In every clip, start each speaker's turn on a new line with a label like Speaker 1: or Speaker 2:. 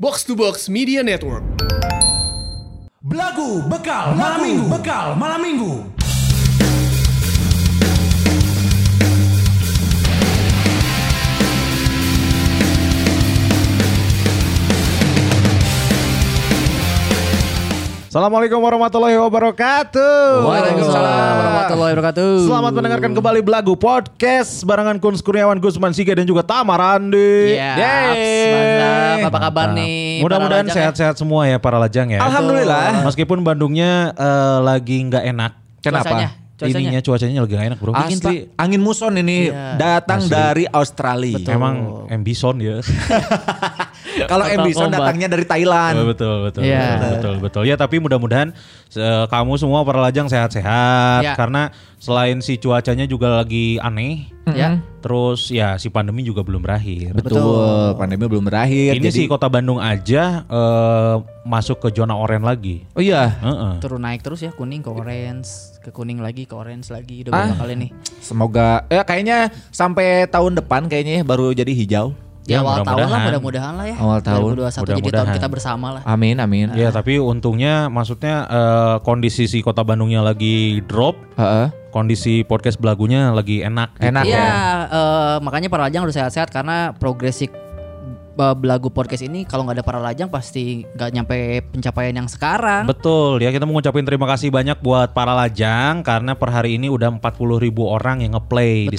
Speaker 1: Box to Box Media Network.
Speaker 2: Belagu bekal malam minggu, bekal malam minggu.
Speaker 3: Assalamualaikum warahmatullahi wabarakatuh.
Speaker 4: Waalaikumsalam warahmatullahi wabarakatuh.
Speaker 3: Selamat mendengarkan kembali Belagu Podcast barengan Kun Kurniawan Gusman Siga dan juga Tamara Andi.
Speaker 4: Iya,
Speaker 3: Yeay.
Speaker 4: mantap. Apa kabar
Speaker 3: Mantap.
Speaker 4: nih,
Speaker 3: Mudah-mudahan
Speaker 4: para lajang
Speaker 3: sehat-sehat semua ya para lajang ya.
Speaker 4: Alhamdulillah.
Speaker 3: Meskipun Bandungnya eh, lagi nggak enak.
Speaker 4: Kenapa? Cuacanya, cuacanya.
Speaker 3: Ininya cuacanya lagi nggak enak bro.
Speaker 4: Dingin,
Speaker 2: Asli angin muson ini
Speaker 4: Iya.
Speaker 2: datang
Speaker 3: Asli.
Speaker 2: dari Australia.
Speaker 4: Betul.
Speaker 3: Emang Ambison ya.
Speaker 2: Kalau
Speaker 4: Total
Speaker 2: Ambison
Speaker 4: combat.
Speaker 2: datangnya dari Thailand.
Speaker 3: betul betul betul,
Speaker 4: Iya.
Speaker 3: betul betul betul. Ya tapi mudah-mudahan eh, kamu semua para lajang sehat-sehat
Speaker 4: Iya.
Speaker 3: karena selain si cuacanya juga lagi aneh.
Speaker 4: Ya.
Speaker 3: Terus ya si pandemi juga belum berakhir.
Speaker 4: Betul. Iya,
Speaker 2: Pandemi belum
Speaker 3: Ini
Speaker 2: berakhir. jadi-
Speaker 3: sih kota Bandung aja eh, masuk ke zona oranye lagi.
Speaker 2: Oh iya.
Speaker 3: Heeh.
Speaker 4: Turun naik terus ya kuning ke orange, ke kuning lagi ke orange lagi udah berapa
Speaker 2: Ah.
Speaker 4: kali nih?
Speaker 2: Semoga ya kayaknya sampai tahun depan kayaknya ya, baru jadi hijau.
Speaker 4: Di
Speaker 3: Ya,
Speaker 4: awal tahun lah
Speaker 3: mudah-mudahan.
Speaker 4: mudah-mudahan lah ya.
Speaker 2: Awal tahun,
Speaker 4: 2021 jadi tahun
Speaker 3: mudah-mudahan.
Speaker 4: kita bersama lah.
Speaker 2: Amin amin.
Speaker 3: Ya tapi untungnya maksudnya eh, kondisi si kota Bandungnya lagi drop,
Speaker 2: Heeh.
Speaker 3: kondisi podcast belagunya lagi enak. gitu.
Speaker 2: Enak.
Speaker 4: Iya,
Speaker 2: ya.
Speaker 4: eh, makanya para lajang harus sehat-sehat karena progresi eh, belagu podcast ini kalau nggak ada para lajang pasti nggak nyampe pencapaian yang sekarang.
Speaker 3: Betul ya kita mengucapkan terima kasih banyak buat para lajang karena per hari ini udah 40.000 ribu orang yang ngeplay di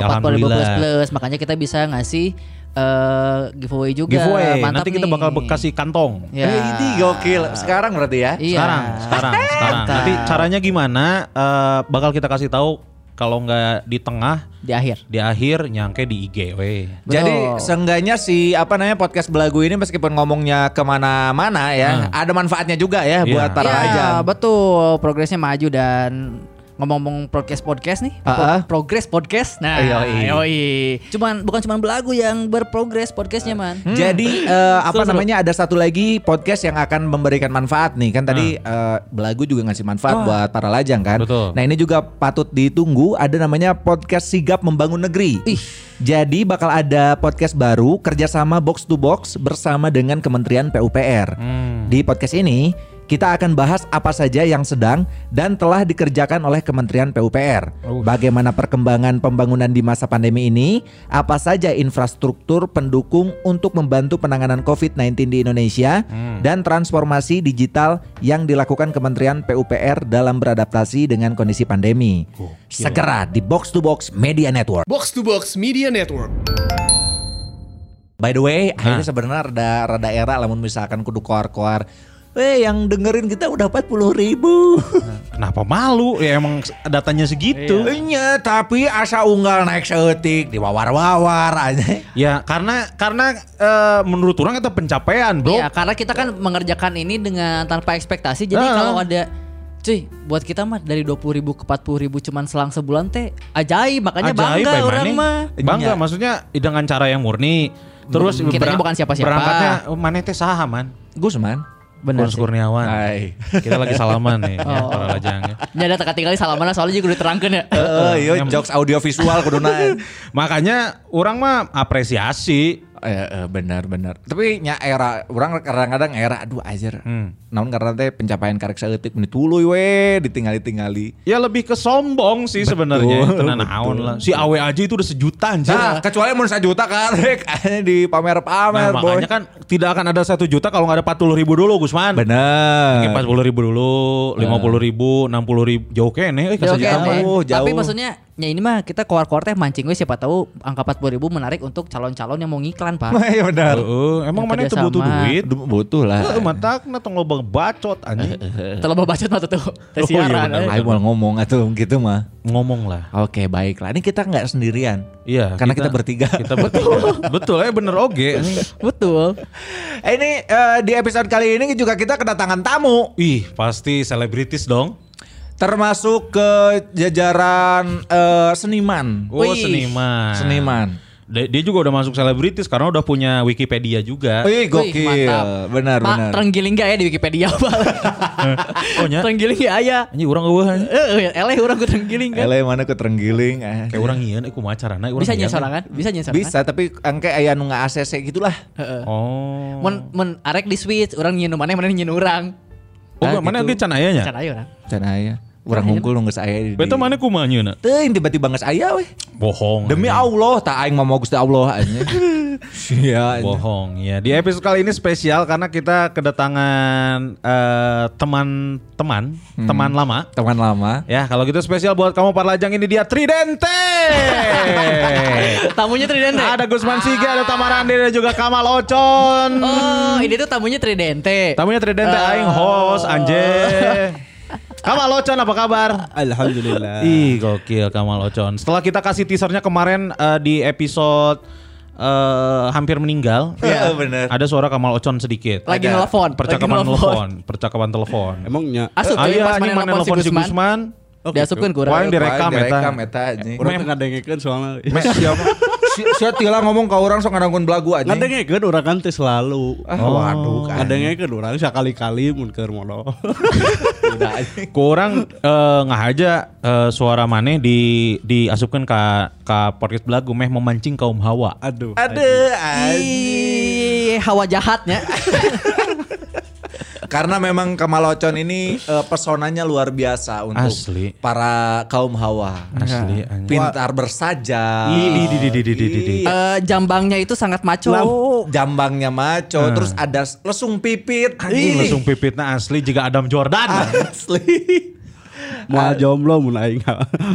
Speaker 4: 40.000 plus
Speaker 3: Alhamdulillah.
Speaker 4: plus makanya kita bisa ngasih eh, giveaway juga.
Speaker 3: Giveaway.
Speaker 4: Mantap
Speaker 3: Nanti kita
Speaker 4: nih.
Speaker 3: bakal kasih kantong.
Speaker 4: Ya.
Speaker 2: Eh, Ini gokil. Sekarang berarti ya.
Speaker 4: Iya.
Speaker 3: Sekarang, sekarang, sekarang.
Speaker 4: Mantap.
Speaker 3: Nanti caranya gimana? eh, bakal kita kasih tahu kalau nggak di tengah,
Speaker 4: di akhir.
Speaker 3: di akhir, nyangke di IG. Weh.
Speaker 4: Betul.
Speaker 2: Jadi seenggaknya si apa namanya podcast belagu ini meskipun ngomongnya kemana-mana ya, ada manfaatnya juga ya buat para
Speaker 4: Iya,
Speaker 2: lajang.
Speaker 4: betul. Progresnya maju dan ngomong-ngomong podcast podcast nih, pro-
Speaker 2: Ah, ah.
Speaker 4: progres podcast. Nah,
Speaker 3: Iya,
Speaker 2: Yoi.
Speaker 4: yoi. Cuman bukan cuman belagu yang berprogres
Speaker 3: Iya.
Speaker 4: podcastnya man.
Speaker 2: Jadi eh, apa namanya ada satu lagi podcast yang akan memberikan manfaat nih kan tadi eh, belagu juga ngasih manfaat buat para lajang kan.
Speaker 3: Betul.
Speaker 2: Nah ini juga patut ditunggu ada namanya podcast sigap membangun negeri. Jadi bakal ada podcast baru kerjasama box to box bersama dengan Kementerian PUPR. Di podcast ini kita akan bahas apa saja yang sedang dan telah dikerjakan oleh Kementerian PUPR. Bagaimana perkembangan pembangunan di masa pandemi ini? Apa saja infrastruktur pendukung untuk membantu penanganan COVID-19 di Indonesia dan transformasi digital yang dilakukan Kementerian PUPR dalam beradaptasi dengan kondisi pandemi. Segera di Box to Box Media Network.
Speaker 1: Box to Box Media Network.
Speaker 2: By the way,
Speaker 3: Ah.
Speaker 2: akhirnya sebenarnya rada rada era lamun misalkan kudu koar-koar. Weh yang dengerin kita udah 40 ribu.
Speaker 3: Kenapa malu? Ya emang datanya segitu.
Speaker 2: Iya, tapi asa unggal naik seetik di wawar-wawar aja.
Speaker 3: Ya karena karena eh, menurut orang itu pencapaian bro.
Speaker 4: Iya, karena kita kan mengerjakan ini dengan tanpa ekspektasi. Jadi
Speaker 3: Ah.
Speaker 4: kalau ada cuy buat kita mah dari 20.000 ke 40.000 cuman selang sebulan teh ajaib makanya
Speaker 3: Ajaib,
Speaker 4: bangga
Speaker 3: Bay
Speaker 4: orang
Speaker 3: Mane.
Speaker 4: mah.
Speaker 3: Bangga
Speaker 2: Iya.
Speaker 3: maksudnya dengan cara yang murni. Terus
Speaker 4: Kitanya bukan siapa-siapa.
Speaker 3: Berangkatnya "Oh, mana teh saha man.
Speaker 2: Gusman.
Speaker 4: Benar.
Speaker 3: Kurus Kurniawan.
Speaker 2: Hai.
Speaker 3: Kita lagi salaman nih ya,
Speaker 4: Oh.
Speaker 3: para lajang. ya.
Speaker 4: Ya ada teka-teka salaman soalnya juga udah terangkan ya.
Speaker 3: Eh,
Speaker 2: Heeh, yo Eh, iya, jokes audiovisual kudu naik.
Speaker 3: Makanya orang mah apresiasi.
Speaker 2: Eh, eh, benar benar. Tapi nya era orang kadang-kadang era aduh ajar.
Speaker 3: Hmm.
Speaker 2: Namun karena teh pencapaian karek saeutik meni tuluy we ditinggali-tingali.
Speaker 3: Ya lebih ke sombong sih sebenarnya. Tenan naon lah. Si Awe aja itu udah sejuta anjir.
Speaker 2: Nah, kecuali mun juta karek
Speaker 3: Nah,
Speaker 2: di pamer-pamer, boy.
Speaker 3: makanya kan tidak akan ada satu juta kalau nggak ada 40 ribu dulu Gusman.
Speaker 2: Benar. Nah.
Speaker 3: Empat puluh ribu dulu, lima puluh ribu, enam puluh ribu, jauh kene, eh,
Speaker 4: Ya,
Speaker 3: kasih
Speaker 4: oke,
Speaker 3: juta
Speaker 4: oke.
Speaker 3: mah.
Speaker 2: jauh,
Speaker 4: Tapi
Speaker 2: jauh.
Speaker 4: maksudnya ya ini mah kita keluar-keluar teh mancing we siapa tahu angka 40 ribu menarik untuk calon-calon yang mau ngiklan, Pak.
Speaker 2: Iya benar.
Speaker 3: Heeh, emang
Speaker 4: Yang
Speaker 3: mana itu
Speaker 4: kerjasama.
Speaker 3: butuh duit?
Speaker 2: Butuh lah.
Speaker 3: Heeh, Eh, matakna tong loba bacot anjing.
Speaker 4: Terlalu bacot mah tuh. tuh. Teh
Speaker 3: Oh, iya
Speaker 4: siaran,
Speaker 3: benar.
Speaker 4: eh.
Speaker 2: Ayo mau ngomong atau gitu mah.
Speaker 3: Ngomong lah.
Speaker 2: Oke baiklah, ini kita nggak sendirian.
Speaker 3: Iya,
Speaker 2: Karena kita bertiga.
Speaker 3: Kita betul. betul, eh bener oge.
Speaker 4: Betul.
Speaker 2: ini eh, di episode kali ini juga kita kedatangan tamu,
Speaker 3: Ih, pasti selebritis dong.
Speaker 2: termasuk ke jajaran eh, seniman.
Speaker 3: Oh,
Speaker 4: Wih.
Speaker 3: seniman.
Speaker 2: Seniman.
Speaker 3: Dia dia juga udah masuk selebritis karena udah punya Wikipedia juga.
Speaker 2: Wih gokil. Benar
Speaker 4: Pak,
Speaker 2: benar.
Speaker 4: Trenggiling gak ya di Wikipedia Pak?
Speaker 3: Oh, nya?
Speaker 4: Trenggiling gak ya?
Speaker 3: Anjing orang eueuh.
Speaker 4: Eh, eleh orang ku trenggiling kan.
Speaker 2: Ele mana ke Trenggiling. ah.
Speaker 3: Kayak orang ngieun eh kumaha carana urang
Speaker 4: Bisa
Speaker 3: ngieun.
Speaker 4: nyesorangan? Bisa nyesorangan?
Speaker 2: Bisa tapi angke aya nu nge-ACC gitulah.
Speaker 4: Heeh.
Speaker 3: Oh.
Speaker 4: Mun mun arek di switch, orang nyeun mana mana nyeun urang.
Speaker 3: oh,
Speaker 2: Ah,
Speaker 3: mana
Speaker 2: gitu.
Speaker 3: dia can aya nya?
Speaker 4: Cara ayo orang.
Speaker 2: Can aya. Urang hungkul nu geus aya E di.
Speaker 3: Betul mana kumaha eh? nyeuna?
Speaker 2: Teuing tiba-tiba geus aya E, weh.
Speaker 3: Bohong.
Speaker 2: Demi
Speaker 3: anjing.
Speaker 2: Allah, tak aing mah mau Gusti Allah anjing. Sia. anjing.
Speaker 3: Bohong ya. Di episode kali ini spesial karena kita kedatangan eh, teman-teman, teman lama.
Speaker 2: Teman lama.
Speaker 3: Ya, kalau gitu spesial buat kamu para lajang ini dia Tridente.
Speaker 4: Tamunya Tridente.
Speaker 3: Eh. ada Gusman Siga, ada Tamara Andi, dan juga Kamal Ocon.
Speaker 4: Oh, ini tuh tamunya Tridente.
Speaker 3: Tamunya Tridente aing host anjing. Kamal Ocon apa kabar?
Speaker 5: Alhamdulillah.
Speaker 3: Ih, gokil Kamal Ocon. Setelah kita kasih teasernya kemarin eh, di episode eh, hampir meninggal. ya,
Speaker 2: Iya, bener.
Speaker 3: Ada suara Kamal Ocon sedikit.
Speaker 4: Lagi
Speaker 3: Ada.
Speaker 4: nelpon, lagi
Speaker 3: Percakapan
Speaker 4: nelpon.
Speaker 3: telepon, percakapan telepon.
Speaker 5: Emangnya
Speaker 4: Asup
Speaker 3: Ah,
Speaker 4: tadi
Speaker 3: iya,
Speaker 4: pas
Speaker 3: ini
Speaker 4: mana
Speaker 3: mana
Speaker 4: nelpon si
Speaker 3: nelpon si
Speaker 4: Gusman. kan,
Speaker 3: Gusman.
Speaker 5: Oke,
Speaker 4: Diasupkeun ku
Speaker 3: Wah,
Speaker 4: urang.
Speaker 3: yang direkam
Speaker 2: Wah,
Speaker 3: eta.
Speaker 2: direkam eta anjing.
Speaker 5: orang tengah dengekeun soalnya. Iya.
Speaker 2: Mes, Siapa? Si- Sia tila ngomong ke orang sok ngarangkeun belagu anjing.
Speaker 5: Ngadengekeun orang kan teh selalu. Oh.
Speaker 2: Ah, waduh, kan.
Speaker 5: Ngadengekeun orang sakali-kali mun keur mono.
Speaker 3: Kurang eh, ngahaja eh, suara maneh di diasupkan ke ke podcast belagu meh memancing kaum hawa.
Speaker 5: Aduh.
Speaker 2: Aduh,
Speaker 4: Ih, hawa jahatnya.
Speaker 2: Karena memang Kemalocon ini eh, pesonanya luar biasa untuk
Speaker 3: Asli.
Speaker 2: para kaum hawa.
Speaker 3: Asli,
Speaker 2: Ya.
Speaker 3: anjing.
Speaker 2: Pintar bersaja.
Speaker 3: Ih, di di di di di di di- di.
Speaker 4: Eh, jambangnya itu sangat maco.
Speaker 2: Lam- Jambangnya maco, terus ada s- lesung pipit.
Speaker 3: Hmm. Anjing
Speaker 2: Ih,
Speaker 3: langsung pipitna asli jika Adam Jordan.
Speaker 2: Asli.
Speaker 5: Moal jomblo mun aing.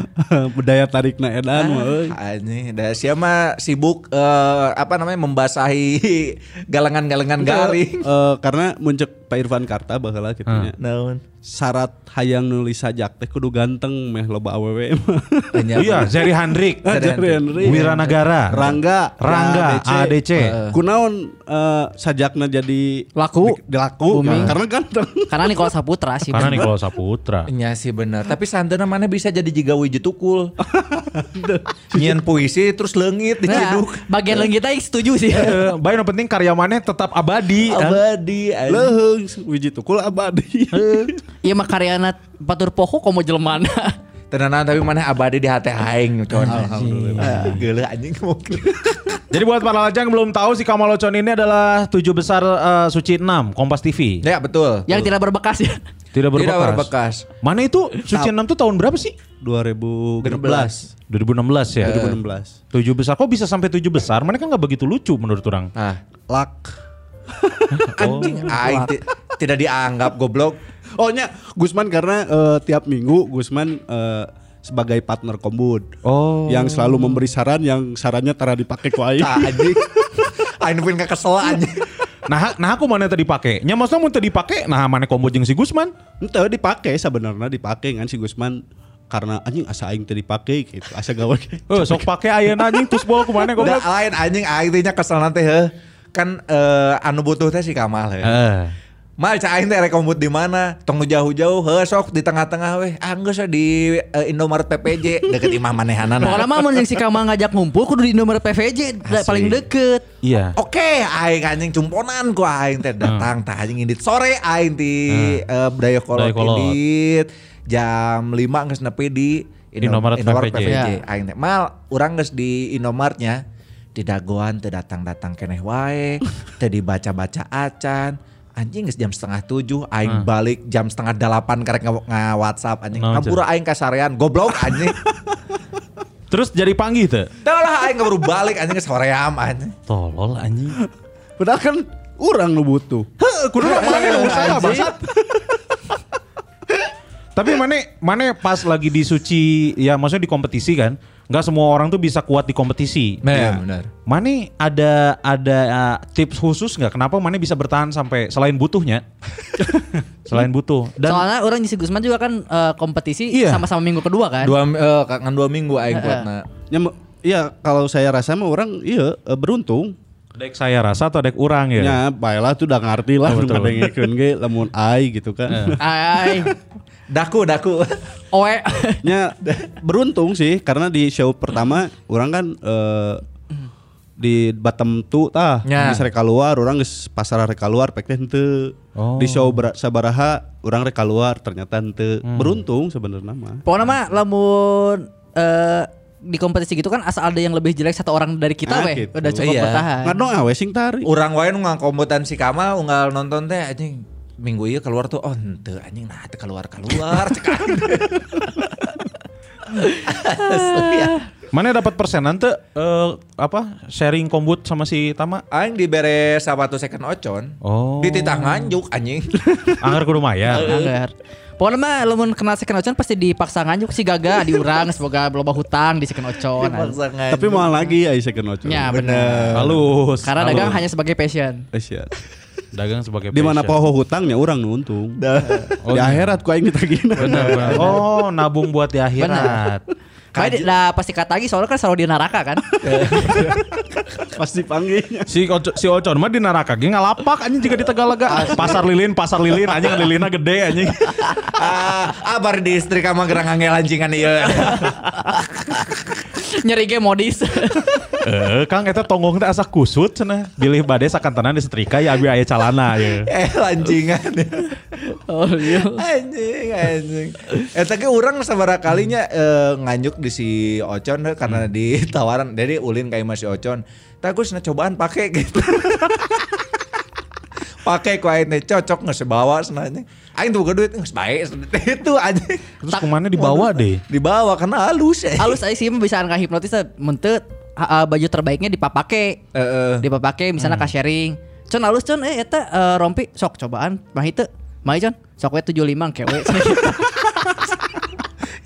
Speaker 5: Daya tarikna
Speaker 2: Ah,
Speaker 5: edan mah euy.
Speaker 2: Anjing, dah sia mah sibuk eh, apa namanya membasahi galengan-galengan garing. Ah.
Speaker 5: Eh, karena muncek Pak Irfan Karta baheula kitu nya.
Speaker 2: Naon?
Speaker 5: Syarat hayang nulis sajak teh kudu ganteng meh loba awewe mah.
Speaker 3: Iya, Zeri Handrik.
Speaker 5: Jari Henry.
Speaker 3: Wiranagara.
Speaker 5: Iya. Rangga.
Speaker 3: Rangga ADC.
Speaker 5: Kunaon eh, sajakna jadi
Speaker 4: Laku.
Speaker 5: di- dilaku
Speaker 4: Booming.
Speaker 5: karena ganteng.
Speaker 4: Karena Nikola Saputra sih.
Speaker 3: Karena
Speaker 4: bener.
Speaker 3: Nikola Saputra.
Speaker 2: Iya sih benar. Tapi santana mana bisa jadi jigawi tukul. Nyian puisi terus lengit
Speaker 4: Nah,
Speaker 2: diciduk.
Speaker 3: Iya.
Speaker 4: bagian lain kita setuju sih.
Speaker 3: Eh, Baik yang penting karya maneh tetap abadi.
Speaker 2: Abadi. anjing.
Speaker 5: Leuheung wiji tukul abadi.
Speaker 4: Iya mah karyana patur poho komo jelemana.
Speaker 2: Tenangan tapi mana abadi di hati aing gitu. con.
Speaker 5: Iya.
Speaker 2: Alhamdulillah. Geuleuh anjing mungkin.
Speaker 3: Jadi buat para lajang yang belum tahu si Kamal Ocon ini adalah tujuh besar eh, suci 6 Kompas TV.
Speaker 2: Ya betul.
Speaker 4: yang tidak berbekas ya.
Speaker 3: Tidak berbekas.
Speaker 2: Tidak berbekas.
Speaker 3: Mana itu suci 6 tuh tahun berapa sih?
Speaker 5: 2016.
Speaker 3: 2016 ya.
Speaker 5: 2016.
Speaker 3: Tujuh besar. Kok bisa sampai tujuh besar? Mana kan nggak begitu lucu menurut orang.
Speaker 2: Nah,
Speaker 5: Lak.
Speaker 2: anjing aing ti- tidak dianggap goblok.
Speaker 5: Oh nya Gusman karena eh, tiap minggu Gusman eh, sebagai partner kombud.
Speaker 3: Oh.
Speaker 5: Yang selalu memberi saran yang sarannya tara dipakai ku aing.
Speaker 2: Tah, Anjing. Aing pun kesel anjing.
Speaker 3: Nah, nah aku mana tadi pakai? Nya maksudnya mau tadi pakai? Nah, mana kombo jeung si Gusman?
Speaker 5: Entah dipakai sebenarnya dipakai kan si Gusman karena anjing asa aing teh dipakai gitu. Asa gawe.
Speaker 3: Eh, sok pakai ayeuna anjing terus bawa kemana goblok?
Speaker 2: Udah lain anjing aing teh nya kesel nanti heh. Kan eh, anu butuh teh si Kamal heh.
Speaker 3: Heeh.
Speaker 2: Mal cah aing teh rek kombut di mana? Tong nu jauh-jauh heuh sok di tengah-tengah weh. Ah geus ah, di eh, Indomaret PPJ deket imah manehanana.
Speaker 4: Pokoknya mah mun yang si Kamal ngajak ngumpul kudu di nomor PVJ da-
Speaker 2: Asli.
Speaker 4: paling deket.
Speaker 3: Iya.
Speaker 2: Oke, aing anjing cumponan ku aing
Speaker 3: Hmm.
Speaker 2: teh datang tah anjing indit sore aing di eh, Dayakolot
Speaker 3: Dayakolot.
Speaker 2: indit jam 5 geus nepi di
Speaker 3: Indomaret PPJ.
Speaker 2: Aing teh mal urang geus di Indomaretnya di dagoan teu datang-datang keneh wae, teu dibaca-baca acan. Anjing geus jam setengah tujuh, aing balik jam setengah delapan karek nge, nge WhatsApp anjing.
Speaker 3: Hmm. Naon,
Speaker 2: Ngabura aing kasarean, goblok anjing.
Speaker 3: Terus jadi panggil tuh.
Speaker 2: Tahu lah aing ngaburu balik anjing geus soream anjing.
Speaker 3: Tolol anjing.
Speaker 5: Padahal kan urang nu butuh.
Speaker 3: Kudu mana yang usaha bangsat. Tapi mana mana pas lagi di suci ya maksudnya di kompetisi kan? Nggak semua orang tuh bisa kuat di kompetisi.
Speaker 2: Iya, benar.
Speaker 3: Mane ada ada uh, tips khusus nggak? Kenapa Mane bisa bertahan sampai selain butuhnya? selain butuh dan
Speaker 4: Soalnya orang si Gusman juga kan eh, kompetisi
Speaker 3: Iya.
Speaker 4: sama-sama minggu kedua kan.
Speaker 2: dua eh, kan dua minggu aing kuatna
Speaker 5: Ya, me- Iya, kalau saya rasa mah orang iya eh, beruntung.
Speaker 3: dek saya rasa atau dek orang ya.
Speaker 5: Ya, baiklah tuh udah ngerti lah
Speaker 3: Betul. Iya.
Speaker 5: udah ngekeun ge lamun ai gitu kan.
Speaker 4: Ay,
Speaker 2: daku daku
Speaker 4: oe.
Speaker 5: Ya beruntung sih karena di show pertama orang kan eh, di Batam tuh tah
Speaker 2: Ya.
Speaker 5: geus rek keluar orang geus pasar rek keluar pek teh henteu.
Speaker 3: Oh.
Speaker 5: Di show bera- sabaraha orang rek keluar ternyata henteu.
Speaker 3: Hmm.
Speaker 5: Beruntung sebenarnya mah.
Speaker 4: Pokoknya mah lamun eh, di kompetisi gitu kan asal ada yang lebih jelek satu orang dari kita
Speaker 5: Ah,
Speaker 4: weh
Speaker 5: gitu.
Speaker 4: udah cukup
Speaker 2: Iya.
Speaker 4: bertahan.
Speaker 5: Ngadoa we sing tari.
Speaker 2: Urang wae nu ngangkombotan si Kamal unggal nonton teh anjing minggu ieu keluar tuh oh henteu anjing nah teu keluar-keluar cek anjing. Asli ya.
Speaker 3: Mana dapat persenan tuh eh, apa sharing kombut sama si Tama?
Speaker 2: Aing dibere sabatu second ocon.
Speaker 3: Oh.
Speaker 2: Dititah nganjuk anjing.
Speaker 3: Anggar kudu maya.
Speaker 4: Anggar. Pokoknya mah lamun kena second ocon pasti dipaksa nganjuk si gaga diurang semoga loba hutang di second ocon.
Speaker 2: Dipaksa nganjuk.
Speaker 5: Tapi mau lagi ai second watch.
Speaker 4: Ya bener.
Speaker 3: Halus.
Speaker 4: Karena
Speaker 3: halus.
Speaker 4: dagang hanya sebagai passion.
Speaker 5: Asia.
Speaker 3: dagang sebagai
Speaker 5: Eh, Di mana
Speaker 3: passion.
Speaker 5: poho hutangnya orang nu untung.
Speaker 3: Oh,
Speaker 5: di
Speaker 3: iya.
Speaker 5: akhirat ku aing ditagihna.
Speaker 3: Benar, benar. Oh, nabung buat di akhirat.
Speaker 4: Kayak lah pasti kata lagi soalnya kan selalu di neraka kan.
Speaker 5: Pasti panggilnya.
Speaker 3: Si Oco- si Ocon mah di neraka ge ngalapak anjing jika di Tegalaga. Pasar lilin, pasar lilin anjing lilinnya gede anjing.
Speaker 2: ah, ah, bari di istri kamu gerang angel anjingan ieu.
Speaker 4: Nyeri ge modis.
Speaker 3: Eh, Kang eta tonggong teh asa kusut cenah. Bilih bade sakantenan disetrika ya abi aya calana ya.
Speaker 2: Eh lanjingan.
Speaker 4: oh iya.
Speaker 2: anjing anjing. Eh, Eta ge urang sabaraha kalinya eh, nganjuk di si Ocon eh,
Speaker 4: Hmm.
Speaker 2: karena ditawaran jadi ulin kayak masih Ocon. Tagus na cobaan pake gitu. pakai ku aing teh cocok geus bawa senanya. Aing tuh duit geus bae itu anjing.
Speaker 3: Terus kemana dibawa deh?
Speaker 2: Dibawa karena halus. eh.
Speaker 4: Halus aja sih mah bisa nggak hipnotis eh, mente eh, baju terbaiknya dipapake.
Speaker 2: Eh, eh.
Speaker 4: Dipapake misalnya ka sharing. Con halus con eh eta eh, rompi sok cobaan mah itu. Mah con sok we 75 kewe.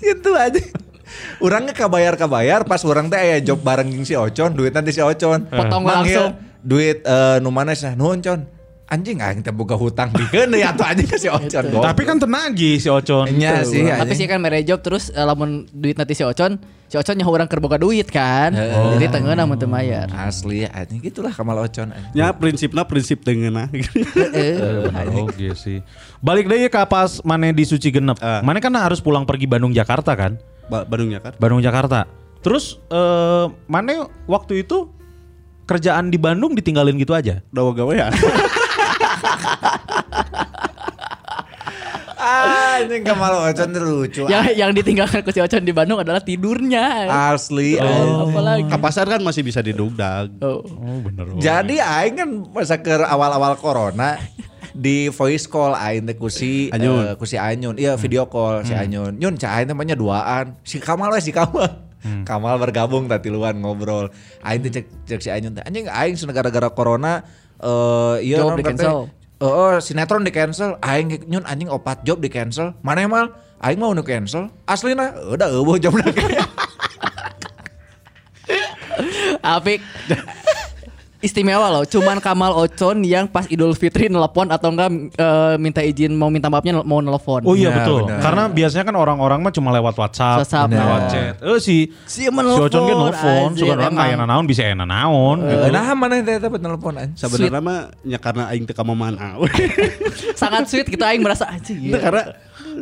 Speaker 2: gitu aja orangnya kabayar kabayar pas orang teh aya job bareng jeung si Ocon duit nanti si Ocon
Speaker 4: Potong
Speaker 2: Mang,
Speaker 4: langsung.
Speaker 2: ieu duit eh nu mana sih nuhun Con anjing aing teh boga hutang dikeun ya atuh anjing si Ocon
Speaker 5: Oh.
Speaker 2: goblok.
Speaker 3: Tapi kan tenagi si Ocon.
Speaker 2: nya sih
Speaker 4: Gitu. Tapi sih
Speaker 2: anjing
Speaker 4: kan mere job terus eh, lamun duit nanti si Ocon, si Ocon nyaho urang keur boga duit kan.
Speaker 2: Heeh.
Speaker 4: Jadi tengeunah mun teu mayar.
Speaker 2: asli anjing gitulah Kamal Ocon anjing.
Speaker 5: Ya prinsipnya prinsip dengan
Speaker 4: Heeh.
Speaker 3: Eh, bener oge sih. Balik deh ke pas mana di Suci Genep.
Speaker 5: Eh.
Speaker 3: Mana kan harus pulang pergi Bandung Jakarta kan?
Speaker 5: Ba Bandungnya kan.
Speaker 3: Bandung Jakarta. Terus eh, mana waktu itu kerjaan di Bandung ditinggalin gitu aja?
Speaker 5: Dawa gawean.
Speaker 2: anjing Kamal Ocon tuh lucu
Speaker 4: yang yang ditinggalkan ku si Ocon di Bandung adalah tidurnya.
Speaker 2: asli anjing.
Speaker 4: Oh. Apalagi.
Speaker 5: Ke pasar kan masih bisa didugdag.
Speaker 4: Oh.
Speaker 3: Oh bener.
Speaker 2: Jadi aing kan masa ke awal-awal corona di voice call aing teh kusi
Speaker 5: Anyun.
Speaker 2: eh, kusi Anyun. Iya video call si Anyun. Nyun cah aing namanya duaan. Si Kamal we si Kamal. Kamal bergabung tadi luan ngobrol. Aing teh cek, cek si Anyun teh anjing aing sun gara-gara corona eh iya
Speaker 4: Job
Speaker 2: non,
Speaker 4: di
Speaker 2: katanya,
Speaker 4: cancel.
Speaker 2: eh, eh, sinetron di cancel, aing ge- nyun anjing opat job di cancel. Mana mal? Aing mau nu cancel. Aslina udah eueuh job
Speaker 4: Apik. Istimewa loh, cuman Kamal Ocon yang pas Idul Fitri nelpon atau enggak eh, minta izin mau minta maafnya nel- mau nelpon.
Speaker 3: Oh iya
Speaker 2: Nah,
Speaker 3: betul.
Speaker 2: bener.
Speaker 3: Karena biasanya kan orang-orang mah cuma lewat WhatsApp,
Speaker 4: WhatsApp,
Speaker 3: lewat
Speaker 4: nah.
Speaker 3: chat. Eh si
Speaker 4: Si emang nelfon,
Speaker 3: Ocon kan nelfon,
Speaker 4: anjir,
Speaker 3: suka orang
Speaker 4: emang.
Speaker 3: kayak naon bisa enak naon. gitu.
Speaker 2: Nah mana teh teh telepon anjing.
Speaker 5: Sebenarnya mah ya karena aing teu ka mamana.
Speaker 4: Sangat sweet gitu aing merasa anjing. Iya.
Speaker 5: Itu karena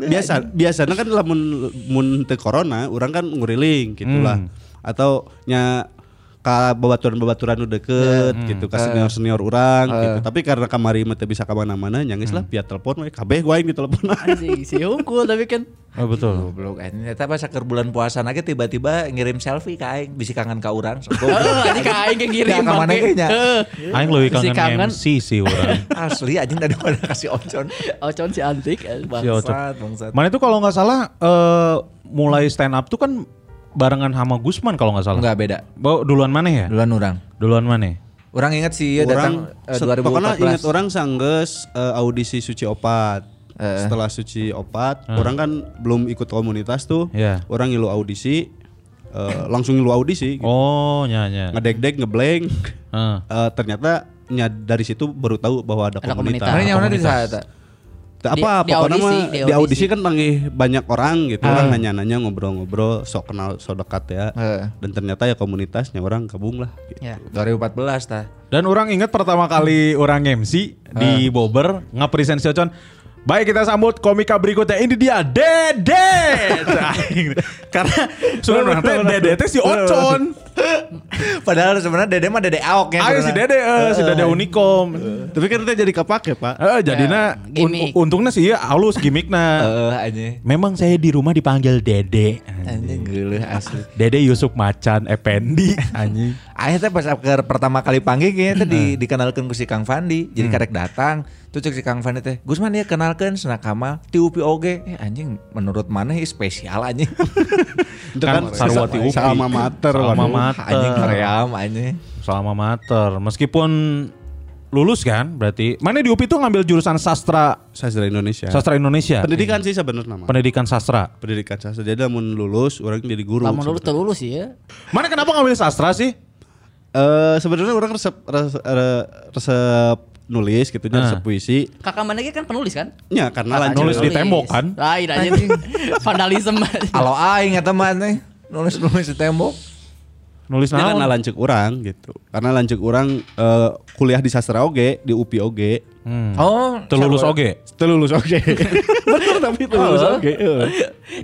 Speaker 5: biasa biasanya kan lamun mun teu corona urang kan nguriling gitulah. Atau nya ka babaturan-babaturan nu deket gitu ka senior-senior urang gitu. Tapi karena kamari mah teu bisa ka mana-mana nya geus lah via telepon we kabeh gua aing diteleponan.
Speaker 4: Anjing si Hungkul tapi kan
Speaker 3: Oh betul.
Speaker 2: Goblok anjing. Eta pas keur bulan puasa nage tiba-tiba ngirim selfie ka aing, bisi kangen ka urang. So,
Speaker 4: Heeh, Oh,
Speaker 2: goblok.
Speaker 4: anjing ka kan aing yang ngirim eh.
Speaker 2: Ya, ka mana
Speaker 4: bangke.
Speaker 2: ge nya?
Speaker 4: Heeh.
Speaker 3: Aing lebih
Speaker 4: Si
Speaker 3: kangen,
Speaker 4: kangen.
Speaker 3: MC sih orang.
Speaker 2: Asli anjing dari mana kasih oncon.
Speaker 4: Ocon si antik. eh,
Speaker 3: Si
Speaker 4: Bang.
Speaker 3: Ocon.
Speaker 2: Bangsat, bangsat.
Speaker 3: Mana itu kalau nggak salah eh, mulai stand up tuh kan barengan sama Gusman kalau nggak salah.
Speaker 2: Enggak beda.
Speaker 3: Bawa duluan mana ya?
Speaker 2: Duluan urang.
Speaker 3: Duluan mana?
Speaker 2: Orang ingat sih ya datang eh,
Speaker 5: se- pokoknya ingat
Speaker 2: 2014.
Speaker 5: orang sanggeus eh, audisi suci opat
Speaker 2: Eh.
Speaker 5: setelah suci opat orang kan belum ikut komunitas tuh
Speaker 3: Eh. Iya.
Speaker 5: orang ngilu audisi eh, langsung ngilu audisi gitu.
Speaker 3: Oh, nyanya.
Speaker 5: ngedek-dek ngeblank
Speaker 3: Heeh.
Speaker 5: Eh, ternyata nya dari situ baru tahu bahwa ada,
Speaker 4: Ada
Speaker 5: Ah, komunitas,
Speaker 4: komunitas.
Speaker 2: Orang nyawana di
Speaker 3: komunitas.
Speaker 2: saat.
Speaker 5: Ta- apa
Speaker 4: Di- di
Speaker 5: pokoknya
Speaker 4: audisi,
Speaker 5: mah
Speaker 4: di
Speaker 5: di,
Speaker 4: audisi.
Speaker 5: audisi kan panggil banyak orang gitu orang
Speaker 3: Ah.
Speaker 5: nanya-nanya ngobrol-ngobrol sok kenal sok dekat ya
Speaker 2: Eh.
Speaker 5: dan ternyata ya komunitasnya orang gabung lah gitu.
Speaker 4: Ya.
Speaker 2: 2014 tah.
Speaker 3: Dan orang ingat pertama kali orang MC di Bobber ngepresent si Ocon. Baik kita sambut komika berikutnya ini dia Dede. Karena sudah orang teh Dede teh si Ocon.
Speaker 2: Padahal sebenarnya dede mah dede awok ya.
Speaker 3: Ayo si
Speaker 2: sebenarnya.
Speaker 3: Dede, eh, si Dede Unikom.
Speaker 5: Tapi kan itu jadi kepake pak.
Speaker 3: Eh, jadinya
Speaker 4: Ya, gimmick.
Speaker 3: un- untungnya sih ya halus gimmickna.
Speaker 2: Heeh, Eh, anjing.
Speaker 3: Memang saya di rumah dipanggil Dede.
Speaker 2: Anjing geuleuh asli.
Speaker 3: Dede Yusuf Macan Effendi anjing.
Speaker 2: Akhirnya pas ke- pertama kali panggil kayaknya teh di,
Speaker 3: Hmm.
Speaker 2: dikenalkan ku si Kang Fandi. Jadi karek datang, tuh cek si Kang Fandi teh, "Gusman ya kenalkan Sena Kamal, ti Upi oge." Eh anjing, menurut mana ieu spesial anjing.
Speaker 5: Itu
Speaker 3: Kan Sarwati Upi.
Speaker 5: Sama mater.
Speaker 3: Alma
Speaker 5: waduh.
Speaker 3: mater.
Speaker 2: anjing kaream anjing.
Speaker 3: Selama mater. Meskipun lulus kan berarti. Mana di UPI tuh ngambil jurusan sastra
Speaker 5: Sastra Indonesia.
Speaker 3: sastra Indonesia.
Speaker 5: Pendidikan sih sebenarnya mah.
Speaker 3: Pendidikan sastra.
Speaker 5: Pendidikan sastra. Jadi lamun lulus orang jadi guru. gitu.
Speaker 4: Lama dulu
Speaker 5: sebenarnya.
Speaker 4: terlulus ya.
Speaker 3: Mana kenapa ngambil sastra sih?
Speaker 5: Eh sebenarnya orang resep resep, re- resep nulis gitu,
Speaker 3: Nah.
Speaker 5: nah. resep puisi.
Speaker 4: Kakak mana ge kan penulis kan?
Speaker 5: Ya karena
Speaker 4: Kakak
Speaker 5: lanjut.
Speaker 3: nulis di tembok kan?
Speaker 4: Lain aja vandalisme.
Speaker 2: Alo aing eta mah anjing. Nulis-nulis di tembok.
Speaker 3: Nulis
Speaker 5: Ini karena
Speaker 3: naon?
Speaker 5: lanjut orang gitu. Karena lanjut orang eh, kuliah di sastra oge, di UPI oge.
Speaker 3: Hmm.
Speaker 2: Oh,
Speaker 3: Telulus
Speaker 2: sarwa-
Speaker 3: oge.
Speaker 5: Telulus oge. Bener tapi telulus
Speaker 4: Oh.
Speaker 5: oge. heeh.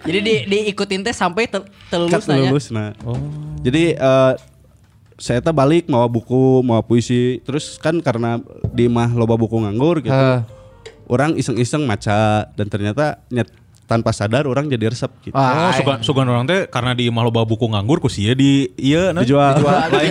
Speaker 4: Jadi di, diikutin teh sampai ter, terlulus
Speaker 5: Cak
Speaker 3: ya?
Speaker 4: nanya.
Speaker 5: lulus nah.
Speaker 3: Oh.
Speaker 5: Jadi eh, saya teh balik mau buku, mau puisi. Terus kan karena di mah loba buku nganggur gitu.
Speaker 2: Heeh.
Speaker 5: Orang iseng-iseng maca dan ternyata nyet- tanpa sadar orang jadi resep gitu.
Speaker 3: Oh,
Speaker 2: Wah,
Speaker 3: suka suka orang teh karena di imah loba buku nganggur ku sia di ieu nah.
Speaker 5: Dijual.
Speaker 3: Lain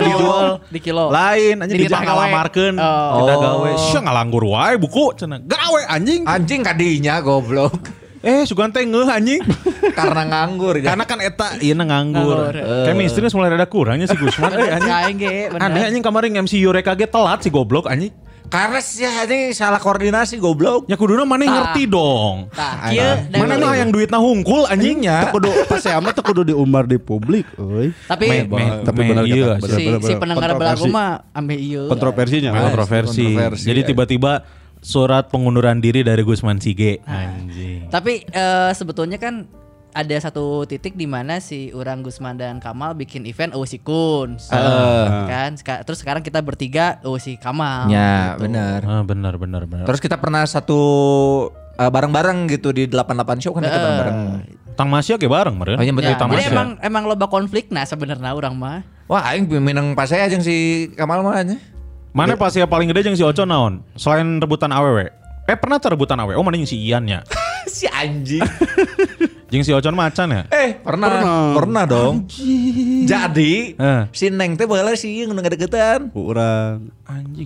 Speaker 4: Di kilo.
Speaker 3: dijual.
Speaker 4: Di kilo.
Speaker 3: Lain anjing di
Speaker 4: Di ditanggawe.
Speaker 3: ngalamarkeun.
Speaker 4: Oh.
Speaker 3: Kita gawe. Sia ngalanggur wae buku cenah. Gawe anjing.
Speaker 2: anjing kadinya goblok.
Speaker 3: Eh, sugan teh ngeuh anjing.
Speaker 2: Karena nganggur ya.
Speaker 3: Karena kan eta ieu na nganggur.
Speaker 4: Nganggur.
Speaker 3: Kayak misterius mulai rada kurangnya si Gusman euy anjing.
Speaker 4: Aing ge, bener.
Speaker 3: Aneh anjing kemarin MC Yureka ge telat si goblok anjing.
Speaker 2: Karena sih anjing salah koordinasi goblok.
Speaker 3: Ya kuduna mana
Speaker 4: Tah.
Speaker 3: ngerti dong.
Speaker 4: Tah,
Speaker 2: Aing.
Speaker 4: kieu
Speaker 3: Mana
Speaker 4: dari-
Speaker 3: mah yang duitna hungkul ya? anjingnya.
Speaker 5: Kudu pas saya amat kudu diumbar di publik, euy.
Speaker 4: tapi
Speaker 3: Me- me-
Speaker 5: Tapi
Speaker 3: me-
Speaker 5: benar
Speaker 3: iya sih.
Speaker 5: kata, benar,
Speaker 4: si,
Speaker 5: benar,
Speaker 4: si
Speaker 5: benar.
Speaker 4: pendengar belagu
Speaker 5: Kontroversi.
Speaker 4: mah ambe ieu.
Speaker 5: kontroversinya.
Speaker 3: Nah, kontroversi.
Speaker 2: kontroversi,
Speaker 3: Jadi
Speaker 2: ya.
Speaker 3: tiba-tiba surat pengunduran diri dari Gusman Sige.
Speaker 4: Ah.
Speaker 3: Anjing.
Speaker 4: Tapi eh, sebetulnya kan ada satu titik di mana si orang Gusman dan Kamal bikin event Usi Kun.
Speaker 2: Ah.
Speaker 4: kan Seka- terus sekarang kita bertiga Usi Kamal.
Speaker 2: Ya, benar.
Speaker 3: Ah, benar benar benar.
Speaker 2: Terus kita pernah satu uh, bareng-bareng gitu di 88 show kan kita bareng-bareng.
Speaker 3: Tang Masya ge bareng meren.
Speaker 2: Oh, iya, betul,
Speaker 4: Ya,
Speaker 2: Tamasya.
Speaker 4: jadi emang emang loba konflik nah sebenarnya orang mah.
Speaker 2: Wah, aing minang pas saya aja si Kamal mah aja.
Speaker 3: Mana pas yang paling gede jeung si Oco naon? Selain rebutan AWW. Eh pernah tuh rebutan AWW? Oh mana yang si Ian ya?
Speaker 2: si anjing.
Speaker 3: Jeung si Ocon macan ya?
Speaker 2: eh, pernah. Pernah, dong. Jadi,
Speaker 3: Eh.
Speaker 2: si Neng teh baheula si ieu nu ngadeketan.
Speaker 5: Kurang.
Speaker 3: Anjing.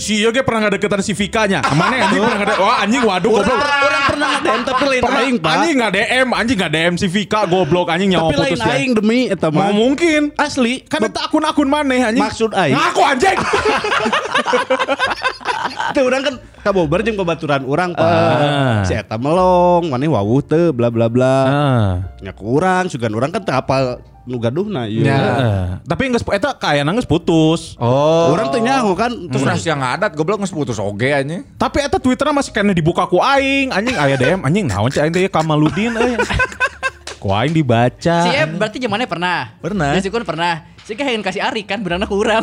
Speaker 3: Si Yoge pernah nggak deketan si Vika-nya. Ah, Mana anjing pernah nggak Wah anjing waduh goblok.
Speaker 5: Orang pernah ngadem tapi lain
Speaker 3: Pernah,
Speaker 5: aing, Pak.
Speaker 3: anjing nggak DM, anjing nggak DM si Vika goblok anjing nyawa
Speaker 5: Tapi lain
Speaker 3: putus ya.
Speaker 5: aing demi eta
Speaker 3: Mau
Speaker 5: mah.
Speaker 3: mungkin.
Speaker 5: Asli,
Speaker 3: Kan itu akun-akun mana anjing.
Speaker 5: Maksud aing.
Speaker 3: Ngaku anjing.
Speaker 5: teu urang kan kabobar jeung babaturan urang, Pak.
Speaker 3: Ah.
Speaker 5: Si eta melong, maneh wawuh teu bla bla bla.
Speaker 3: Ah.
Speaker 5: Nya kurang, sugan urang kan teu hafal nu gaduhna ieu.
Speaker 2: Ya.
Speaker 3: Heeh. Eh, Tapi nggak eta kayak nangis putus.
Speaker 2: Oh.
Speaker 5: Urang teu nyaho kan
Speaker 2: Terus
Speaker 5: terus
Speaker 2: nah, yang adat goblok nges putus oge aja.
Speaker 3: Tapi eta Twitternya masih kena dibuka ku aing. Anjing aya DM anjing naon cek aing teh Kamaludin euy. Ku aing dibaca.
Speaker 4: Si Eb berarti zamannya pernah.
Speaker 2: Ah. Pernah. Oh,
Speaker 4: Usi Kun pernah. Si Kahin kasih Ari kan benar kurang.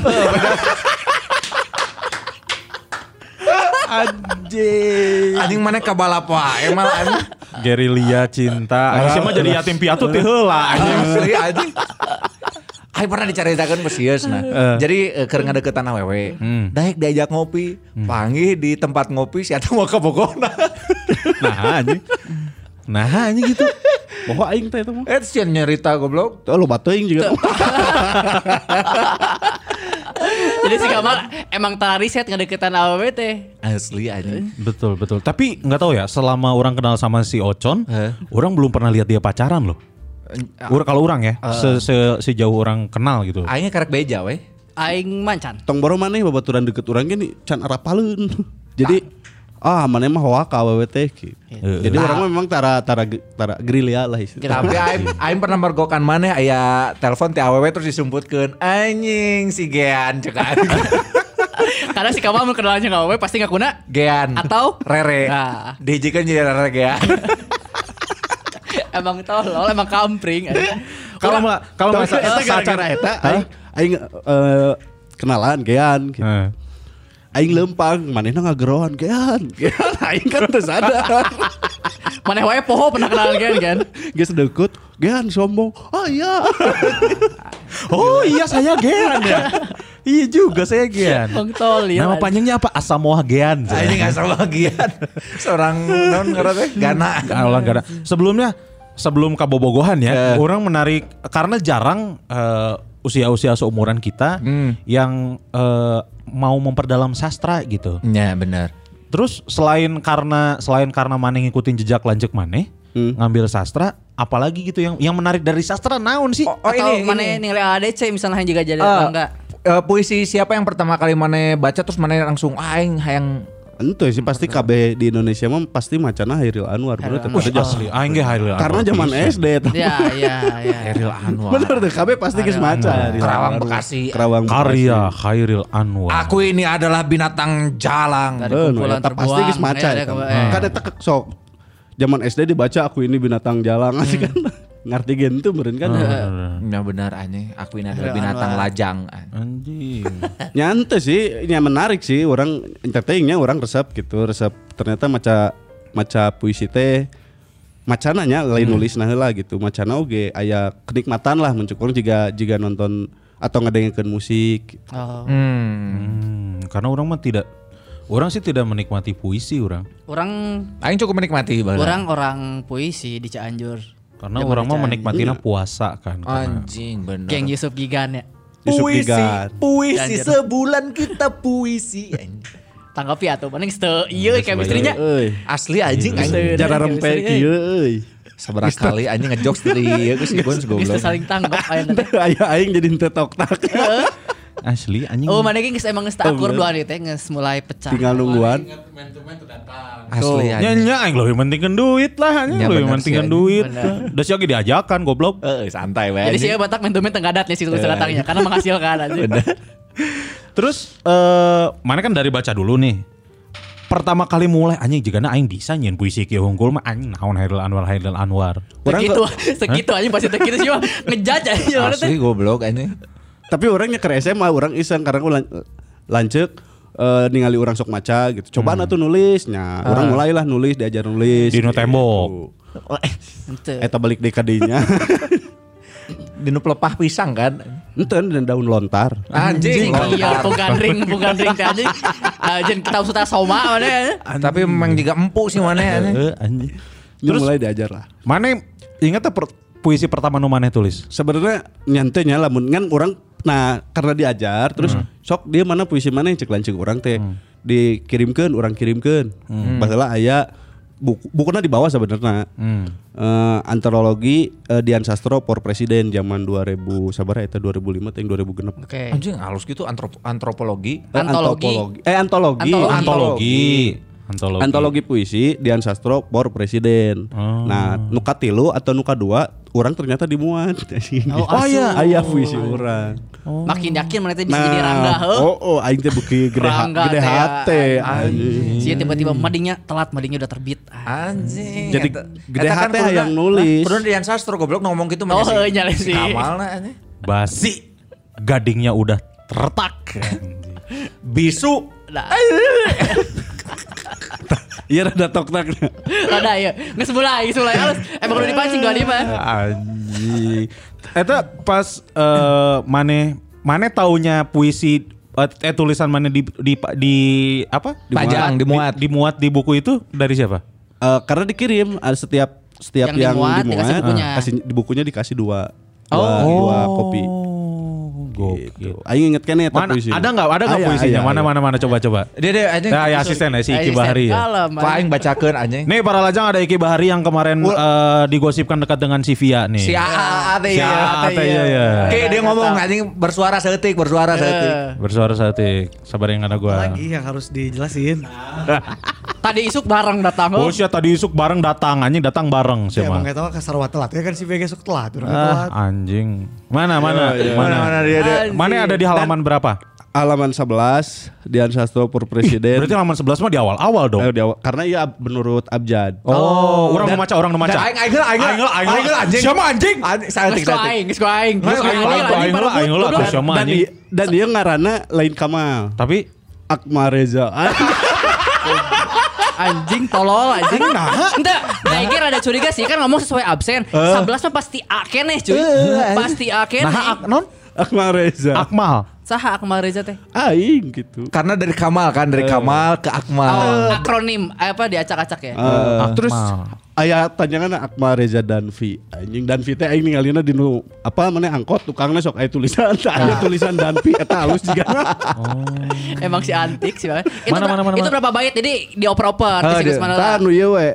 Speaker 3: Anjing.
Speaker 2: Anjing mana ke balap wae malah anjing.
Speaker 3: Gerilya cinta. Anjing sih mah jadi yatim piatu teh heula anjing.
Speaker 2: Asli anjing. Ayo pernah diceritakan pesius nah. Jadi eh, Hmm. keur ngadeketan awewe. Daek diajak ngopi, panggil di tempat ngopi si Ata mau ke Bogona.
Speaker 3: Nah anjing. Nah anjing gitu.
Speaker 5: boho aing teh eta mah.
Speaker 2: eh si nyerita goblok.
Speaker 5: Teu loba teuing juga.
Speaker 4: Jadi si Kamal emang tari set ngedeketan AWW teh.
Speaker 2: Asli anjing.
Speaker 3: Betul betul. Tapi nggak tahu ya, selama orang kenal sama si Ocon,
Speaker 2: Heh.
Speaker 3: orang belum pernah lihat dia pacaran loh. Ur- kalau orang ya, se- se- sejauh orang kenal gitu.
Speaker 2: Aingnya karek beja we.
Speaker 4: Aing mancan.
Speaker 5: Tong boro maneh babaturan deket urang gini can arapaleun. Jadi ah maneh mah hoa ka awewe teh gitu.
Speaker 3: Heeh.
Speaker 5: Jadi orang mah memang tara tara tara gerilya lah
Speaker 4: Kenapa?
Speaker 5: istilahnya.
Speaker 2: Tapi aing aing pernah mergokan maneh aya telepon ti awewe terus disumputkeun anjing si Gean cek aing.
Speaker 4: Karena si Kamal mau kenalannya nggak AWW pasti nggak kuna.
Speaker 2: Gean
Speaker 4: Atau?
Speaker 2: Rere.
Speaker 4: Nah.
Speaker 2: Dijikan jadi Rere Gean.
Speaker 4: Emang tolol, emang kampring.
Speaker 3: Kalau ma- kalau
Speaker 5: Tapi
Speaker 3: masa
Speaker 5: eta gara-gara eta aing aing eh, kenalan gean gitu.
Speaker 3: Heeh.
Speaker 5: Aing lempang, manehna ngagerohan gean. Gean aing kan teu sadar.
Speaker 4: Mana wae poho pernah kenalan kan kan?
Speaker 5: Geus deket, gean sombong. Oh iya.
Speaker 3: Oh iya saya Gian ya. iya juga saya Gian.
Speaker 4: Bang Tol ya.
Speaker 3: Nama panjangnya apa? Asamoah Gian.
Speaker 2: Ah, Ini nggak sama bagian seorang non ngerasa Gana.
Speaker 3: Kalau nggak ada. Sebelumnya sebelum kabobogohan ya,
Speaker 2: Eh.
Speaker 3: orang menarik karena jarang eh, usia-usia seumuran kita
Speaker 2: Hmm.
Speaker 3: yang eh, mau memperdalam sastra gitu.
Speaker 2: Ya benar.
Speaker 3: Terus selain karena selain karena Mane ngikutin jejak lanjut Mane
Speaker 5: Hmm.
Speaker 3: ngambil sastra, apalagi gitu yang yang menarik dari sastra naon sih?
Speaker 2: Oh,
Speaker 4: Atau
Speaker 2: ini,
Speaker 4: mana
Speaker 2: ini.
Speaker 4: nilai ADC misalnya yang juga jadi
Speaker 2: Eh,
Speaker 4: apa Iya, enggak?
Speaker 2: eh, puisi siapa yang pertama kali mana baca terus mana langsung aing hayang
Speaker 5: Entu sih pasti KB di Indonesia mah pasti macana Hairil Anwar. Bener,
Speaker 4: Hairil
Speaker 5: teu kerja.
Speaker 3: asli, aing ge Hairil Anwar Iya.
Speaker 5: Karena zaman
Speaker 3: pisan.
Speaker 5: SD tah.
Speaker 4: Ya, ya, ya.
Speaker 2: Eril Anwar.
Speaker 5: Bener tuh KB pasti geus maca. Hairil
Speaker 2: Karawang
Speaker 5: Anwar.
Speaker 2: Bekasi.
Speaker 5: Karawang
Speaker 3: Karya Khairil Anwar.
Speaker 2: Aku ini adalah binatang jalang.
Speaker 4: Dari kumpulan
Speaker 5: Bener, ya,
Speaker 4: terbuang.
Speaker 5: pasti geus maca.
Speaker 4: Eh, ada
Speaker 5: eta.
Speaker 4: ke- eh.
Speaker 5: Kan eta sok. Zaman SD dibaca aku ini binatang jalang asik kan. Ngerti gitu meureun kan.
Speaker 2: Ya benar aneh. Aku ini adalah
Speaker 4: Eril
Speaker 2: binatang
Speaker 4: Anwar.
Speaker 2: lajang. eh.
Speaker 3: Anjing.
Speaker 5: Nyante sih, nya menarik sih orang entertainnya orang resep gitu, resep ternyata maca maca puisi teh macananya lain nulis nah heula gitu, macana oge aya kenikmatan lah mencukur jika jika nonton atau ngedengerin musik.
Speaker 4: Oh.
Speaker 2: Hmm.
Speaker 3: Hmm, karena orang mah tidak orang sih tidak menikmati puisi orang.
Speaker 4: Orang
Speaker 2: Aing cukup menikmati bala.
Speaker 4: orang orang puisi di Cianjur.
Speaker 3: Karena
Speaker 4: Zaman
Speaker 3: orang mah
Speaker 4: Cianjur.
Speaker 3: menikmatinya puasa kan. karena-
Speaker 2: anjing bener.
Speaker 4: Geng Yusuf Gigan ya.
Speaker 5: Yusuf
Speaker 2: puisi,
Speaker 5: Gigan.
Speaker 2: puisi
Speaker 4: Anjir.
Speaker 2: sebulan kita puisi. anjing.
Speaker 4: Tanggapi atuh ya mending ste ieu chemistry-nya.
Speaker 5: Euy,
Speaker 2: Asli
Speaker 5: Iya,
Speaker 2: anjing anjing.
Speaker 5: cara rempe kieu euy.
Speaker 2: Seberapa kali anjing ngejokes dari aku sih gue
Speaker 4: Geus teu
Speaker 2: goblok.
Speaker 4: saling tanggap aya teh.
Speaker 5: Aya aing jadi henteu tok tak.
Speaker 3: Iya. Asli anjing.
Speaker 4: Oh, mana geus emang geus tak akur dua hari teh geus mulai pecah.
Speaker 5: Tinggal nungguan.
Speaker 2: Asli anjing.
Speaker 3: Nyanyi aing lebih pentingkan duit lah anjing
Speaker 2: Ya,
Speaker 3: lebih
Speaker 2: bener
Speaker 3: pentingkan
Speaker 2: sih,
Speaker 3: duit.
Speaker 4: Bener.
Speaker 3: Udah sih lagi diajakan goblok.
Speaker 2: Eh, santai
Speaker 4: Jadi
Speaker 2: banget.
Speaker 4: sih Batak main-main tenggadatnya sih tulis datangnya karena menghasilkan anjing.
Speaker 3: Terus eh mana kan dari baca dulu nih. Pertama kali mulai anjing jigana aing bisa nyin puisi kieu hungkul mah anjing naon Hairil Anwar Hairil Anwar.
Speaker 5: Orang
Speaker 4: segitu, segitu anjing pasti segitu sih mah ngejudge anjing orang teh.
Speaker 2: Asli goblok anjing.
Speaker 5: Tapi orangnya ke SMA orang iseng karena aku lan- lanceuk eh, ningali orang sok maca gitu.
Speaker 3: Hmm.
Speaker 5: Coba atuh nulisnya. Orang mulailah nulis, diajar nulis.
Speaker 3: Di
Speaker 5: gitu.
Speaker 3: nu Ah. tembok.
Speaker 4: Henteu.
Speaker 5: Eta balik di kadinya.
Speaker 2: Dinu pelepah pisang kan.
Speaker 5: Enten dan daun lontar.
Speaker 2: Anjing.
Speaker 4: Iya,
Speaker 2: lontar.
Speaker 4: bukan ring, bukan ring teh anjing. Anjing kita sudah soma mana ya.
Speaker 2: Tapi memang juga empuk sih mana ya, anjing.
Speaker 3: Heeh, anjing.
Speaker 5: Ini
Speaker 3: Terus
Speaker 5: mulai diajar lah.
Speaker 3: Eh, mana ingat teh per- puisi pertama nu maneh tulis?
Speaker 5: Sebenarnya nyantainya lamun kan orang nah karena diajar terus sok dia mana puisi mana yang cek lancik orang teh dikirimkan orang kirimkan baheula aya buku bukuna di bawah sebenarnya Eh, antrologi eh, Dian Sastro por presiden zaman 2000 sabar ya, eta 2005 teh yang 2000 genep
Speaker 4: Oke.
Speaker 2: Anjing halus gitu antrop- antropologi.
Speaker 5: Eh,
Speaker 4: Antologi.
Speaker 5: antopologi. eh antologi
Speaker 4: Antologi.
Speaker 3: Antologi. Antologi.
Speaker 5: antologi puisi Dian Sastro por presiden nah nuka tilu atau nuka dua orang ternyata dimuat
Speaker 4: Oh, asuh.
Speaker 5: oh iya ayah puisi orang
Speaker 4: Makin yakin mana teh bisa jadi rangga heuh.
Speaker 5: oh oh aing teh beki gede, ha-
Speaker 4: Rangga
Speaker 5: gede
Speaker 4: teh, ya,
Speaker 5: hate anjing.
Speaker 4: anjing. Sia tiba-tiba madingnya telat, madingnya udah terbit. Ah.
Speaker 2: Anjing.
Speaker 5: Jadi
Speaker 2: eta-
Speaker 5: gede
Speaker 2: eta
Speaker 5: hati
Speaker 2: kudu-
Speaker 5: hayang nulis.
Speaker 2: Hah? Kudu Dian Sastro goblok ngomong gitu
Speaker 4: Oh,
Speaker 2: mah
Speaker 4: iya sih.
Speaker 2: Kamalna anjing.
Speaker 3: basi gadingnya udah retak
Speaker 2: Bisu.
Speaker 4: Nah,
Speaker 5: iya rada tok tak
Speaker 4: ada ya. Geus mulai, geus mulai halus. Emang udah dipancing dua lima.
Speaker 3: anjing eta pas eh, mane mane taunya puisi eh, eh tulisan mana di, di di apa
Speaker 2: Pajang, dimuat.
Speaker 3: Di- dimuat di buku itu dari siapa
Speaker 5: Eh, karena dikirim ada setiap setiap
Speaker 4: Yang
Speaker 5: yang,
Speaker 4: dimuat,
Speaker 5: dimuat, eh,
Speaker 4: dikasih Oh. bukunya.
Speaker 5: kasih di bukunya dikasih dua dua, dua kopi
Speaker 3: Oh, gokil Iya,
Speaker 5: gitu. Aing inget kan eta
Speaker 3: mana
Speaker 5: puisi.
Speaker 3: ada nggak ada nggak
Speaker 5: Aya,
Speaker 3: puisinya
Speaker 5: aya,
Speaker 3: mana
Speaker 5: aya.
Speaker 3: mana mana coba coba
Speaker 2: Dia dia anjing.
Speaker 3: nah ya asisten ya, si Iki Bahari ya
Speaker 4: Kalem,
Speaker 2: Kok aing bacakeun anjing.
Speaker 3: Nih para lajang ada Iki Bahari yang kemarin eh, digosipkan dekat dengan si Via nih.
Speaker 2: Si AA teh
Speaker 3: Si AA teh, iya, iya.
Speaker 2: Oke, dia ngomong anjing bersuara seetik, bersuara seetik.
Speaker 3: Bersuara satik. Sabar yang ada gua.
Speaker 6: lagi yang Iya, harus dijelasin.
Speaker 7: Nah,
Speaker 4: Tadi isuk bareng datang. heuh.
Speaker 3: Oh sih tadi isuk bareng datang anjing datang bareng sih
Speaker 6: Ya, Bang
Speaker 3: mah.
Speaker 6: Eta kasar telat. Ya kan si BG sok telat, orang telat.
Speaker 3: Ah, anjing. Mana mana mana mana
Speaker 2: dia dia.
Speaker 3: Mana ada di halaman berapa?
Speaker 5: halaman 11 Dian Sastro por presiden
Speaker 3: Berarti halaman 11 mah di awal-awal dong.
Speaker 5: Eh, di awal- karena iya menurut Abjad
Speaker 3: Oh, orang memaca orang memaca.
Speaker 2: Dan aing aing heula, aing heula,
Speaker 3: Aing heula, aing heula.
Speaker 2: anjing.
Speaker 3: Siapa anjing?
Speaker 2: Anjing
Speaker 4: Geus
Speaker 2: seetik
Speaker 4: ku
Speaker 2: seetik.
Speaker 4: aing, geus ku aing.
Speaker 3: Mana
Speaker 4: Geus ku
Speaker 3: aing
Speaker 4: aing,
Speaker 3: lah,
Speaker 4: anjing,
Speaker 3: aing lah,
Speaker 4: parah,
Speaker 3: aing lah,
Speaker 4: goblok.
Speaker 3: aing lah. Sama
Speaker 5: dan,
Speaker 3: anjing.
Speaker 5: i- dan iya, dia ngarana lain Kamal
Speaker 3: Tapi
Speaker 5: Akmal Reza Ah,
Speaker 4: anjing tolol anjing. Nah, enggak. Nah, ini ada curiga sih kan ngomong sesuai absen. 11 mah pasti akene cuy.
Speaker 2: Eh,
Speaker 4: Pasti akene.
Speaker 3: Nah, ak non
Speaker 5: Akmal Reza.
Speaker 3: Akmal.
Speaker 4: Saha Akmal Reza teh.
Speaker 5: Aing gitu.
Speaker 2: Karena dari Kamal kan,
Speaker 3: Iya.
Speaker 2: dari Kamal ke Akmal.
Speaker 4: Oh, akronim apa diacak-acak ya?
Speaker 2: Eh,
Speaker 5: Ah, terus
Speaker 3: Akmal.
Speaker 5: ayah tanyakan Akmal Reza Danvi. Anjing Danvi teh aing ninggalina di nu apa mana angkot tukangnya sok aya tulisan tah aya tulisan Danvi eta halus juga.
Speaker 4: Emang si antik sih banget. Itu,
Speaker 3: Mana,
Speaker 4: ber-
Speaker 3: mana, mana,
Speaker 4: itu
Speaker 3: mana?
Speaker 4: berapa bait? Jadi dioper-oper di
Speaker 5: Ah,
Speaker 4: Sigus
Speaker 5: dia- Tah
Speaker 4: Manala.
Speaker 5: nu ieu we.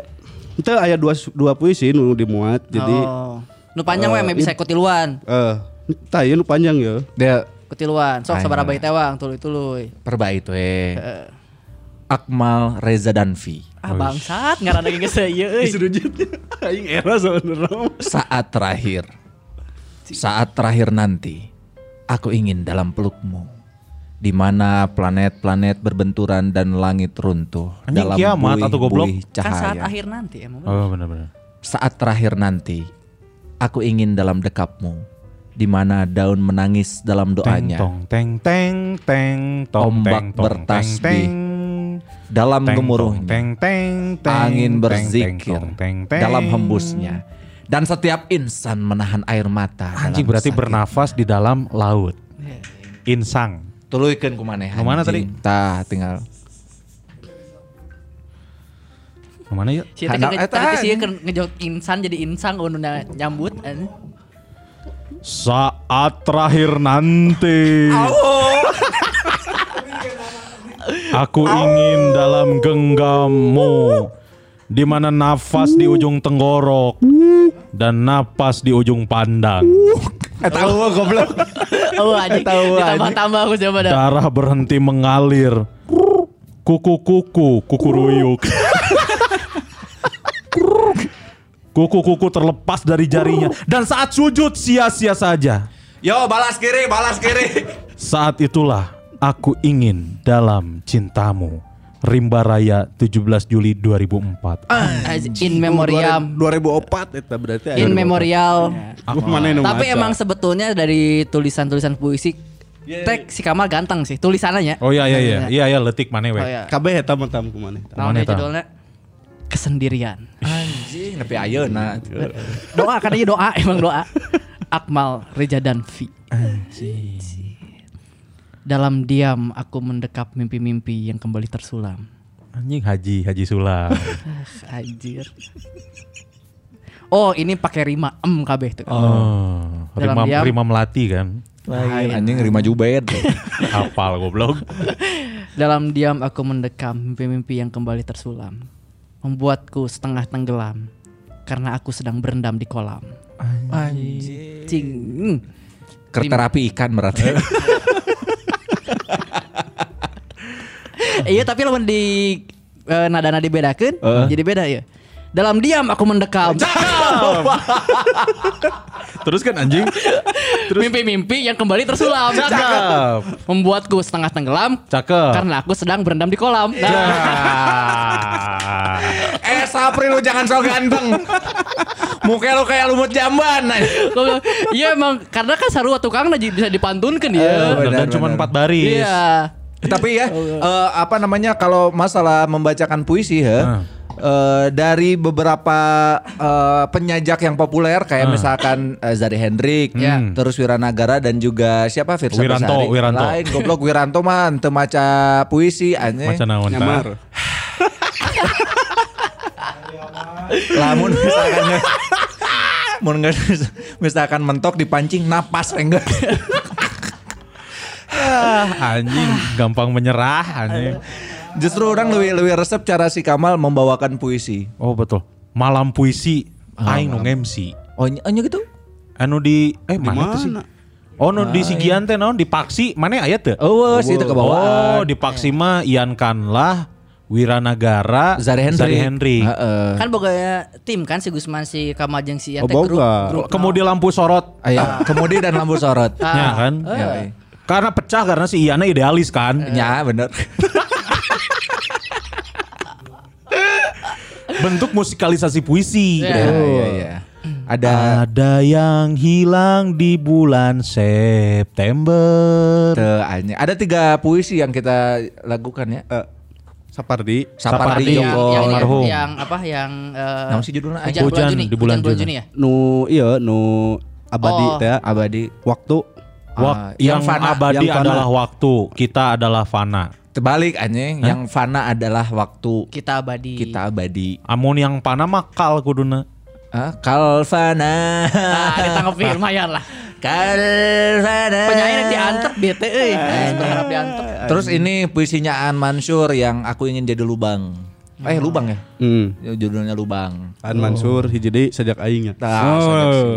Speaker 5: Teu aya dua dua puisi nu dimuat jadi
Speaker 4: Oh. Nu panjang we maybe bisa kutiluan.
Speaker 5: eh tah ieu nu panjang ya.
Speaker 2: Dia
Speaker 4: Kutiluan. Sok
Speaker 2: Ayo.
Speaker 4: sabaraha bait tewang tuluy-tuluy.
Speaker 2: perbaik tuh eh. Akmal Reza Danfi
Speaker 4: Ah bangsat, ngaran lagi Iya, eh. geus ieu euy.
Speaker 5: Serujutnya aing era sebenarnya.
Speaker 2: saat terakhir saat terakhir nanti aku ingin dalam pelukmu di mana planet-planet berbenturan dan langit runtuh
Speaker 3: Anjing,
Speaker 2: dalam
Speaker 3: kiamat
Speaker 2: buih-
Speaker 3: atau goblok?
Speaker 2: buih
Speaker 4: Kan
Speaker 2: cahaya.
Speaker 4: saat akhir nanti emang.
Speaker 3: Oh benar-benar.
Speaker 2: Saat terakhir nanti, aku ingin dalam dekapmu, di mana daun menangis
Speaker 3: Teng
Speaker 2: dalam doanya,
Speaker 3: tong teng teng teng tong
Speaker 2: Ombak
Speaker 3: teng tong
Speaker 2: bertasbih.
Speaker 3: teng
Speaker 2: dalam
Speaker 3: teng
Speaker 2: gemuruhnya,
Speaker 3: teng teng teng
Speaker 2: angin
Speaker 3: teng,
Speaker 2: berzikir,
Speaker 3: tong, teng, teng.
Speaker 2: dalam hembusnya, dan setiap insan menahan air mata.
Speaker 3: Anjing berarti bernafas di dalam laut. Insang.
Speaker 2: Tuluikan kumaneh.
Speaker 3: Nu mana tadi?
Speaker 2: Tah, tinggal.
Speaker 3: Kemana yuk?
Speaker 4: Si eta
Speaker 2: Handal
Speaker 4: kan
Speaker 2: eta.
Speaker 4: tadi sih ngejok insan jadi insang anu na- nyambut. eh. anjing.
Speaker 3: Saat terakhir nanti. Aku ingin dalam genggammu di mana nafas di ujung tenggorok dan napas di ujung pandang.
Speaker 2: Eh, tahu mah goblok.
Speaker 4: Oh anjing.
Speaker 2: Tahu, anjing.
Speaker 4: Ditambah-tambah aku coba dah.
Speaker 3: Darah berhenti mengalir. Kuku-kuku, kukuruyuk. Kuku-kuku terlepas dari jarinya dan saat sujud sia-sia saja.
Speaker 2: Yo, balas kiri, balas kiri.
Speaker 3: Saat itulah aku ingin dalam cintamu. Rimba Raya 17 Juli 2004.
Speaker 4: Ah. As In memoriam.
Speaker 5: 2004 eta berarti aya
Speaker 4: In
Speaker 5: 2004.
Speaker 4: memorial.
Speaker 5: Aku mana nu
Speaker 4: Tapi
Speaker 5: maca?
Speaker 4: emang sebetulnya dari tulisan-tulisan puisi Tek si Kamal ganteng sih tulisannya.
Speaker 3: Oh iya iya iya. Iya iya letik mana we.
Speaker 4: Oh, iya.
Speaker 5: kabeh eta mah tam kumaneh.
Speaker 4: Nah,
Speaker 3: Mana
Speaker 4: dia
Speaker 3: eta?
Speaker 4: judulnya kesendirian.
Speaker 2: Anjing, nepi ayeuna.
Speaker 4: Doa kan ini doa emang doa. Akmal Reza Danfi. Dalam diam aku mendekap mimpi-mimpi yang kembali tersulam.
Speaker 3: Anjing Haji Haji Sula.
Speaker 4: Ah, Anjir. Oh, ini pakai rima em kabeh tuh.
Speaker 3: oh,
Speaker 4: Dalam
Speaker 3: Rima
Speaker 4: diam.
Speaker 3: Rima Melati kan.
Speaker 2: Lain anjing Rima Jubed.
Speaker 3: Hafal goblok.
Speaker 4: Dalam diam aku mendekam mimpi-mimpi yang kembali tersulam. Membuatku setengah tenggelam karena aku sedang berendam di kolam. Anjing. Hmm.
Speaker 2: Kerterapi ikan berarti.
Speaker 4: Eh, Iya tapi lamun di eh, nada-nada dibedakeun jadi beda ya. Dalam diam aku mendekam
Speaker 3: Terus kan anjing.
Speaker 4: mimpi-mimpi yang kembali tersulam.
Speaker 3: Cakep.
Speaker 4: Membuatku setengah tenggelam
Speaker 3: Cakep.
Speaker 4: karena aku sedang berendam di kolam. Nah,
Speaker 3: Ah.
Speaker 2: Eh Sapri lu jangan so ganteng Muka lu kayak lumut jamban
Speaker 4: gua bilang, Iya emang karena kan sarua tukang nah, jadi bisa dipantunkan ya.
Speaker 2: benar,
Speaker 3: Dan cuma
Speaker 2: benar.
Speaker 3: 4 baris.
Speaker 4: Iya.
Speaker 2: Tapi ya eh, Apa namanya Kalau masalah membacakan puisi ya
Speaker 3: Hmm.
Speaker 2: eh, dari beberapa eh, penjajak yang populer
Speaker 3: Ah.
Speaker 2: kayak misalkan eh, Zari Hendrik,
Speaker 4: Ya.
Speaker 2: terus Wiranagara dan juga siapa Firsa
Speaker 3: Hmm. Wiranto,
Speaker 2: Besari.
Speaker 3: Wiranto.
Speaker 2: Lain goblok Wiranto man temaca puisi anjing.
Speaker 3: Macan naon ta?
Speaker 5: Nyamar.
Speaker 2: Lamun misalkan mun nge- misalkan mentok dipancing napas enggak.
Speaker 3: Ah, anjing gampang menyerah anjing.
Speaker 2: Justru orang lebih lebih resep cara si Kamal membawakan puisi.
Speaker 3: Oh betul. Malam puisi
Speaker 2: Ah,
Speaker 3: aing nu MC.
Speaker 2: Oh, nya nya gitu.
Speaker 3: Anu di eh mana,
Speaker 5: mana?
Speaker 3: tuh sih? Oh nu di Sigian teh naon di Paksi mana aya teu?
Speaker 2: Ah, iya. Oh, si itu
Speaker 3: Oh,
Speaker 2: kebawaan. Eh.
Speaker 3: di Paksi mah Ian Kanlah, Wiranagara,
Speaker 2: Zari Ah. Hendrik.
Speaker 3: Hendrik.
Speaker 2: Heeh.
Speaker 4: Kan boga tim kan si Gusman si Kamajeng si
Speaker 5: Oh,
Speaker 4: Ate grup,
Speaker 5: boga.
Speaker 4: grup
Speaker 3: Kemudian lampu sorot.
Speaker 4: Ah.
Speaker 2: Aya, Ah, iya. kemudi dan lampu sorot.
Speaker 3: Ya kan?
Speaker 2: Ya,
Speaker 3: Karena pecah karena si Iana idealis kan.
Speaker 2: Ya, bener.
Speaker 3: Bentuk musikalisasi puisi.
Speaker 2: Iya,
Speaker 4: Ya.
Speaker 2: iya, iya.
Speaker 4: Ah.
Speaker 2: Ada
Speaker 3: Ada yang hilang di bulan September.
Speaker 2: te- anya. ada tiga puisi yang kita lakukan ya.
Speaker 5: Eh,
Speaker 2: Ah,
Speaker 5: Sapardi.
Speaker 3: Sapardi
Speaker 2: Sapardi Joko
Speaker 4: yang, yang,
Speaker 3: almarhum.
Speaker 4: yang apa yang eh,
Speaker 2: Naon sih judulna?
Speaker 4: hujan, bulan
Speaker 3: Hujan
Speaker 4: Juni,
Speaker 3: di bulan
Speaker 4: Hujan bulan
Speaker 3: Juni.
Speaker 4: Juni ya.
Speaker 5: Nu iya nu abadi
Speaker 4: Oh.
Speaker 5: teh ya.
Speaker 2: Abadi
Speaker 5: waktu
Speaker 2: Ah,
Speaker 3: Wak-
Speaker 2: yang
Speaker 3: yang,
Speaker 2: fana,
Speaker 3: abadi
Speaker 5: yang fana.
Speaker 3: adalah waktu, kita adalah fana.
Speaker 2: terbalik anjing yang fana adalah waktu
Speaker 4: Kita abadi.
Speaker 2: kita abadi
Speaker 3: Amun yang fana mah kal kuduna.
Speaker 2: ah, kalfana
Speaker 4: Ah, ditangkepin lumayan lah.
Speaker 2: kalfana
Speaker 4: Penyanyi diantep bete euy. Berharap diantep.
Speaker 2: terus ini puisinya An Mansur yang aku ingin jadi lubang eh lubang ya
Speaker 5: hmm. Oh.
Speaker 2: judulnya lubang
Speaker 5: An Mansur hiji deui sajak Oh. aingnya.
Speaker 2: Tah, sangat sih.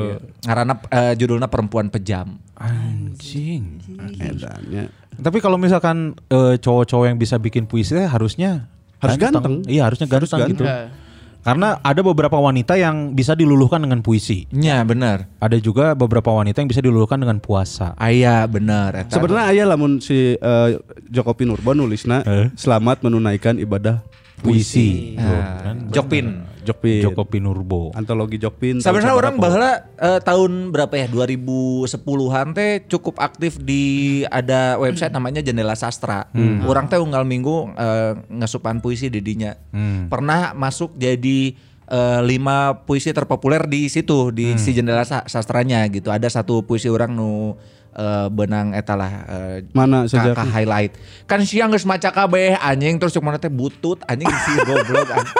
Speaker 2: Ngarana eh, judulnya perempuan pejam.
Speaker 3: Anjing.
Speaker 5: Edan, ya.
Speaker 3: Tapi kalau misalkan eh, cowok-cowok yang bisa bikin puisi teh harusnya
Speaker 5: Harus ganteng.
Speaker 3: Iya, harusnya ganteng, gitu.
Speaker 4: ganteng.
Speaker 3: Karena ada beberapa wanita yang bisa diluluhkan dengan puisi.
Speaker 2: Ya benar.
Speaker 3: Ada juga beberapa wanita yang bisa diluluhkan dengan puasa.
Speaker 2: Ayah benar. eta.
Speaker 5: Sebenarnya aya lamun si eh, Joko Pinurbo nulisna
Speaker 3: Eh?
Speaker 5: selamat menunaikan ibadah
Speaker 3: Puisi.
Speaker 5: Oh.
Speaker 2: Nah, Jokpin.
Speaker 5: Jokpin.
Speaker 3: Joko Pinurbo.
Speaker 5: Antologi Jokpin.
Speaker 2: Sebenarnya orang
Speaker 5: tahun sabaraha.
Speaker 2: bahwa tahun berapa ya 2010-an teh cukup aktif di ada website namanya Jendela Sastra. Orang teh unggal minggu eh, ngesupan puisi didinya. Pernah masuk jadi eh, lima puisi terpopuler di situ di si Jendela Sa- Sastranya gitu. Ada satu puisi orang nu eh, benang etalah eh,
Speaker 5: mana
Speaker 2: ka,
Speaker 5: sajak
Speaker 2: ka highlight kan siang geus maca kabeh anjing terus cuma teh butut anjing si goblok anjing.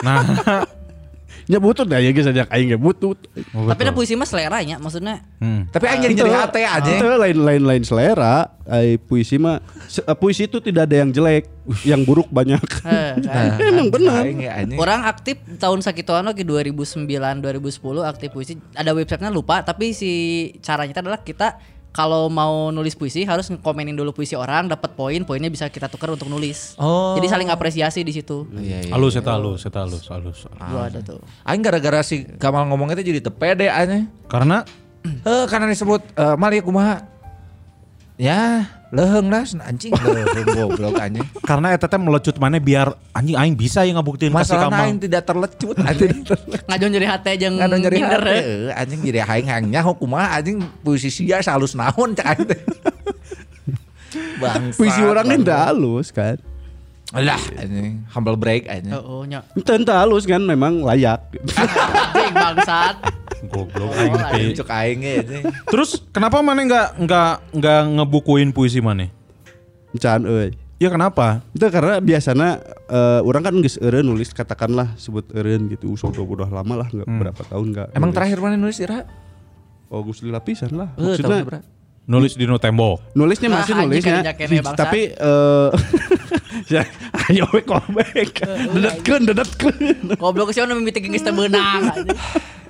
Speaker 5: nya butut dah ya ge sajak aing ge butut.
Speaker 4: Tapi ada puisi mah selera nya maksudnya.
Speaker 2: tapi aing jadi jadi hate anjing
Speaker 5: Itu lain-lain lain selera. Ai, puisi mah se- eh, puisi itu tidak ada yang jelek, yang buruk banyak.
Speaker 4: Heh, kan.
Speaker 2: Nah,
Speaker 5: Emang benar.
Speaker 2: aing ya, anjing
Speaker 4: Orang aktif tahun sakituan lagi 2009 2010 aktif puisi. Ada websitenya lupa tapi si caranya itu adalah kita kalau mau nulis puisi harus komenin dulu puisi orang, dapat poin, poinnya bisa kita tukar untuk nulis.
Speaker 2: Oh.
Speaker 4: Jadi saling apresiasi di situ.
Speaker 2: Iya, iya.
Speaker 3: Halus eta halus, eta halus, halus.
Speaker 4: Gua ada tuh.
Speaker 2: aing gara-gara si Kamal ngomongnya teh jadi tepede anjing
Speaker 3: Karena
Speaker 2: heh karena disebut eh, mal ya kumaha ya leheng lah sen- anjing leheng goblok anjing
Speaker 3: karena eta teh melecut mana biar anjing aing bisa ya ngebuktiin kasih
Speaker 2: masalahnya aing
Speaker 3: kamal.
Speaker 2: tidak terlecut anjing
Speaker 4: Ngajon jadi hati jeung
Speaker 2: Nganu nyeri
Speaker 4: minder,
Speaker 2: hati,
Speaker 4: eh.
Speaker 2: eh, anjing jadi haing-haing nyaho kumaha anjing puisi sia salus naon cak aing teh. Bangsat,
Speaker 5: puisi orang ini
Speaker 2: bangsat.
Speaker 5: ndak halus kan.
Speaker 2: Alah, anjing. humble break aja.
Speaker 4: Oh, oh, nya.
Speaker 5: Itu ndak halus kan memang layak.
Speaker 4: Anjing bangsat.
Speaker 3: Goblok
Speaker 4: Oh,
Speaker 3: aing teh.
Speaker 4: anjing.
Speaker 2: Cuk aing ge, anjing.
Speaker 3: Terus kenapa mana nggak nggak nggak ngebukuin puisi mana?
Speaker 5: Can euy.
Speaker 3: Ya kenapa?
Speaker 5: Itu karena biasanya eh, orang kan geus eureun nulis katakanlah sebut eureun gitu sudah udah lama lah nggak berapa tahun nggak.
Speaker 2: Hmm. Emang
Speaker 5: nulis.
Speaker 2: terakhir mana nulis Ira?
Speaker 5: Oh Gus Lila pisan lah.
Speaker 2: Eh,
Speaker 5: Maksudnya
Speaker 2: tahun berapa?
Speaker 3: Nulis di no tembok.
Speaker 5: nulisnya
Speaker 4: Ah,
Speaker 5: masih
Speaker 4: anjing,
Speaker 5: nulisnya.
Speaker 4: kenyakeun ya, bangsa.
Speaker 5: Tapi eh ya, ayo we
Speaker 2: Eh,
Speaker 5: comeback. Dedetkeun dedetkeun.
Speaker 4: Goblok sih anu mimiti geus teu beunang. anjing.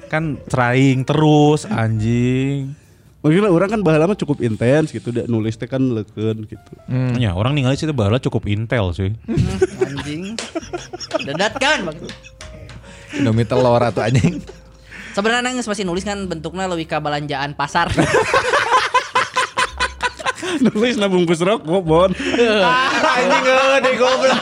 Speaker 3: Kan trying terus anjing.
Speaker 5: Maksudnya orang kan bahala mah cukup intens gitu, dia nulis teh kan leukeun gitu.
Speaker 2: Hmm.
Speaker 3: Ya orang ningali sih teh baheula cukup intel sih.
Speaker 4: Anjing. Dedat kan. bangsat.
Speaker 2: Indomie telur atau anjing.
Speaker 4: Sebenarnya nangis masih nulis kan bentuknya lebih ke belanjaan pasar.
Speaker 5: nulis nabung bungkus rokok, Bon.
Speaker 2: Anjing gede goblok.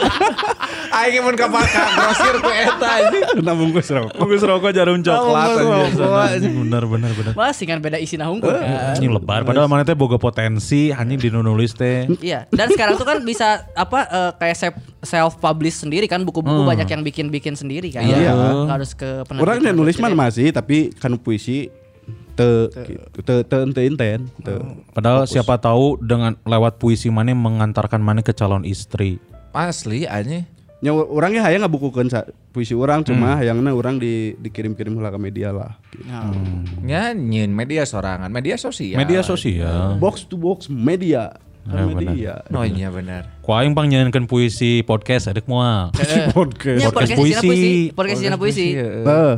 Speaker 2: Aing mun ka pasar grosir ku eta anjing.
Speaker 5: nabung bungkus rokok.
Speaker 3: Bagus rokok jarum
Speaker 2: coklat, anjing.
Speaker 3: Bener bener bener.
Speaker 4: Masih kan beda isi nahungkul
Speaker 2: Eh,
Speaker 4: kan.
Speaker 3: Anjing lebar padahal mana teh boga potensi anjing di nu nulis teh.
Speaker 4: Iya, dan sekarang tuh kan bisa apa eh, kayak self publish sendiri kan buku-buku
Speaker 3: Hmm.
Speaker 4: banyak yang bikin-bikin sendiri kan.
Speaker 5: Iya.
Speaker 4: Nggak harus ke penerbit.
Speaker 5: Orang yang nulis mah masih tapi kan puisi te gitu, te te te inten. Te.
Speaker 3: Padahal siapa tahu dengan lewat puisi mana mengantarkan mana ke calon istri.
Speaker 2: Asli anjing.
Speaker 5: Nya orangnya hayang ngabukukeun ya, sa- puisi orang cuma hayangna orang di dikirim-kirim heula ke media lah. gitu.
Speaker 4: Nah,
Speaker 2: Nyanyiin media sorangan,
Speaker 4: Ya.
Speaker 2: media sosial.
Speaker 3: Media sosial.
Speaker 5: Box to box media.
Speaker 3: Ya,
Speaker 5: Kan
Speaker 3: benar.
Speaker 5: media.
Speaker 2: Oh iya benar.
Speaker 3: Ku aing pang nyanyikan puisi podcast adek moal.
Speaker 5: Si podcast.
Speaker 4: Iya,
Speaker 3: Podcast
Speaker 4: podcast puisi.
Speaker 3: puisi. Iya.
Speaker 4: puisi. Podcast Cina puisi.
Speaker 5: Heeh.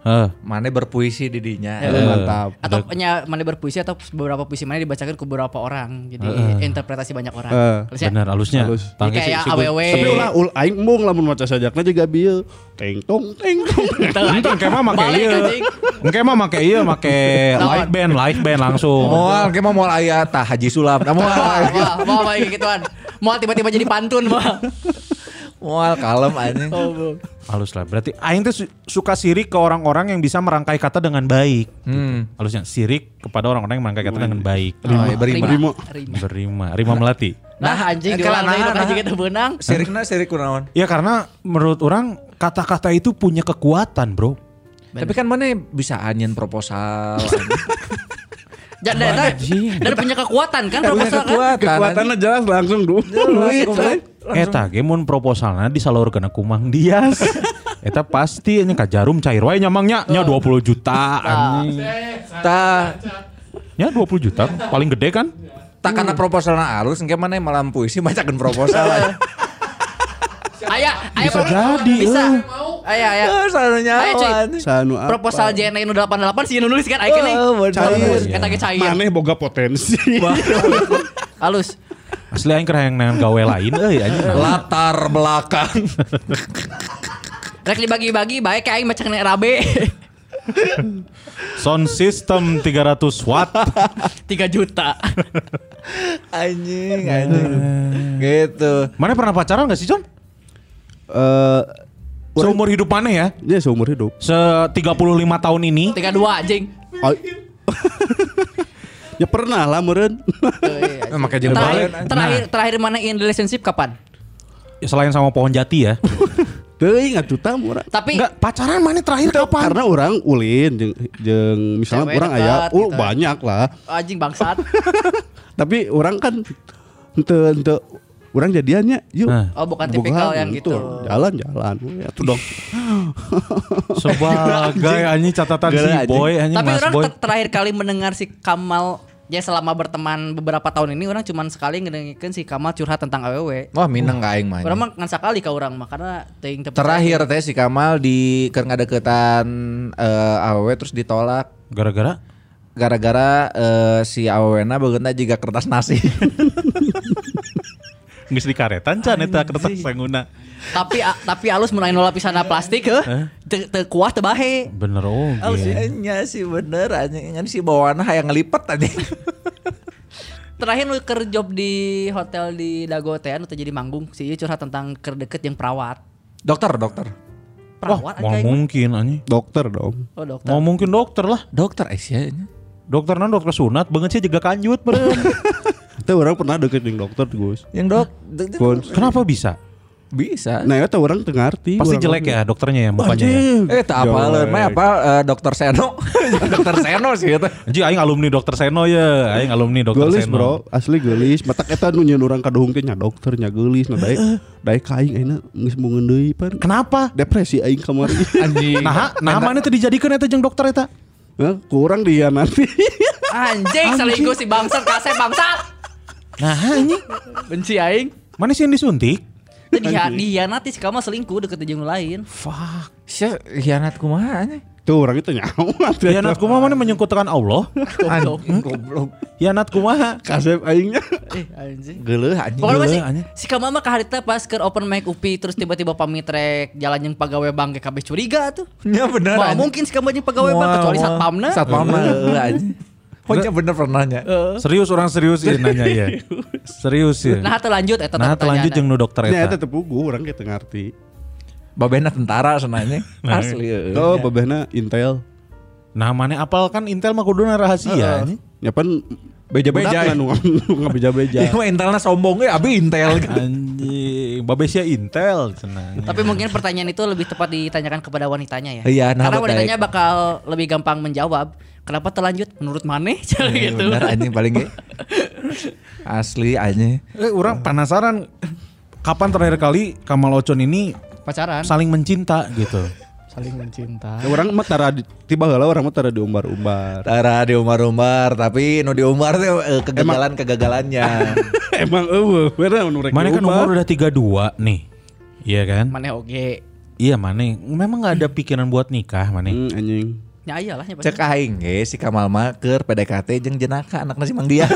Speaker 3: Heh.
Speaker 2: Mana berpuisi di dinya.
Speaker 5: Eh, mantap.
Speaker 4: Atau punya mana berpuisi atau beberapa puisi mana dibacakan ke beberapa orang. Jadi interpretasi banyak orang.
Speaker 5: Eh,
Speaker 4: Terusnya,
Speaker 3: Bener halusnya.
Speaker 5: Halus.
Speaker 4: Jadi
Speaker 3: Panggil si-
Speaker 4: kayak
Speaker 3: si-
Speaker 4: aww.
Speaker 5: Tapi ulah ul aing mung lamun maca sajakna juga bieu. Teng tong teng tong.
Speaker 3: Entah engke mah make
Speaker 4: Balik,
Speaker 3: ieu.
Speaker 4: anjing.
Speaker 3: Engke mah make ieu make light band, light band langsung.
Speaker 4: Oh.
Speaker 2: Moal ge mah moal aya tah Haji Sulam. Nah, moal.
Speaker 4: Wah, wah, wah, kayak gituan. Mau tiba-tiba jadi pantun, mau.
Speaker 2: Mual kalem anjing.
Speaker 4: Oh,
Speaker 3: Halus lah. Berarti aing tuh su- suka sirik ke orang-orang yang bisa merangkai kata dengan baik. Gitu.
Speaker 2: Hmm.
Speaker 3: Halusnya sirik kepada orang-orang yang merangkai kata dengan baik.
Speaker 2: Oh,
Speaker 4: iya,
Speaker 2: ya, berima.
Speaker 5: Berima.
Speaker 4: Rima.
Speaker 3: Berima, Rima Melati.
Speaker 4: Nah anjing
Speaker 2: Eh, kalah,
Speaker 4: diulang lagi
Speaker 2: nah,
Speaker 4: dong,
Speaker 2: nah.
Speaker 4: anjing kita benang.
Speaker 2: Sirikna sirik kunaon.
Speaker 3: Ya karena menurut orang kata-kata itu punya kekuatan, Bro.
Speaker 2: Tapi kan mana bisa anyen proposal.
Speaker 4: Jadi
Speaker 2: anjing.
Speaker 4: dan punya kekuatan kan
Speaker 2: Punya
Speaker 4: proposal kan.
Speaker 2: kekuatan.
Speaker 5: Kekuatannya jelas langsung dulu.
Speaker 3: Eta ge mun proposalna disalurkeun ke Mang Dias. Eta pasti nya ka jarum cair wae nyamangnya
Speaker 5: Oh.
Speaker 3: nya 20
Speaker 5: Ah.
Speaker 3: juta anjing.
Speaker 2: Ta
Speaker 3: Nya 20 juta paling gede kan?
Speaker 2: tak karena proposalna alus engke mana malam puisi macakeun proposal. anjing.
Speaker 4: Aya, aya
Speaker 3: Bisa
Speaker 4: pro-
Speaker 3: jadi,
Speaker 4: Bisa.
Speaker 3: eh.
Speaker 4: Aya, aya.
Speaker 2: Eh, saranya
Speaker 4: Ayo, cuy.
Speaker 2: awan.
Speaker 5: Sanu apa?
Speaker 4: Proposal JNE nu 88 sih nu nulis kan aing nih.
Speaker 2: Oh,
Speaker 3: Iya,
Speaker 2: bener.
Speaker 5: Cair.
Speaker 4: Eta ge cair.
Speaker 5: Maneh boga potensi.
Speaker 4: Halus.
Speaker 3: Asli aing kereng dengan gawe lain euy anjing.
Speaker 2: Latar belakang.
Speaker 4: Rek dibagi-bagi baik kayak aing maca kena rabe.
Speaker 3: Sound system 300 watt.
Speaker 4: 3 juta.
Speaker 2: anjing, anjing. gitu.
Speaker 3: Mana pernah pacaran gak sih, John?
Speaker 5: Eh, orang-
Speaker 3: Seumur hidup mana ya?
Speaker 5: dia seumur hidup.
Speaker 3: Se 35 tahun ini.
Speaker 4: 32 anjing.
Speaker 5: Oh. ya pernah lah meren.
Speaker 2: Eh, makanya jeung
Speaker 4: Terakhir,
Speaker 2: balen, anjing.
Speaker 4: terakhir, terakhir mana in relationship kapan?
Speaker 3: Ya, selain sama pohon jati ya.
Speaker 5: Teuing atuh tam urang.
Speaker 4: Tapi
Speaker 3: Enggak, pacaran mana terakhir kapan?
Speaker 5: Karena orang ulin jeung jeung misalnya
Speaker 4: Cewek
Speaker 5: orang
Speaker 4: dekat,
Speaker 5: aya oh
Speaker 4: gitu.
Speaker 5: banyak lah.
Speaker 4: anjing bangsat.
Speaker 5: Tapi orang kan henteu henteu orang jadiannya yuk.
Speaker 3: Nah.
Speaker 4: Oh, bukan tipikal yang gitu.
Speaker 5: Jalan-jalan. Ya tuh dong.
Speaker 3: Sebagai anjing catatan si
Speaker 5: Gara anjing.
Speaker 3: boy anjing
Speaker 4: Tapi
Speaker 3: mas
Speaker 4: orang
Speaker 3: boy.
Speaker 4: ter- terakhir kali mendengar si Kamal ya selama berteman beberapa tahun ini orang cuman sekali ngedengerin si Kamal curhat tentang AWW.
Speaker 2: Wah, mineng ka aing mah.
Speaker 4: Orang mah ngan sakali ka orang mah karena teuing teu
Speaker 2: Terakhir teh si Kamal di keur ngadeukeutan eh, awewe terus ditolak
Speaker 3: Gara-gara
Speaker 2: gara-gara eh, si awena begeuna jiga kertas nasi.
Speaker 3: geus dikaretan can eta kertas sangguna.
Speaker 4: tapi a- tapi alus mulai nolak pisana plastik heh. Teu teu kuah teu bahe.
Speaker 3: Bener oh. ge.
Speaker 2: Nya sih bener anjing ngan si bawana hayang ngelipet anjing.
Speaker 4: Terakhir nu ker job di hotel di Dago teh anu teu jadi manggung si ieu curhat tentang ker deket jeung perawat.
Speaker 2: dokter, dokter.
Speaker 4: Perawat
Speaker 3: Mau
Speaker 4: anjing.
Speaker 3: mungkin anjing.
Speaker 5: Dokter dong.
Speaker 4: Oh dokter.
Speaker 3: Mau mungkin dokter lah.
Speaker 2: Dokter Aisyah. nya.
Speaker 3: Dokterna dokter sunat banget sih jaga kanjut beren.
Speaker 5: Teu orang pernah deket jeung dokter Gus.
Speaker 4: Ya,
Speaker 2: Yang dok
Speaker 5: Gun.
Speaker 3: Kenapa bisa?
Speaker 2: bisa.
Speaker 5: Nah, itu orang teu ngarti.
Speaker 3: Pasti
Speaker 5: Orang-
Speaker 3: jelek ya dokternya ya mukanya ya.
Speaker 5: Anjing.
Speaker 2: Eh tak apa
Speaker 5: Jelek.
Speaker 2: leun mah apa eh, dokter Seno. dokter Seno sih gitu. eta.
Speaker 3: Anjing aing alumni dokter Seno ya. Aing alumni dokter
Speaker 5: Gelis
Speaker 3: Seno.
Speaker 5: bro, asli gelis. Matak eta nu nyeun urang ka dohong teh nya dokter nya gelis, nah daek daek ka aing ayeuna geus mungeun deui pan.
Speaker 3: Kenapa?
Speaker 5: Depresi aing kamari.
Speaker 2: Anjing.
Speaker 3: Nah, namanya tadi dijadikan eta jeung dokter eta.
Speaker 5: Hah, kurang dia nanti.
Speaker 4: Anjing selingkuh si bangsat kasep bangsat.
Speaker 3: Nah, anjing.
Speaker 4: Benci aing.
Speaker 3: Mana sih yang disuntik?
Speaker 4: Teu dia dihianati si Kamal selingkuh deket jeung nu lain.
Speaker 3: Fuck.
Speaker 2: Sia hianat kumaha anjing.
Speaker 5: Tuh orang itu nyawa.
Speaker 3: Hianat kumaha mana menyengkutkan Allah?
Speaker 2: Anjing goblok.
Speaker 3: Hianat kumaha?
Speaker 5: kasep aingnya.
Speaker 4: Eh anjing.
Speaker 2: Geuleuh anjing.
Speaker 4: Pokoknya masih
Speaker 3: anjing.
Speaker 4: si Kamal mah kaharita pas ke open mic UPI terus tiba-tiba pamitrek jalan jeung pagawe bank ke kabeh curiga tuh.
Speaker 2: Nya bener.
Speaker 4: Mau
Speaker 2: anjing.
Speaker 4: mungkin si Kamal jeung pagawe bank
Speaker 2: Mual,
Speaker 4: kecuali
Speaker 2: mual.
Speaker 4: satpamna.
Speaker 2: Satpamna heeh anjing. Oh nya bener pernah nya.
Speaker 3: Serius orang serius ya nanya ya. Serius ya.
Speaker 4: Nah, terlanjut eta
Speaker 3: Nah, lanjut jeung nu dokter
Speaker 5: Ya eta
Speaker 3: eta.
Speaker 5: teu pugu orang kita ngarti.
Speaker 2: Babena tentara senanya. Asli
Speaker 3: iya.
Speaker 2: heeh.
Speaker 5: Tuh babehna Intel.
Speaker 3: Nah, mana apal kan Intel mah kuduna rahasia. anjing.
Speaker 5: Ya pan
Speaker 2: Beja-beja.
Speaker 5: budak lah nu ngabeja-beja.
Speaker 2: Ieu mah Intelna sombong ge abi Intel.
Speaker 3: Anjing, babesnya Intel cenah.
Speaker 4: Tapi mungkin pertanyaan itu lebih tepat ditanyakan kepada wanitanya ya.
Speaker 2: Iya, nah,
Speaker 4: Karena
Speaker 2: betul.
Speaker 4: wanitanya bakal lebih gampang menjawab. Kenapa terlanjut? Menurut maneh cara
Speaker 2: Iya,
Speaker 4: gitu.
Speaker 2: Bener anjing paling ge. Asli anjing.
Speaker 3: Eh, orang penasaran kapan terakhir kali Kamal Ocon ini
Speaker 4: Pacaran.
Speaker 3: saling mencinta gitu.
Speaker 4: Saling mencinta.
Speaker 5: Ya, orang mah tara di- tiba heula orang mah tara diumbar-umbar.
Speaker 2: Tara di umar-umar, tapi nu di umar teh eh, kegagalan-kegagalannya.
Speaker 5: Emang eueuh, bener nu rek
Speaker 3: Mana kan
Speaker 5: diumbar.
Speaker 3: umur udah 32 nih. Iya kan?
Speaker 4: Maneh oge.
Speaker 3: Iya, mana memang nggak ada pikiran buat nikah, mana.
Speaker 5: Hmm, anjing.
Speaker 4: Ya iyalah nya pasti.
Speaker 2: Cek aing ge si Kamal mah keur PDKT jeung jenaka anakna si Mang Dias.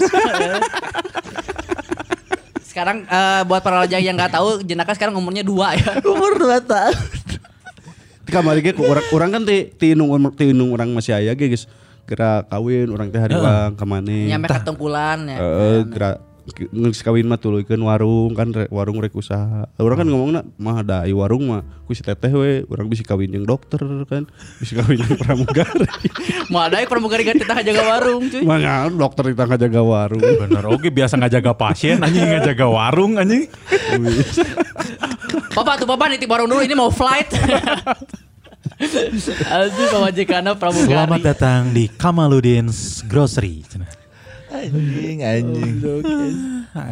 Speaker 4: Sekarang eh, buat para lajang yang nggak tahu jenaka sekarang umurnya dua ya.
Speaker 2: Umur 2 tahun.
Speaker 5: Di kamari ge ku urang urang kan ti ti nu umur ti nu urang masih aya ge geus gerak kawin urang teh hari bang ka maneh. Eh,
Speaker 2: Eh.
Speaker 4: Nyampe katungkulan ya.
Speaker 5: Heeh, gerak geus kawin mah tuluykeun warung kan re- warung rek usaha. Urang kan ngomongna mah da ieu warung mah ku si teteh we, urang bisa kawin jeung dokter kan, bisa kawin jeung pramugari.
Speaker 4: Mau ada yang pramugari kan kita jaga warung cuy.
Speaker 5: Mah nya, dokter itu ngajaga warung.
Speaker 3: Bener oke biasa ngajaga pasien anjing ngajaga warung anjing.
Speaker 4: Papa tuh papa nitip warung dulu ini mau flight. Aduh pemajikannya pramugari.
Speaker 3: Selamat datang di Kamaludin's Grocery. Cenah.
Speaker 2: Anjing, anjing.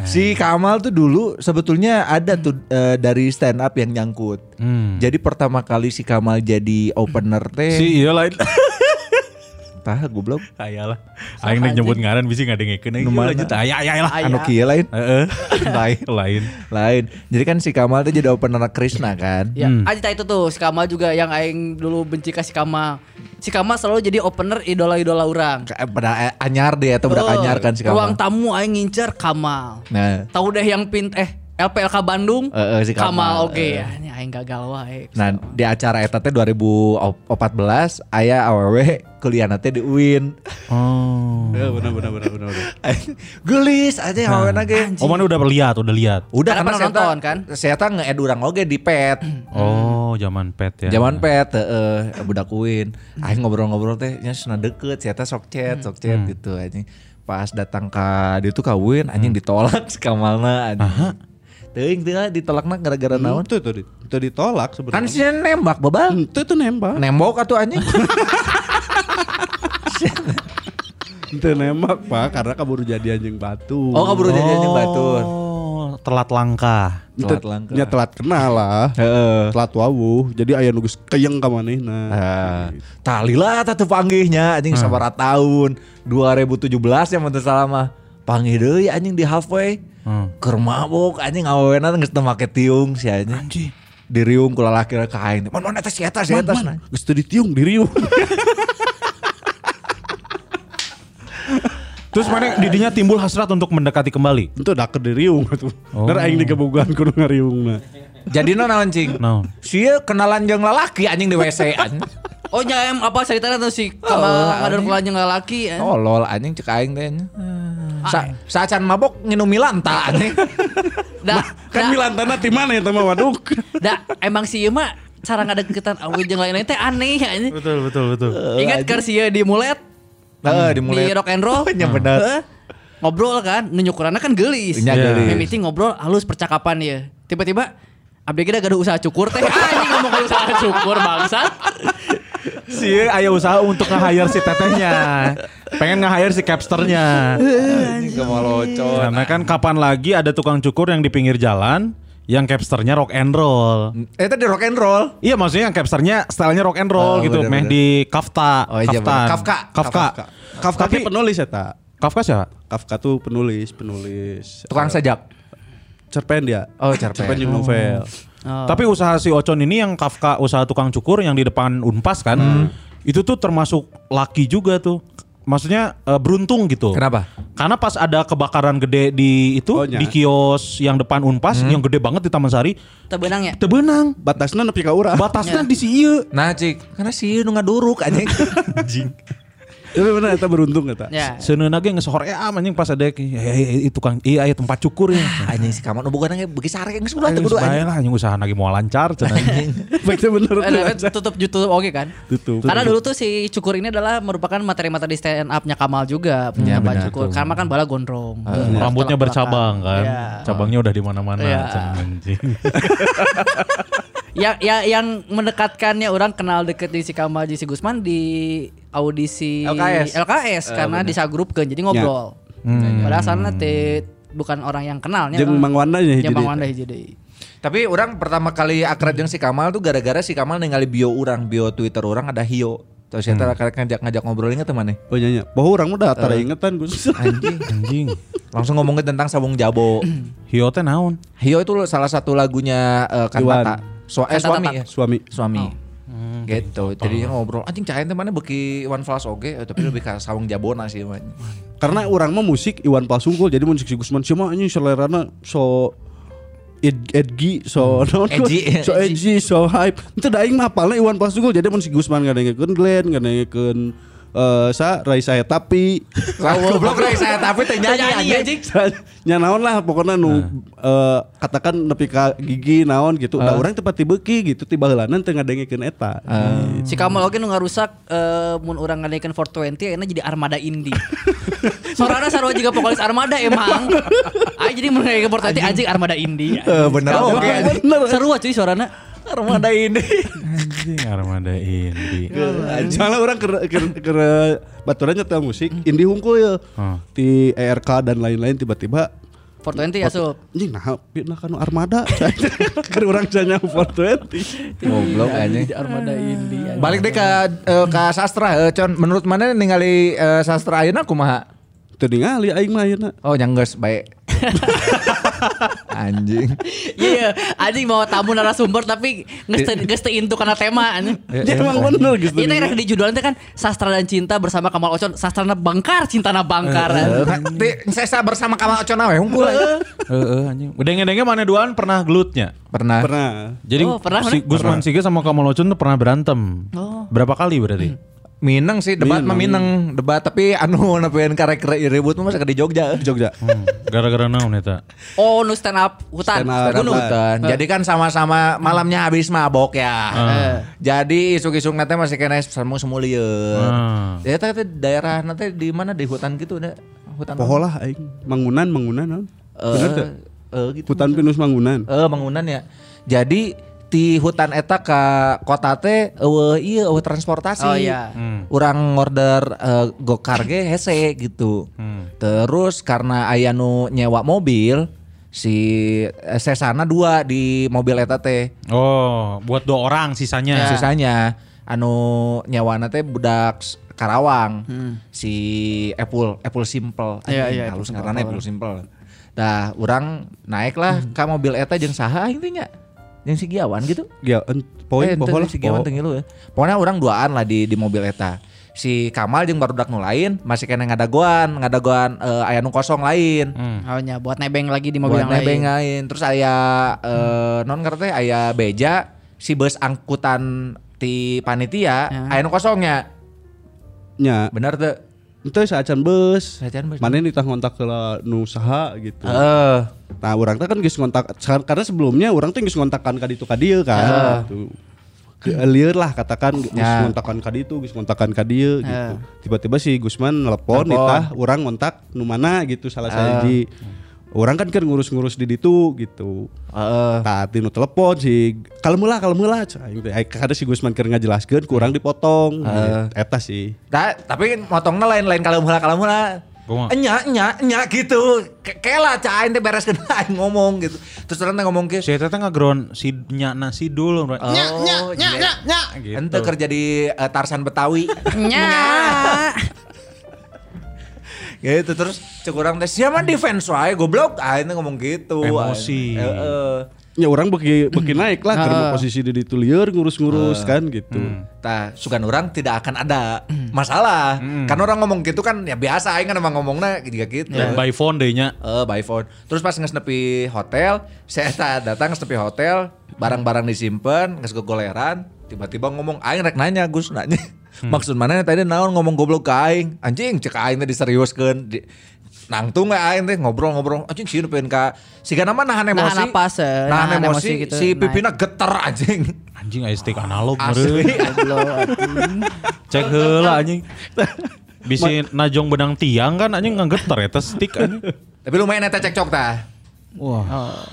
Speaker 2: Si Kamal tuh dulu sebetulnya ada tuh eh, dari stand up yang nyangkut.
Speaker 3: Hmm.
Speaker 2: Jadi pertama kali si Kamal jadi opener teh,
Speaker 3: Si iya lain.
Speaker 2: tah goblok.
Speaker 3: Ayalah. Aing nek nyebut ngaran bisi ngadengekeun aing. Iya, Lanjut aya aya lah.
Speaker 4: Aya.
Speaker 2: Anu kieu lain.
Speaker 3: Heeh. Lain lain.
Speaker 2: Lain. Jadi kan si Kamal tuh jadi opener Krishna kan.
Speaker 4: Ya, Ajita itu tuh si Kamal juga yang aing dulu benci ke si Kamal. Si Kamal selalu jadi opener idola-idola orang.
Speaker 2: Ke- Pada eh, anyar deh atau udah
Speaker 4: Oh,
Speaker 2: anyar kan si
Speaker 4: Ruang
Speaker 2: Kamal.
Speaker 4: tamu aing ngincer Kamal.
Speaker 2: Nah,
Speaker 4: Tahu deh yang pint eh LPLK Bandung.
Speaker 2: Eh, eh, si Kamal.
Speaker 4: oke ya. Ini aing gagal eh. wae.
Speaker 2: nah di acara eta teh 2014 aya awewe kuliahna teh di UIN.
Speaker 3: Oh.
Speaker 5: Ya benar benar benar benar. benar.
Speaker 2: Gelis aja awewe ge.
Speaker 3: Oh, mana udah lihat, udah lihat.
Speaker 2: Udah
Speaker 4: Karena
Speaker 2: karena
Speaker 4: pernah
Speaker 2: saya
Speaker 4: nonton, kan?
Speaker 2: Saya tak nge-add urang oge di pet.
Speaker 3: Oh, zaman pet ya.
Speaker 2: Zaman pet, heeh, budak Uin. Aing ngobrol-ngobrol teh nya cenah deket, saya teh sok chat, sok chat gitu anjing. Pas datang ka dia tuh ka Uin anjing ditolak si Kamalna anjing. Teuing teh ditolakna gara-gara naon?
Speaker 5: Itu itu di- itu ditolak
Speaker 2: Kan
Speaker 5: sebenarnya.
Speaker 2: si nembak babal.
Speaker 5: Itu itu nembak.
Speaker 2: Nembok atuh anjing.
Speaker 5: Itu Hmm, nembak pak karena kabur jadi anjing batu.
Speaker 2: Oh kaburu jadi anjing batur.
Speaker 3: Oh, telat langkah.
Speaker 5: Itu-
Speaker 2: Telat langkah.
Speaker 5: Ya telat kenal lah.
Speaker 2: Heeh.
Speaker 5: Telat wawuh. Jadi ayah nugus keyeng ka manehna.
Speaker 2: Talila tatu panggihnya anjing sabara tahun 2017 ya mun teu salah mah. Panggih deui anjing di halfway.
Speaker 3: Hmm.
Speaker 2: Keur mabok anjing awewena geus teu make tiung si anjing. Diriung kula laki ka aing. Mon mon eta si eta si eta. nah.
Speaker 5: Geus teu ditiung di Riung.
Speaker 3: Terus mana didinya timbul hasrat untuk mendekati kembali.
Speaker 5: Itu dak di Riung atuh.
Speaker 2: Oh.
Speaker 5: Ntar aing digebogan kudu nah. ngariungna.
Speaker 2: Jadi no naon cing?
Speaker 3: Naon?
Speaker 2: Sia kenalan jeung lalaki anjing di WC an.
Speaker 4: Oh nyam apa ceritanya tuh si
Speaker 2: Oh,
Speaker 4: Kamal ngadon kelanjang laki. eh.
Speaker 2: Tolol anjing cek aing teh. Sa saacan mabok nginum milanta anjing.
Speaker 4: Dah,
Speaker 5: Kan
Speaker 4: dah,
Speaker 5: milantana ti mana eta mah waduk.
Speaker 4: dah, emang si Yuma cara ngadeketan awit jeung lain-lain teh aneh ya, anjing.
Speaker 3: Betul, betul, betul.
Speaker 4: Ingat kan si Ye di mulet,
Speaker 2: Heeh
Speaker 4: di rock and roll.
Speaker 2: Nya bener.
Speaker 4: Heeh. Ngobrol kan, nunyukurannya kan gelis.
Speaker 2: Nya
Speaker 3: Iya.
Speaker 2: geulis.
Speaker 4: Mimiti ngobrol halus percakapan ya. Tiba-tiba abdi kita gaduh usaha cukur teh. Ah, Anjing ngomong ke usaha cukur bangsat.
Speaker 3: Si iya, ayah usaha untuk nge-hire si tetehnya. Pengen nge-hire si capsternya.
Speaker 2: Anjing kemalocot.
Speaker 3: Karena kan kapan lagi ada tukang cukur yang di pinggir jalan, yang capsternya rock and roll.
Speaker 2: Eh tadi rock and roll.
Speaker 3: Iya maksudnya yang capsternya stylenya rock and roll
Speaker 2: Oh,
Speaker 3: gitu,
Speaker 2: bener,
Speaker 3: meh
Speaker 2: bener.
Speaker 3: di kafta,
Speaker 2: Oh, iya,
Speaker 3: kaftan.
Speaker 2: bener. Kafka.
Speaker 3: kafka,
Speaker 2: Kafka.
Speaker 5: Kafka
Speaker 3: Tapi
Speaker 5: tapi penulis eta.
Speaker 3: kafka siapa?
Speaker 5: Kafka tuh penulis, penulis. eh,
Speaker 2: Tukang sajak.
Speaker 5: cerpen dia.
Speaker 2: Oh, cerpen. Oh.
Speaker 5: jeung novel.
Speaker 3: Tapi usaha si Ocon ini yang Kafka usaha tukang cukur yang di depan Unpas kan,
Speaker 2: Hmm.
Speaker 3: itu tuh termasuk laki juga tuh. Maksudnya eh, beruntung gitu.
Speaker 2: Kenapa? iya.
Speaker 3: Karena pas ada kebakaran gede di itu
Speaker 5: Oh, nya.
Speaker 3: di kios yang depan Unpas
Speaker 2: Hmm.
Speaker 3: yang gede banget di Taman Sari,
Speaker 4: Tebenang ya.
Speaker 3: tebenang.
Speaker 5: Batasna nepi ka urang.
Speaker 3: Batasnya di si ieu.
Speaker 2: Nah cik, karena si nu ngaduruk anjing.
Speaker 5: Tapi bener eta beruntung eta.
Speaker 4: Ya.
Speaker 3: Seuneuna ge ngesohor ea "Eh, anjing pas ada ki- eh, eh, tukang iya aya tempat cukur ya.
Speaker 2: Ah, anjing si kamar, bukan yang begi sare yang
Speaker 4: Kan
Speaker 2: sebelah
Speaker 3: Ayo,
Speaker 2: tuh kudu
Speaker 3: sebaya
Speaker 2: anjing.
Speaker 3: Iya, lah anjing usaha lagi mau lancar cenah.
Speaker 5: Baca bener.
Speaker 4: Eh, nah, tutup tutup oke kan?
Speaker 5: Tutup.
Speaker 4: Karena dulu tuh si cukur ini adalah merupakan materi-materi stand up-nya Kamal juga, punya Pak cukur. Karena kan bala gondrong.
Speaker 3: iya. Rambutnya bercabang kan.
Speaker 4: Iya.
Speaker 3: Cabangnya udah di mana-mana
Speaker 4: Iya.
Speaker 3: cenah, anjing.
Speaker 4: ya, ya yang mendekatkannya orang kenal deket di si Kamal di si Gusman di audisi
Speaker 2: LKS.
Speaker 4: LKS,
Speaker 2: Ah,
Speaker 4: karena disagrupkeun jadi ngobrol. Nah, Padahal sana teh bukan orang yang kenalnya.
Speaker 5: Jeung Mang Wanda nya hiji
Speaker 4: Jeung Mang
Speaker 5: deui.
Speaker 4: Wanda hiji deui.
Speaker 2: Tapi orang pertama kali akrab jeung si Kamal tuh gara-gara si Kamal ningali bio orang, bio Twitter orang ada Hio. Terus kita ngajak ngajak ngobrolnya temannya.
Speaker 5: Oh nyanya, bahwa orang
Speaker 2: Eh.
Speaker 5: udah tara ingetan Gus.
Speaker 2: Anjing.
Speaker 3: Anjing.
Speaker 2: Langsung ngomongin tentang sabung jabo.
Speaker 3: Hio teh naon?
Speaker 2: Hio itu salah satu lagunya eh, Kan
Speaker 5: Iwan.
Speaker 2: Mata. Su-
Speaker 4: Kan
Speaker 2: eh,
Speaker 4: Mata
Speaker 2: suami
Speaker 4: Tak.
Speaker 2: ya.
Speaker 5: Suami.
Speaker 2: Suami. gitu. Jadi ngobrol, anjing cahain temannya beki One Flash oge, eh, tapi lebih ke sabung jabona sih. man.
Speaker 5: Karena orang mah musik Iwan Pasungkul jadi musik si Gusman cuma anjing selerana so ed- edgy so non
Speaker 2: Hmm. Edgy.
Speaker 5: so edgy so hype. Itu da aing mah apalna Iwan Pasungkul jadi mun si Gusman ngadengekeun Glenn ngadengekeun eh, sa rai saya tapi
Speaker 2: Goblok rek saya tapi teh nyanyi
Speaker 4: Nyanyi,
Speaker 2: anjing.
Speaker 4: anjing.
Speaker 5: nya naon lah pokoknya nu eh, katakan nepi ka gigi naon gitu.
Speaker 2: Ah.
Speaker 5: Nah, orang tempat tibeuki gitu tiba heulanan teu ngadengekeun eta.
Speaker 2: Ah.
Speaker 4: Si Kamal oge nu ngarusak eh, mun urang ngadaikeun 420 ayeuna jadi armada indie. Sorana sarua juga vokalis armada emang. Ah jadi mun ngadaikeun 420 anjing armada indie.
Speaker 2: Eh, bener
Speaker 4: Sekarang
Speaker 2: oge,
Speaker 4: mah.
Speaker 2: anjing.
Speaker 4: Seru ah, cuy suarana.
Speaker 2: Armada ini.
Speaker 3: Anjing Armada Indi.
Speaker 5: Soalnya orang ke ke ke baturan nyetel musik, indie hungkul ya.
Speaker 3: Hmm.
Speaker 5: Di ERK dan lain-lain tiba-tiba
Speaker 4: 420 asup.
Speaker 5: anjing nah pina kan armada. Kan Keur urang janya 420.
Speaker 2: Goblok
Speaker 4: Jadi
Speaker 2: anjing.
Speaker 4: armada indie. anjing.
Speaker 2: Balik deh ke eh, ke sastra, eh, Con. Menurut mana ningali eh, sastra ayeuna kumaha?
Speaker 5: Teu ningali aing mah ayeuna.
Speaker 2: Oh, nyanggeus baik. anjing.
Speaker 4: Iya, iya. anjing bawa tamu narasumber tapi ngeste ngeste intu karena tema anjing.
Speaker 5: Ya emang bener gitu.
Speaker 4: Ini kan di judulnya kan sastra dan cinta bersama Kamal Ocon, sastra na bangkar, cinta na bangkar.
Speaker 2: Iya,
Speaker 4: anjing.
Speaker 2: Sesa bersama Kamal Ocon awe hungkul.
Speaker 3: Heeh anjing. Denge-denge mana duaan pernah gelutnya?
Speaker 2: Pernah.
Speaker 5: Pernah.
Speaker 3: Jadi
Speaker 4: Oh, pernah, pernah.
Speaker 3: si
Speaker 4: Oh.
Speaker 3: Gusman Sige sama Kamal Ocun tuh pernah berantem. Berapa kali berarti?
Speaker 4: Hmm.
Speaker 2: Mineng sih debat mah Mineng debat tapi anu nepian karek ribut mah ke di Jogja.
Speaker 5: Jogja.
Speaker 3: Hmm, Gara-gara naon eta?
Speaker 4: Oh, nu stand up hutan.
Speaker 5: Stand up.
Speaker 2: Stand up
Speaker 5: Gunung.
Speaker 2: hutan. Jadi kan sama-sama malamnya habis mabok ya. Jadi isuk-isuk nanti masih kena semu semu liur.
Speaker 3: Ah.
Speaker 2: Ya tadi daerah nanti di mana di hutan gitu udah hutan.
Speaker 5: Poho lah aing. Mangunan, mangunan. naon?
Speaker 2: Eh,
Speaker 5: Bener teu?
Speaker 2: eh, gitu.
Speaker 5: Hutan pinus mangunan.
Speaker 2: Eh bangunan ya. Jadi di hutan eta ka kota teh eueuh ieu eueuh transportasi.
Speaker 4: Oh, iya.
Speaker 2: Urang order gokar ge hese gitu. Terus karena aya nu nyewa mobil si eh, sesana dua di mobil eta teh.
Speaker 3: Oh, buat dua orang sisanya.
Speaker 4: Iya.
Speaker 3: Sisa-
Speaker 2: Sisanya anu nyewana teh budak s- Karawang.
Speaker 5: Hmm.
Speaker 2: Si Epul, Epul Simple.
Speaker 4: Iya,
Speaker 2: Anjing,
Speaker 4: iya, Epul
Speaker 2: halus
Speaker 4: Simple.
Speaker 2: ngaranna Epul Simple. Dah urang naik lah
Speaker 5: Hmm.
Speaker 2: ka mobil eta jeung saha aing teh nya? Jeung si Giawan gitu.
Speaker 5: Ya, en- poin
Speaker 2: Eh,
Speaker 5: poho
Speaker 2: ente
Speaker 5: lah.
Speaker 2: si Giawan
Speaker 5: poho.
Speaker 2: teu ngilu ya. Pokoknya orang duaan lah di di mobil eta. Si Kamal jeung barudak nu lain masih kena ngadagoan, ngadagoan eh, aya nu kosong
Speaker 5: Hmm.
Speaker 2: lain.
Speaker 4: Oh nya buat nebeng lagi di mobil
Speaker 2: Mobil
Speaker 4: yang lain.
Speaker 2: nebeng lain. Terus aya eh, non ngerti aya beja si bus angkutan ti panitia
Speaker 4: Ya.
Speaker 2: aya nu kosongnya.
Speaker 5: Nya.
Speaker 2: Bener teu?
Speaker 5: Itu saacan bus.
Speaker 2: Saacan Ah, beus.
Speaker 5: Mana ditah ngontak ke nu saha gitu.
Speaker 2: Heeh.
Speaker 5: Nah orang teh kan geus ngontak kar- karena sebelumnya orang teh geus ngontakkan ka ditu ka dieu kan. Gitu. Ge- Lieur lah katakan geus
Speaker 2: Ya.
Speaker 5: ngontakkan ka ditu, geus ngontakkan ka dieu gitu. Tiba-tiba si Gusman nelpon
Speaker 2: Nelpon.
Speaker 5: ditah orang ngontak nu mana gitu salah saji. Orang kan kan ngurus-ngurus di ditu gitu.
Speaker 2: Heeh.
Speaker 5: Tah tinu telepon si kalemeula kalemeula cah, aing teh. Ai, kada si Gusman keur ngajelaskeun kurang dipotong. Gitu. Eta sih.
Speaker 2: Da, tapi motongnya lain-lain kalau mula kalau mula
Speaker 3: Kumaha?
Speaker 2: enya enya enya gitu Ke- kela cah ente beres kena ngomong gitu terus orang teh ngomong ke
Speaker 3: Si eta teh ngaground si nyana si dul. Oh,
Speaker 2: Nya, nya, nya, nya, nya.
Speaker 3: Gitu.
Speaker 2: iya." Ente kerja di eh, Tarsan Betawi.
Speaker 4: Nya.
Speaker 2: gitu terus cek orang teh siapa defense wae goblok. Ah ente ngomong gitu.
Speaker 3: Emosi.
Speaker 2: Ah, Heeh.
Speaker 5: Ya orang beki, beki naik lah karena posisi di ditu lieur ngurus-ngurus kan gitu.
Speaker 2: Tah, sugan orang tidak akan ada masalah. Kan orang ngomong gitu kan ya biasa aing kan emang ngomongnya juga gitu.
Speaker 4: iya.
Speaker 3: Dan Ya, by phone deh nya.
Speaker 2: Eh, by phone. Terus pas ngesnepi hotel, saya eta datang ngesnepi hotel, barang-barang disimpan, nges kegoleran, tiba-tiba ngomong aing rek nanya Gus nanya. Maksud mana ya, tadi naon ngomong goblok ke aing? Anjing cek aing teh diseriuskeun. Di, nangtung gak aing teh ngobrol-ngobrol. Anjing sieun peueun ka siga nama nahan emosi.
Speaker 4: Nahan napas, eh,
Speaker 2: Nahan,
Speaker 4: nahan
Speaker 2: emosi,
Speaker 4: emosi gitu,
Speaker 2: si
Speaker 4: naik.
Speaker 2: pipina geter anjing.
Speaker 3: Anjing aya stick analog
Speaker 2: Asli.
Speaker 3: meureun. Cek heula anjing. Bisi najong benang tiang kan anjing ngegeter eta stick anjing. Oh,
Speaker 2: Tapi lumayan eta cekcok tah.
Speaker 3: Wah,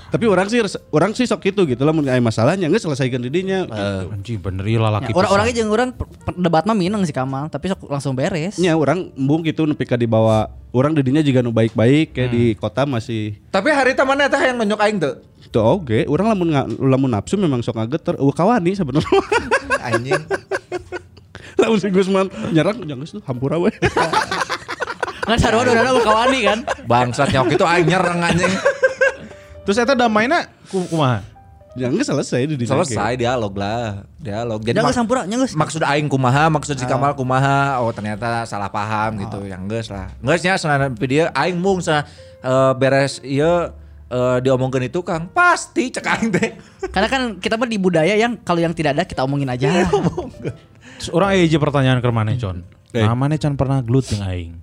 Speaker 5: Tapi orang sih orang sih sok itu gitu lah mun aya masalahnya geus selesaikan didinya. gitu.
Speaker 3: eh, anjing bener ya, ieu lalaki.
Speaker 4: Orang-orangnya jeung urang per- per- debat mah mineng si Kamal, tapi sok langsung beres.
Speaker 5: Nya orang embung gitu nepi ka dibawa orang didinya juga nu baik-baik kayak
Speaker 3: Hmm.
Speaker 5: di kota masih
Speaker 2: Tapi hari tamannya teh yang nonyok aing tuh.
Speaker 5: tuh oge orang lamun nga- lamun nafsu memang sok ngageter eueuh kawani sebenarnya.
Speaker 2: Anjing.
Speaker 5: lamun si Gusman nyerang jangan geus tuh hampura we.
Speaker 4: Kan sarua udah ada kawani kan.
Speaker 2: Bangsat nyok itu aing nyereng anjing.
Speaker 3: Terus eta damaina ku- kumaha?
Speaker 5: jangan Ya geus selesai didinya.
Speaker 2: Selesai dialog lah, dialog. Jadi
Speaker 4: Udah
Speaker 2: mak-
Speaker 4: geus sampura, nya geus.
Speaker 2: maksud aing kumaha, maksud si Kamal kumaha. Oh ternyata salah paham gitu, yang geus lah. Geusnya sana video aing mung sana eh, beres ieu eh, diomongkeun itu Kang. Pasti cek aing teh.
Speaker 4: Karena kan kita mah di budaya yang kalau yang tidak ada kita omongin aja.
Speaker 3: Terus orang aya hiji pertanyaan ke mana, Con?
Speaker 5: Eh.
Speaker 3: Namanya can pernah gelut jeung aing.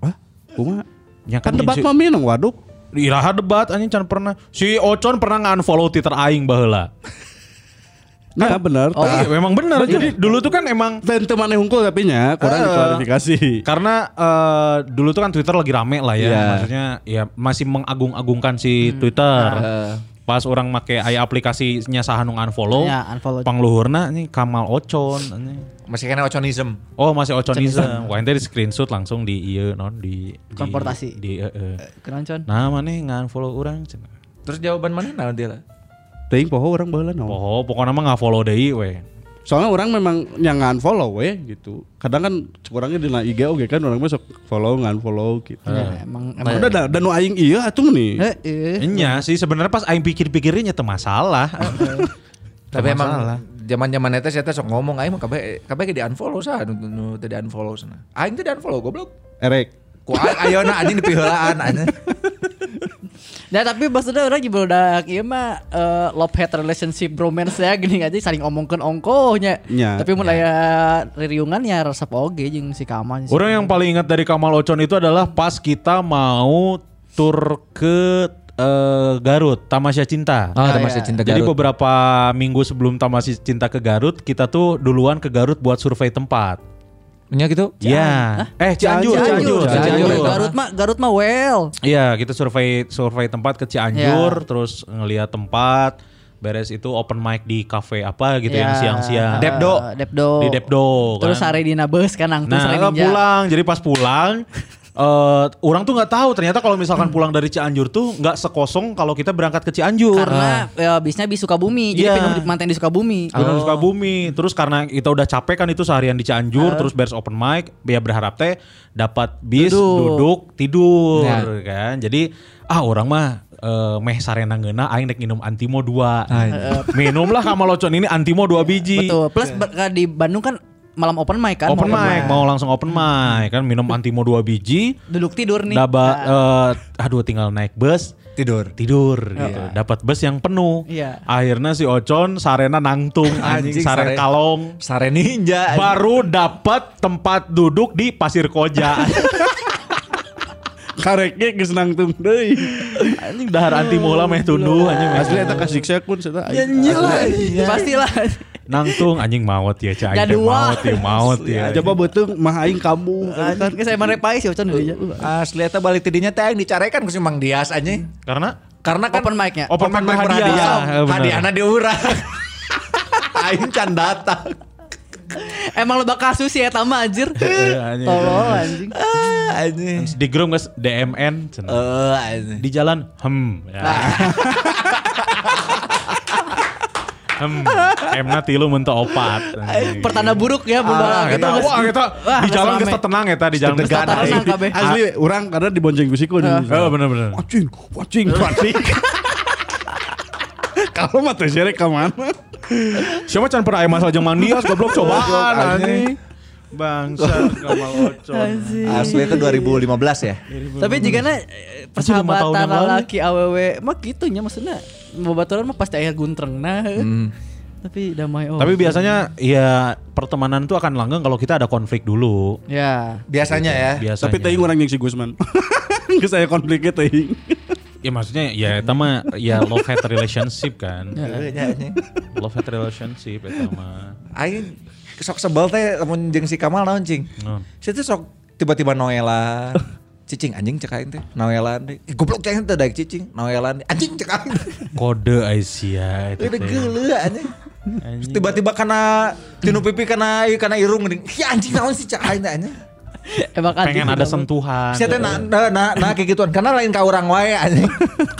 Speaker 5: Wah, kuma
Speaker 3: Nya
Speaker 5: kan
Speaker 3: nyin
Speaker 5: debat
Speaker 3: si-
Speaker 5: mah minum waduk.
Speaker 3: Iraha debat anjing can pernah. Si Ocon pernah nge-unfollow Twitter aing baheula.
Speaker 5: Ya benar.
Speaker 3: Oh, iya, memang bener. Jadi dulu tuh kan emang
Speaker 5: Tentu mana hungkul tapi nya kurang
Speaker 3: Eh.
Speaker 5: diklarifikasi.
Speaker 3: karena eh, dulu tuh kan Twitter lagi rame lah ya.
Speaker 5: Iya.
Speaker 3: Maksudnya ya masih mengagung-agungkan si Twitter. Pas orang make aya aplikasinya sahanu unfollow,
Speaker 4: Ya, unfollow.
Speaker 3: pangluhurna nih Kamal Ocon anjing.
Speaker 2: Masih kena oconism.
Speaker 3: Oh masih oconism. Wah ini di screenshot langsung di iya non di di-
Speaker 4: Konfrontasi.
Speaker 3: Di, eh, eh.
Speaker 4: Kenaon Con?
Speaker 3: Nah mana ngan follow orang cenah.
Speaker 2: Terus jawaban mana nah dia lah?
Speaker 5: Teuing poho orang baheula naon.
Speaker 3: Poho Oh, pokoknya mah nggak follow deh we.
Speaker 5: Soalnya orang memang yang unfollow we gitu. Kadang kan kurangnya di na IG oge kan orang mah sok follow ngan-follow gitu.
Speaker 4: Ya, emang emang
Speaker 5: Udah da, dan nu aing iya
Speaker 4: Eh.
Speaker 5: atuh nih.
Speaker 4: Heeh.
Speaker 3: Enya sih sebenarnya pas aing pikir-pikirnya teu masalah.
Speaker 2: Tapi
Speaker 3: Nggak
Speaker 2: emang
Speaker 3: masalah.
Speaker 2: zaman zaman netes saya sok ngomong aing mah kabeh kabeh ge di unfollow sah nu, nu teu di unfollow sana. Aing teh di unfollow goblok.
Speaker 5: Erek.
Speaker 2: Ku a- ayeuna anjing di piheulaan anjing.
Speaker 4: Nah tapi maksudnya orang juga udah iya mah eh, love hate relationship romance ya gini aja saling omongkan ongkohnya.
Speaker 5: Nya.
Speaker 4: Tapi mulai ririungan ya resep oge jeung si Kaman. sih.
Speaker 3: Orang yang paling ingat dari Kamal Ocon itu adalah pas kita mau tur ke eh, Garut, Tamasya Cinta.
Speaker 2: Ah, ada
Speaker 4: iya.
Speaker 2: masih cinta
Speaker 3: Jadi
Speaker 2: Garut.
Speaker 3: beberapa minggu sebelum Tamasya Cinta ke Garut, kita tuh duluan ke Garut buat survei tempat.
Speaker 2: Nya gitu.
Speaker 3: Iya. Eh, Cianjur,
Speaker 4: Cianjur,
Speaker 3: Cianjur,
Speaker 4: Cianjur.
Speaker 3: Cianjur.
Speaker 4: Iya, Garut mah Garut mah well.
Speaker 3: Iya, kita survei survei tempat ke Cianjur,
Speaker 4: Iya.
Speaker 3: terus ngelihat tempat, beres itu open mic di cafe apa gitu yang siang-siang.
Speaker 2: Depdo.
Speaker 4: Iya. Eh, Depdo.
Speaker 3: Di Depdo,
Speaker 4: Terus
Speaker 3: kan.
Speaker 4: hari dina beus kan nangtung
Speaker 3: Nah,
Speaker 4: sare
Speaker 3: lah
Speaker 4: ninja.
Speaker 3: pulang. Jadi pas pulang eh orang tuh nggak tahu ternyata kalau misalkan
Speaker 4: Hmm.
Speaker 3: pulang dari Cianjur tuh nggak sekosong kalau kita berangkat ke Cianjur.
Speaker 4: Karena Oh. ya, bisnya di Sukabumi,
Speaker 3: Ah. Iya.
Speaker 4: jadi pengen di- manten di Sukabumi.
Speaker 3: Gunung Sukabumi. Terus karena kita udah capek kan itu seharian di Cianjur, terus beres open mic, dia berharap teh dapat bis
Speaker 4: Duduk.
Speaker 3: duduk, tidur
Speaker 2: Ya.
Speaker 3: kan. Jadi ah orang mah eh, meh sarena ngeuna aing rek minum Antimo 2. Minumlah Kamalocon ini Antimo 2 biji.
Speaker 4: Betul. Plus ber- di Bandung kan malam open mic Hmm. kan.
Speaker 3: Open
Speaker 4: mau
Speaker 3: mic, mau langsung open mic kan minum Antimo 2 biji.
Speaker 4: Duduk tidur nih.
Speaker 3: Dapat
Speaker 4: Nah,
Speaker 3: eh, aduh tinggal naik bus
Speaker 2: Tidur.
Speaker 3: tidur gitu. Dapat bus yang penuh.
Speaker 4: Iya.
Speaker 3: Akhirnya si Ocon sarena nangtung anjing
Speaker 2: Anjing,
Speaker 3: sare
Speaker 2: sare-
Speaker 3: kalong.
Speaker 2: Sare ninja. anjing.
Speaker 3: Baru dapat tempat duduk di Pasir Koja.
Speaker 5: Kareknya geus nangtung deui.
Speaker 3: anjing dahar anti mula meh tunduh anjing. meh
Speaker 5: Asli eta
Speaker 3: tunduh.
Speaker 5: kasih saya pun saya
Speaker 6: Iya.
Speaker 3: eh,
Speaker 4: Pastilah.
Speaker 3: Nangtung anjing maut ya cai.
Speaker 4: Dah dua.
Speaker 3: Maut ya maut ya.
Speaker 5: Aja mah beuteung iya. mah aing kamu.
Speaker 4: Kan saya merepai sih Ocon dulu aja.
Speaker 2: Asli eta balik tidinya teh yang dicarekan ku si Mang Dias anjing.
Speaker 3: Karena
Speaker 2: Karena kan
Speaker 4: Open mic-nya.
Speaker 3: Open mic berhadiah. Ya, bener.
Speaker 2: Hadiahnya diurang. Aing can datang.
Speaker 4: Emang lo bakal kasus ya tama anjir.
Speaker 3: Eh, anjing.
Speaker 4: Tolol anjing.
Speaker 3: Iya,
Speaker 2: Ah, anjing.
Speaker 3: di grup guys DMN cenah.
Speaker 2: Eh, anjing.
Speaker 3: di jalan hem ya. hem emna tilu mentah opat anjing.
Speaker 4: Pertanda buruk ya
Speaker 3: iya, Ah,
Speaker 4: Bunda.
Speaker 3: eta wah eta di jalan geus tenang eta di jalan geus
Speaker 4: Tetegan,
Speaker 3: tenang.
Speaker 4: Tenang, kabeh.
Speaker 5: Asli orang karena dibonceng gusiku nih.
Speaker 3: Heeh Oh, bener-bener.
Speaker 5: Wacing, wacing, wacing. Kalau mah teh sere ka mana?
Speaker 3: Siapa can pernah aya masalah jeung Mandias goblok cobaan anjing. Bangsa Kamal Ocon.
Speaker 2: Asli itu 2015 ya.
Speaker 4: Tapi jika na
Speaker 3: tahun
Speaker 4: persahabatan
Speaker 3: yang lalu.
Speaker 4: laki aww mah gitu nya maksudnya bobaturan mah pasti aya guntreng nah. Tapi damai oh.
Speaker 3: Hmm. Tapi biasanya ya pertemanan tuh akan langgeng kalau kita ada konflik dulu.
Speaker 4: ya
Speaker 2: Biasanya ya.
Speaker 3: Biasanya.
Speaker 5: Tapi teuing orang yang si Gusman. Geus saya konfliknya teuing.
Speaker 3: ya maksudnya ya eta mah ya love hate relationship kan.
Speaker 2: Keunya, anjing.
Speaker 3: Love hate relationship eta mah.
Speaker 2: Aing sok sebel teh lamun jeung si Kamal naon cing.
Speaker 3: Naon?
Speaker 2: Saya tuh sok tiba-tiba noelan. Cicing anjing cek aing teh. Noelan deh. Eh, goblok cek aing teh daek cicing. Noelan anjing cek aing.
Speaker 3: Kode Aisyah itu. teh.
Speaker 2: Udah geuleuh anjing. Terus Tiba-tiba karena tinu pipi karena karena irung geuning. Ya anjing naon sih cek aing teh anjing.
Speaker 4: emang
Speaker 3: Pengen ada sentuhan.
Speaker 2: Saya teh na na na, na kayak gituan karena lain ka urang wae anjing.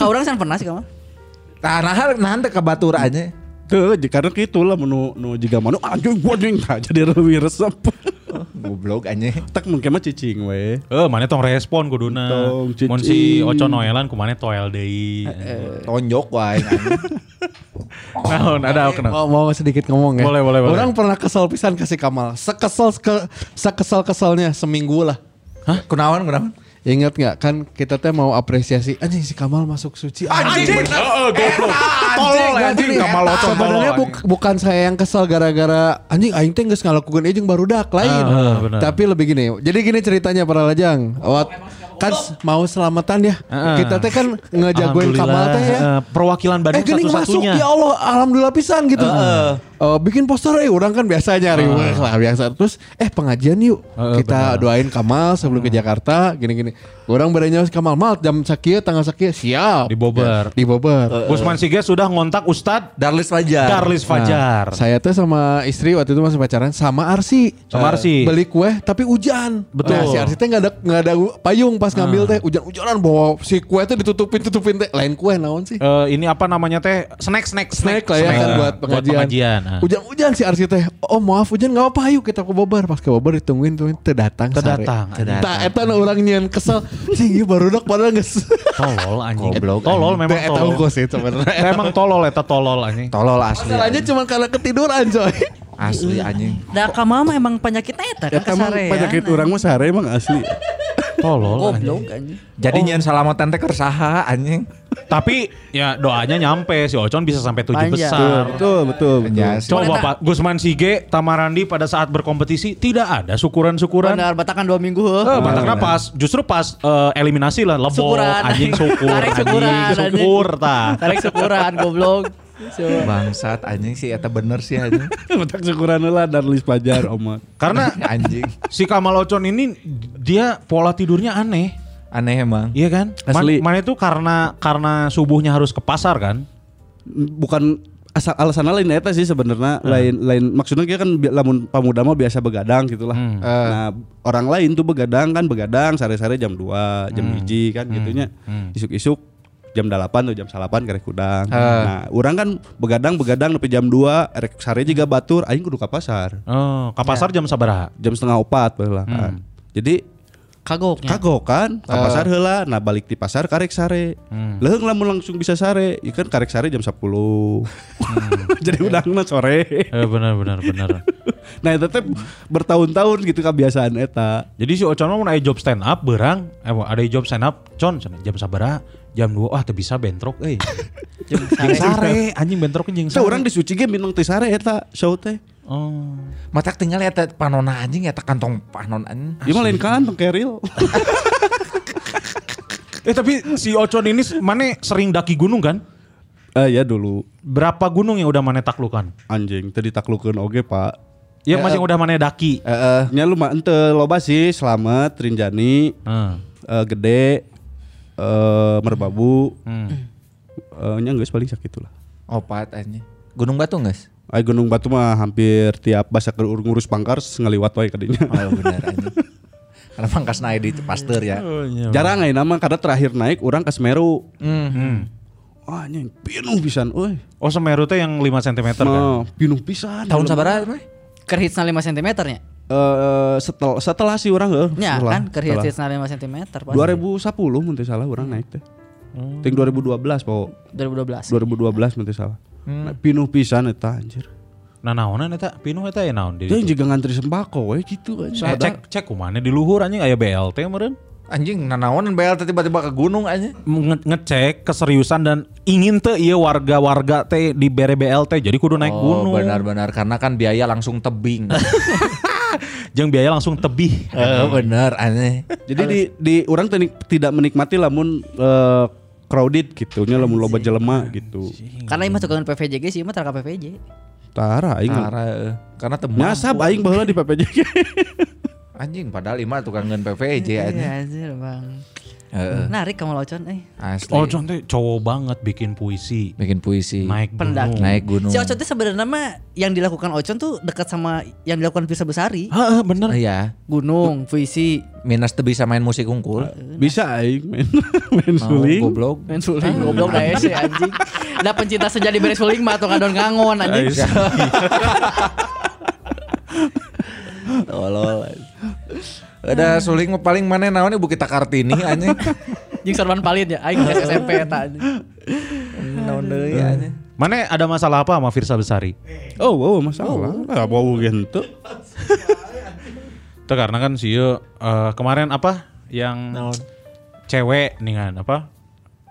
Speaker 4: Kau orang kan pernah sih kamu?
Speaker 2: Nah, nah nah teh ka batur anjing.
Speaker 5: Tuh, karena gitu lah menu nu jiga manu anjing wacing tah jadi leuwih resep.
Speaker 2: Goblok anjing.
Speaker 5: Tak mungkin mah cicing we.
Speaker 3: Eh, mana tong respon kuduna.
Speaker 5: Tong, cicing.
Speaker 3: Mun si Oco Noelan kumane toel deui.
Speaker 2: Tonjok wae anjing.
Speaker 7: Oh.
Speaker 3: Naon ada kenapa?
Speaker 6: Mau, mau sedikit ngomong ya.
Speaker 3: eh. Boleh, boleh, boleh.
Speaker 6: Orang pernah kesel pisan kasih Kamal. Sekesel ke, sekesel keselnya seminggu lah.
Speaker 2: Hah? Kunaon kunaon?
Speaker 7: Ingat nggak kan kita teh mau apresiasi anjing si Kamal masuk suci.
Speaker 3: Anjing. Heeh, goblok. Tolol anjing Kamal Ocon tolol.
Speaker 7: Sebenarnya
Speaker 3: anjing.
Speaker 7: buk- bukan saya yang kesal gara-gara anjing aing teh geus ngalakukeun ieu jeung barudak lain.
Speaker 3: Ah, benar.
Speaker 7: Tapi lebih gini. Jadi gini ceritanya para lajang. Wat- kan mau selamatan ya.
Speaker 3: Heeh.
Speaker 7: Kita teh kan ngejagoin
Speaker 3: Ah,
Speaker 7: Kamal
Speaker 3: Alhamdulillah,
Speaker 7: teh ya.
Speaker 3: eh, perwakilan Bandung
Speaker 7: Eh gening masuk
Speaker 3: satu-satunya. Ah,
Speaker 7: ya Allah alhamdulillah pisan gitu. Eh, bikin poster eh orang kan biasanya nyari wah, lah biasa terus eh pengajian yuk
Speaker 3: Heeh,
Speaker 7: kita doain Kamal sebelum
Speaker 3: Ah.
Speaker 7: ke Jakarta gini-gini. Orang beranya Kamal mal jam sakieu tanggal sakieu siap.
Speaker 3: Di Bogor.
Speaker 7: Di Bogor.
Speaker 3: Usman Ya. Sige sudah ngontak Ustadz
Speaker 2: Darlis Fajar.
Speaker 3: Darlis Fajar.
Speaker 7: Ya. Nah, Saya tuh sama istri waktu itu masih pacaran sama Arsi.
Speaker 3: Sama
Speaker 7: Eh,
Speaker 3: Arsi.
Speaker 7: Beli kue tapi hujan.
Speaker 3: Betul.
Speaker 7: Nah, si Arsi teh nggak ada nggak ada payung pas ngambil teh hujan-hujanan bawa si kue teh ditutupin tutupin teh lain kue naon sih?
Speaker 3: Eh, ini apa namanya teh? Snack, snack,
Speaker 7: snack lah ya kan buat pengajian.
Speaker 3: ah.
Speaker 7: Hujan-hujan si Arsi teh. Oh maaf hujan nggak apa yuk kita ke Bogor. Pas ke Bogor ditungguin tuh teu datang.
Speaker 3: Teu datang,
Speaker 7: sare. Tah eta na urang nyian kesel. Sih ieu barudak padahal geus.
Speaker 3: Tolol anjing.
Speaker 2: Goblok,
Speaker 3: Tolol
Speaker 7: Teh
Speaker 3: memang
Speaker 7: eta
Speaker 3: tolol.
Speaker 7: unggul sih sebenarnya.
Speaker 3: Teh Emang tolol eta tolol anjing.
Speaker 2: Tolol asli.
Speaker 7: Masalahnya cuma karena ketiduran coy.
Speaker 2: Asli anjing.
Speaker 4: Da Kamal mah emang penyakitnya eta
Speaker 3: Ya,
Speaker 4: kan
Speaker 5: Eta emang
Speaker 4: kesarean.
Speaker 5: penyakit orang mah sehari emang asli.
Speaker 3: Tolol anjing.
Speaker 4: Goblok anjing.
Speaker 2: Jadi nyen salamatan teh kersaha anjing.
Speaker 3: Tapi ya doanya nyampe si Ocon bisa sampai tujuh
Speaker 4: Panjang.
Speaker 3: besar.
Speaker 5: Betul, betul, betul.
Speaker 2: Ya,
Speaker 3: Coba Pak Gusman Sige, Tamarandi pada saat berkompetisi tidak ada syukuran-syukuran.
Speaker 4: Benar batakan 2 minggu heuh.
Speaker 3: Eh, Batakna pas justru pas eh, eliminasi lah lebok
Speaker 4: Syukuran.
Speaker 3: anjing syukur
Speaker 4: Tarik syukuran,
Speaker 3: anjing
Speaker 4: anjing.
Speaker 3: syukur tah.
Speaker 4: Tarik syukuran goblok. So,
Speaker 2: Bangsat anjing sih eta bener sih anjing.
Speaker 5: Betak syukuran lah Darlis Fajar omat.
Speaker 3: Karena
Speaker 2: anjing.
Speaker 3: si Kamal Ocon ini dia pola tidurnya aneh.
Speaker 2: Aneh emang.
Speaker 3: Iya kan? Man-
Speaker 5: Asli.
Speaker 3: Mana itu karena karena subuhnya harus ke pasar kan?
Speaker 5: bukan asal alasan lain eta sih sebenarnya lain lain maksudnya kita kan bi- lamun pamuda mah biasa begadang gitulah. Nah, orang lain tuh begadang kan begadang sare-sare jam 2, jam 1 kan gitunya. Isuk-isuk jam 8 tuh jam 8 karek kudang. Nah, orang kan begadang begadang sampai jam 2 erek sare juga batur aing kudu ka pasar.
Speaker 3: Oh, ke pasar jam sabaraha?
Speaker 5: Jam setengah opat baheula kan. Jadi
Speaker 4: kagoknya.
Speaker 5: kagok kan ke pasar heula nah balik di pasar karek sare leung lamun langsung bisa sare ieu kan karek sare jam 10 jadi udangna sore
Speaker 3: Eh benar benar benar.
Speaker 5: nah itu teh bertahun-tahun gitu kebiasaan eta
Speaker 3: Jadi si Ocon mah mun aya job stand up berang, eh mau ada job stand up, Con cenah jam sabaraha? Jam 2 ah teu bisa bentrok euy.
Speaker 4: Jeung
Speaker 3: Jeung
Speaker 4: sare.
Speaker 3: sare anjing bentrok jeung
Speaker 5: Teh
Speaker 3: sare.
Speaker 5: orang disuci ge minum teh sare eta show teh
Speaker 3: Oh.
Speaker 2: Matak tinggal eta panona anjing eta kantong panon anjing.
Speaker 5: dia mah lain kantong keril
Speaker 3: Eh tapi si Ocon ini mana sering daki gunung kan?
Speaker 5: ah ya dulu
Speaker 3: Berapa gunung yang udah mana taklukan?
Speaker 5: anjing teh ditaklukeun oge pak
Speaker 3: Ya masih
Speaker 2: eh.
Speaker 3: yang udah mana daki.
Speaker 5: Heeh. nya lumayan teu loba sih selamat rinjani
Speaker 2: Hmm.
Speaker 3: Heeh.
Speaker 5: eh, gede eh, merbabu Eh, nya geus paling sakitu lah
Speaker 2: Opat anjing. Gunung Batu guys.
Speaker 5: Ay Gunung Batu mah hampir tiap basa keur ngurus pangkar ngaliwat wae kadinya.
Speaker 2: Oh bener anjing. Karena pangkas naik di pasteur ya.
Speaker 5: Jarang aya nama karena terakhir naik orang ke Semeru.
Speaker 3: Hmm.
Speaker 5: Wah anjing pinuh pisan euy.
Speaker 3: Oh Semeru teh yang 5 cm kan?
Speaker 5: Mah pinuh pisan.
Speaker 2: Tahun sabaraha mah?
Speaker 4: Kerhitsna 5 cm nya.
Speaker 5: Eh, setel- setelah sih orang heuh.
Speaker 4: Ya
Speaker 5: setelah,
Speaker 4: kan
Speaker 5: setelah.
Speaker 4: kerhitsna 5 cm. pasti.
Speaker 5: 2010 mun teu salah orang naik teh. Ting 2012 po.
Speaker 4: 2012.
Speaker 5: 2012 mun teu salah. Nah, pinuh pisan eta anjir.
Speaker 3: Nah naonan eta pinuh eta ya naon di
Speaker 2: iya,
Speaker 5: Dia
Speaker 3: ditu?
Speaker 5: juga ngantri sembako we gitu anjing.
Speaker 3: Eh, cek cek kumane di luhur anjing aya BLT meureun.
Speaker 2: Anjing nanaonan bayar tiba-tiba ke gunung anjing.
Speaker 3: Nge- ngecek keseriusan dan ingin teh ieu warga-warga teh di bere BLT jadi kudu naik
Speaker 2: Oh
Speaker 3: gunung. Eh,
Speaker 2: benar-benar karena kan biaya langsung tebing.
Speaker 3: Jeung biaya langsung tebih.
Speaker 2: Eh bener aneh.
Speaker 5: Jadi di, di orang teni- tidak menikmati lamun eh, crowded gitu nya lamun loba jelema gitu.
Speaker 4: Karena ieu mah tukang PVJ ge sih, ieu Iya, mah tara
Speaker 2: Iya.
Speaker 4: PVJ.
Speaker 5: Tara aing. mah.
Speaker 2: Karena eh, karena teman
Speaker 5: Nyasab aing baheula di PPJG.
Speaker 2: anjing padahal lima tukang ngeun PVJ anjing.
Speaker 4: Iya anjir, Bang.
Speaker 2: Heeh.
Speaker 4: Narik kamu locon eh.
Speaker 2: Asli.
Speaker 3: Oh John teh cowok banget bikin puisi.
Speaker 2: bikin puisi.
Speaker 3: Naik
Speaker 4: Pendaki.
Speaker 3: gunung.
Speaker 2: Naik Eh, gunung.
Speaker 4: Si Ocon tuh sebenarnya mah yang dilakukan Ocon tuh dekat sama yang dilakukan Firsa Besari.
Speaker 3: Heeh, bener.
Speaker 2: Oh, Iya.
Speaker 4: Gunung, puisi,
Speaker 2: Minas tuh bisa main musik unggul.
Speaker 5: Bisa aing main main
Speaker 2: Mau
Speaker 5: suling.
Speaker 2: goblok.
Speaker 4: main suling Ah, goblok dah sih anjing. Ada pencinta sejati beres suling mah atau ngadon ngangon anjing.
Speaker 2: Tolol. Ada suling mah paling mana naonnya Bukit Kartini anjing.
Speaker 4: Jeung sorban palit ya aing geus SMP eta anjing.
Speaker 2: Naon deui anjing.
Speaker 3: Mana ada masalah apa sama Firsa Besari?
Speaker 5: Oh, wow, masalah. Ah, Lah bau gitu.
Speaker 3: Itu karena kan si Yo, eh, kemarin apa yang cewek nih kan apa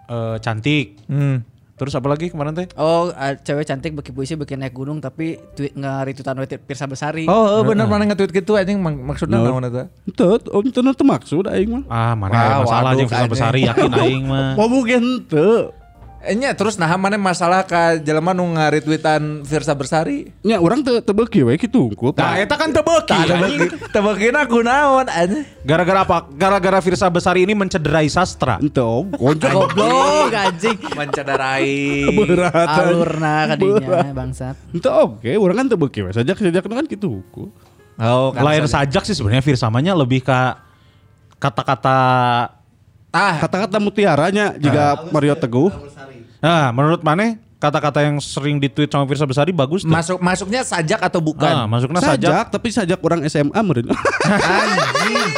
Speaker 3: eh, cantik.
Speaker 2: Hmm.
Speaker 3: Terus apalagi kemarin teh?
Speaker 4: Oh, eh, cewek cantik bikin puisi bikin naik gunung tapi tweet nge-retweetan tweet Pirsa Besari.
Speaker 2: Oh, oh bener mana nge-tweet gitu anjing mak- maksudnya
Speaker 5: No.
Speaker 2: naon eta?
Speaker 5: Itu, om itu nanti maksud aing mah.
Speaker 3: Ah, mana
Speaker 2: Wah,
Speaker 3: ada masalah
Speaker 2: waduh,
Speaker 3: jeung Firsa
Speaker 2: kayaknya.
Speaker 3: Besari yakin aing mah.
Speaker 5: Mau mungkin tuh.
Speaker 2: Enya terus nah mana masalah ka jelema nu ngaretweetan Virsa Bersari?
Speaker 5: Ya orang tuh tebeki we gitu unggul.
Speaker 3: Nah, eta kan tebeki.
Speaker 2: Tak ada
Speaker 3: anjing.
Speaker 2: bagi- tebakina kunaon anjing.
Speaker 3: Gara-gara apa? Gara-gara Firsa Besari ini mencederai sastra.
Speaker 5: Ente om, gonjok.
Speaker 4: Goblok anjing.
Speaker 2: Mencederai.
Speaker 5: Berat.
Speaker 4: Alurna nah, kadinya bangsat.
Speaker 5: Ente om, oke, orang kan tebeki we. Sajak sajak kan gitu hukum.
Speaker 2: Oh, kan
Speaker 3: Lain sajak sih sebenarnya Firsa mah nya lebih ke kata-kata
Speaker 2: Tah,
Speaker 5: Kata-kata mutiaranya jika Mario Teguh.
Speaker 3: Nah, menurut mana kata-kata yang sering ditweet sama Firsa Besari bagus tuh.
Speaker 2: masuk masuknya sajak atau
Speaker 3: Ah,
Speaker 2: bukan?
Speaker 3: masuknya sajak.
Speaker 5: Sajak, tapi sajak orang SMA meureun.
Speaker 2: Anjing.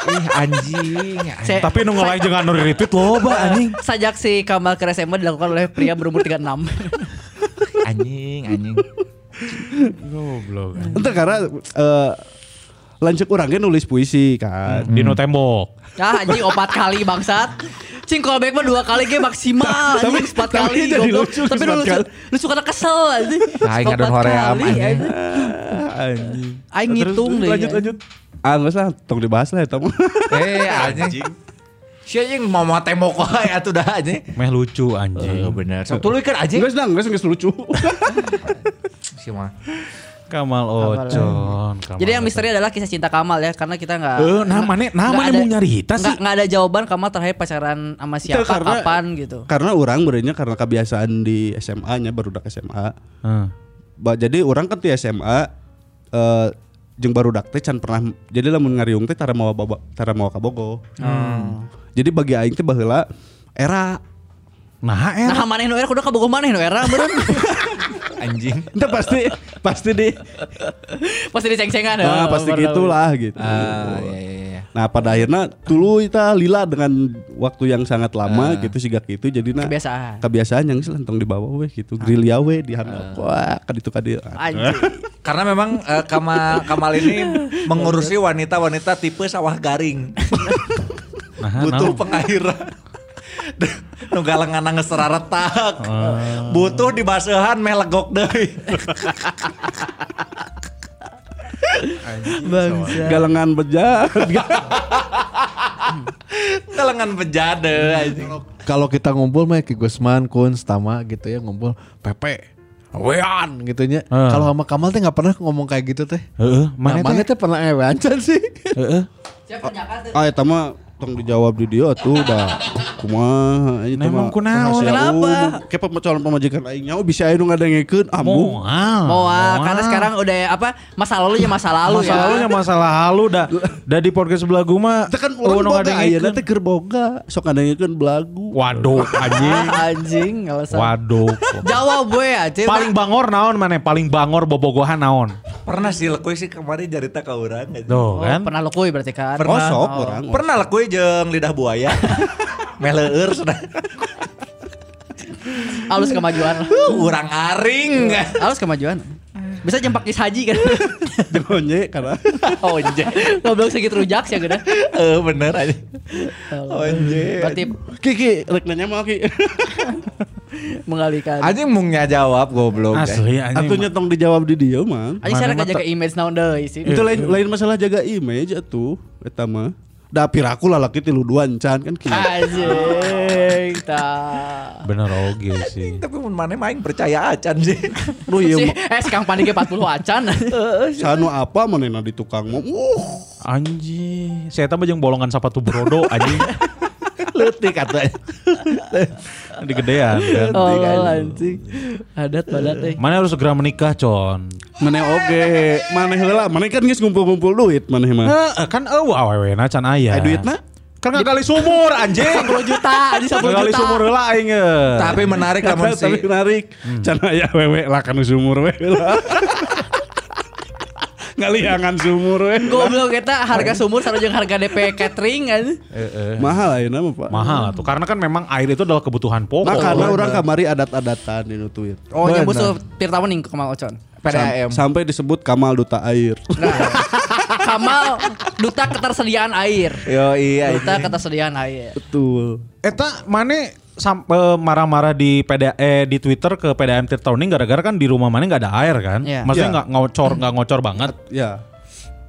Speaker 2: Ih, anjing. anjing.
Speaker 4: Se-
Speaker 3: Tapi nu ngelain jeung anu retweet loba anjing.
Speaker 4: Sajak si Kamal ke SMA dilakukan oleh pria berumur 36.
Speaker 2: Anjing, anjing.
Speaker 3: Goblok.
Speaker 4: Hmm.
Speaker 5: Ente karena eh, lanjut orangnya nulis puisi kan.
Speaker 4: Hmm.
Speaker 3: Dino tembok.
Speaker 4: Ah anjing opat kali bangsat. Cing callback mah dua kali ge maksimal.
Speaker 5: Tapi-
Speaker 4: Anjing empat
Speaker 5: tapi
Speaker 4: kali.
Speaker 5: jadi
Speaker 4: goblok.
Speaker 5: lucu
Speaker 4: Tapi lu
Speaker 5: sepat
Speaker 4: lucu,
Speaker 5: kali.
Speaker 4: lucu karena kesel anjing.
Speaker 2: Aing
Speaker 4: Sepat
Speaker 2: ngadon hoream,
Speaker 4: kali,
Speaker 2: anjing.
Speaker 4: anjing.
Speaker 5: Ah,
Speaker 4: Aing ngitung deh. ya.
Speaker 5: Lanjut lanjut. Ah, nggak usah, tong dibahas lah ya, tong.
Speaker 2: Eh, anjing. Si anjing mau mau tembok wae atuh dah anjing.
Speaker 3: Meh lucu anjing.
Speaker 2: benar. Sok tuluykeun anjing.
Speaker 5: Enggak, enggak, enggak lucu.
Speaker 2: Si mah.
Speaker 3: Kamal Ocon. Kamal
Speaker 4: Jadi yang
Speaker 3: Ocon.
Speaker 4: misteri adalah kisah cinta Kamal ya karena kita nggak.
Speaker 3: Eh, nah mana nah
Speaker 4: nggak
Speaker 3: mana
Speaker 4: ada-
Speaker 3: mau nyarita sih?
Speaker 4: nggak nggak ada jawaban Kamal terakhir pacaran sama siapa
Speaker 5: Itu Iya, karena-
Speaker 4: kapan gitu.
Speaker 5: karena orang berinya karena kebiasaan di SMA-nya barudak SMA.
Speaker 3: Heeh.
Speaker 5: Ba- jadi orang kan di SMA eh jeung barudak teh can pernah jadi lamun ngariung teh tara mawa baba- tara mawa ka Bogo.
Speaker 4: Hmm.
Speaker 5: Jadi bagi aing teh baheula era
Speaker 3: Nah, eh.
Speaker 4: Nah mana nu era kudu kabogoh mana nu era beureun.
Speaker 2: Anjing.
Speaker 5: Itu pasti pasti di
Speaker 4: Pasti ya. diceng-cengan.
Speaker 5: nah, pasti gitulah gitu.
Speaker 2: Ah, iya iya iya.
Speaker 5: Nah pada akhirnya dulu kita lila dengan waktu yang sangat lama gitu sigak itu jadi nah
Speaker 4: Kebiasaan.
Speaker 5: kebiasaan yang selentong di bawah weh gitu grilia weh di handap wah kan kaditu kaditu
Speaker 4: Anjing.
Speaker 2: Karena memang eh, Kamal Kamal ini mengurusi wanita-wanita tipe sawah garing.
Speaker 3: Nah,
Speaker 2: Butuh
Speaker 3: nah.
Speaker 2: pengairan. nu galengan ngeseraretak. Butuh dibaseuhan meh legok deui.
Speaker 5: gitu. galengan bejat
Speaker 2: Galengan bejade anjing.
Speaker 7: Kalau kita ngumpul mah Ki Gusman, Kun, Stama gitu ya ngumpul Pepe. Wean gitu nya.
Speaker 3: Ah.
Speaker 7: Kalau sama Kamal teh nggak pernah ngomong kayak gitu teh.
Speaker 3: Heeh,
Speaker 7: Mana,
Speaker 3: mana
Speaker 7: mana
Speaker 3: teh?
Speaker 7: teh pernah ewancan sih.
Speaker 3: Heeh.
Speaker 4: Siapa penjaga tuh?
Speaker 5: ah eta mah tong dijawab di dia tuh dah kumaha eta
Speaker 3: Nah, emang
Speaker 5: mah
Speaker 3: kunaon,
Speaker 5: rahasia
Speaker 4: kenapa?
Speaker 5: umum. kayak pem- calon pemajikan aing nyawa bisa aing ngadengekeun ah, ambu
Speaker 3: Moal.
Speaker 4: Moal,
Speaker 3: Moal.
Speaker 4: ah, karena sekarang udah ya apa masa lalunya masa lalu
Speaker 3: ah. masa
Speaker 4: ya.
Speaker 3: lalunya masalah halu dah. Dah di podcast sebelah gua mah.
Speaker 5: Teu kan
Speaker 3: oh,
Speaker 5: urang
Speaker 3: nu
Speaker 5: boga ayeuna
Speaker 3: ngadengekeun.
Speaker 5: teh keur boga sok ngadengekeun belagu
Speaker 3: Waduh anjing.
Speaker 4: Ah, anjing, alasan.
Speaker 3: Waduh.
Speaker 4: Jawab gue anjing.
Speaker 3: paling bangor naon mana? Paling bangor bobogohan naon?
Speaker 2: Pernah sih lekui sih kemarin cerita ke orang. anjing.
Speaker 4: Oh,
Speaker 3: Tuh kan.
Speaker 4: pernah lo kuy berarti kan.
Speaker 5: oh sok orang
Speaker 2: Pernah lekui jeung lidah buaya. Meleur sudah.
Speaker 4: Halus kemajuan.
Speaker 2: Urang aring.
Speaker 4: Halus kemajuan. Bisa jempak kis haji kan.
Speaker 5: Jonye karena
Speaker 4: oh anjing. Goblok segitu rujak sih ya, gede.
Speaker 2: Eh bener aja.
Speaker 3: Oh,
Speaker 2: Anjing.
Speaker 4: Berarti
Speaker 5: Kiki rek nanya mah Ki
Speaker 4: mengalihkan.
Speaker 2: Anjing mungnya jawab goblok.
Speaker 3: Asli anjing.
Speaker 5: atunya tong dijawab di dia mah
Speaker 4: Anjing
Speaker 3: Mana
Speaker 4: sekarang
Speaker 3: mata-
Speaker 4: aja ke image naon deui sih.
Speaker 5: Itu lain lain masalah jaga image atuh eta mah. Da piraku lalaki tilu duan can kan kieu.
Speaker 3: Ah,
Speaker 4: Anjing. Tah.
Speaker 3: Bener oge sih.
Speaker 2: Tapi mun mana main percaya acan sih.
Speaker 5: Lu
Speaker 4: Si,
Speaker 5: ieu mah
Speaker 4: eh sekarang panik ge 40 acan.
Speaker 5: iya, Eh, sanu apa manehna di tukang mah. Uh,
Speaker 3: Anjing. Saya tambah jeung bolongan sepatu brodo anjing.
Speaker 2: Leutik katanya.
Speaker 3: Digedean kan.
Speaker 4: Oh anjing. Adat badat teh.
Speaker 3: Mana harus segera menikah, Con.
Speaker 5: maneh oge, maneh heula, maneh kan geus ngumpul-ngumpul duit maneh Eh, mah.
Speaker 3: Heeh, kan eueuh awewena can aya.
Speaker 5: Aya duitna?
Speaker 3: Kan kali sumur anjing.
Speaker 4: 10 juta, anjing 10 juta.
Speaker 3: Kali sumur heula aing. eh.
Speaker 2: Tapi menarik lamun
Speaker 5: Tapi
Speaker 2: si
Speaker 5: menarik.
Speaker 3: Hmm.
Speaker 5: Can aya wewe lah kan sumur we heula. Ngaliangan sumur we.
Speaker 4: Goblok kita harga sumur sama jeung harga DP catering kan.
Speaker 5: Mahal ayeuna mah, Pak.
Speaker 3: Eh. Mahal Oh, tuh. Karena kan memang air itu adalah kebutuhan pokok.
Speaker 5: Nah, karena orang kamari adat-adatan di nu duit.
Speaker 4: iya, Oh, yang busuh Tirta Wening ke Kamal Ocon.
Speaker 2: PDAM.
Speaker 5: Sam- sampai disebut Kamal duta air.
Speaker 4: Nah, Kamal duta ketersediaan air.
Speaker 2: Yo iya.
Speaker 4: Duta ketersediaan air.
Speaker 5: Betul.
Speaker 3: Eta mana sampai eh, marah-marah di PDA eh, di Twitter ke PDAM Tirtoni gara-gara kan di rumah mana nggak ada air kan?
Speaker 4: Iya.
Speaker 3: Maksudnya
Speaker 5: Iya.
Speaker 3: nggak ngocor nggak ngocor banget.
Speaker 5: Ya.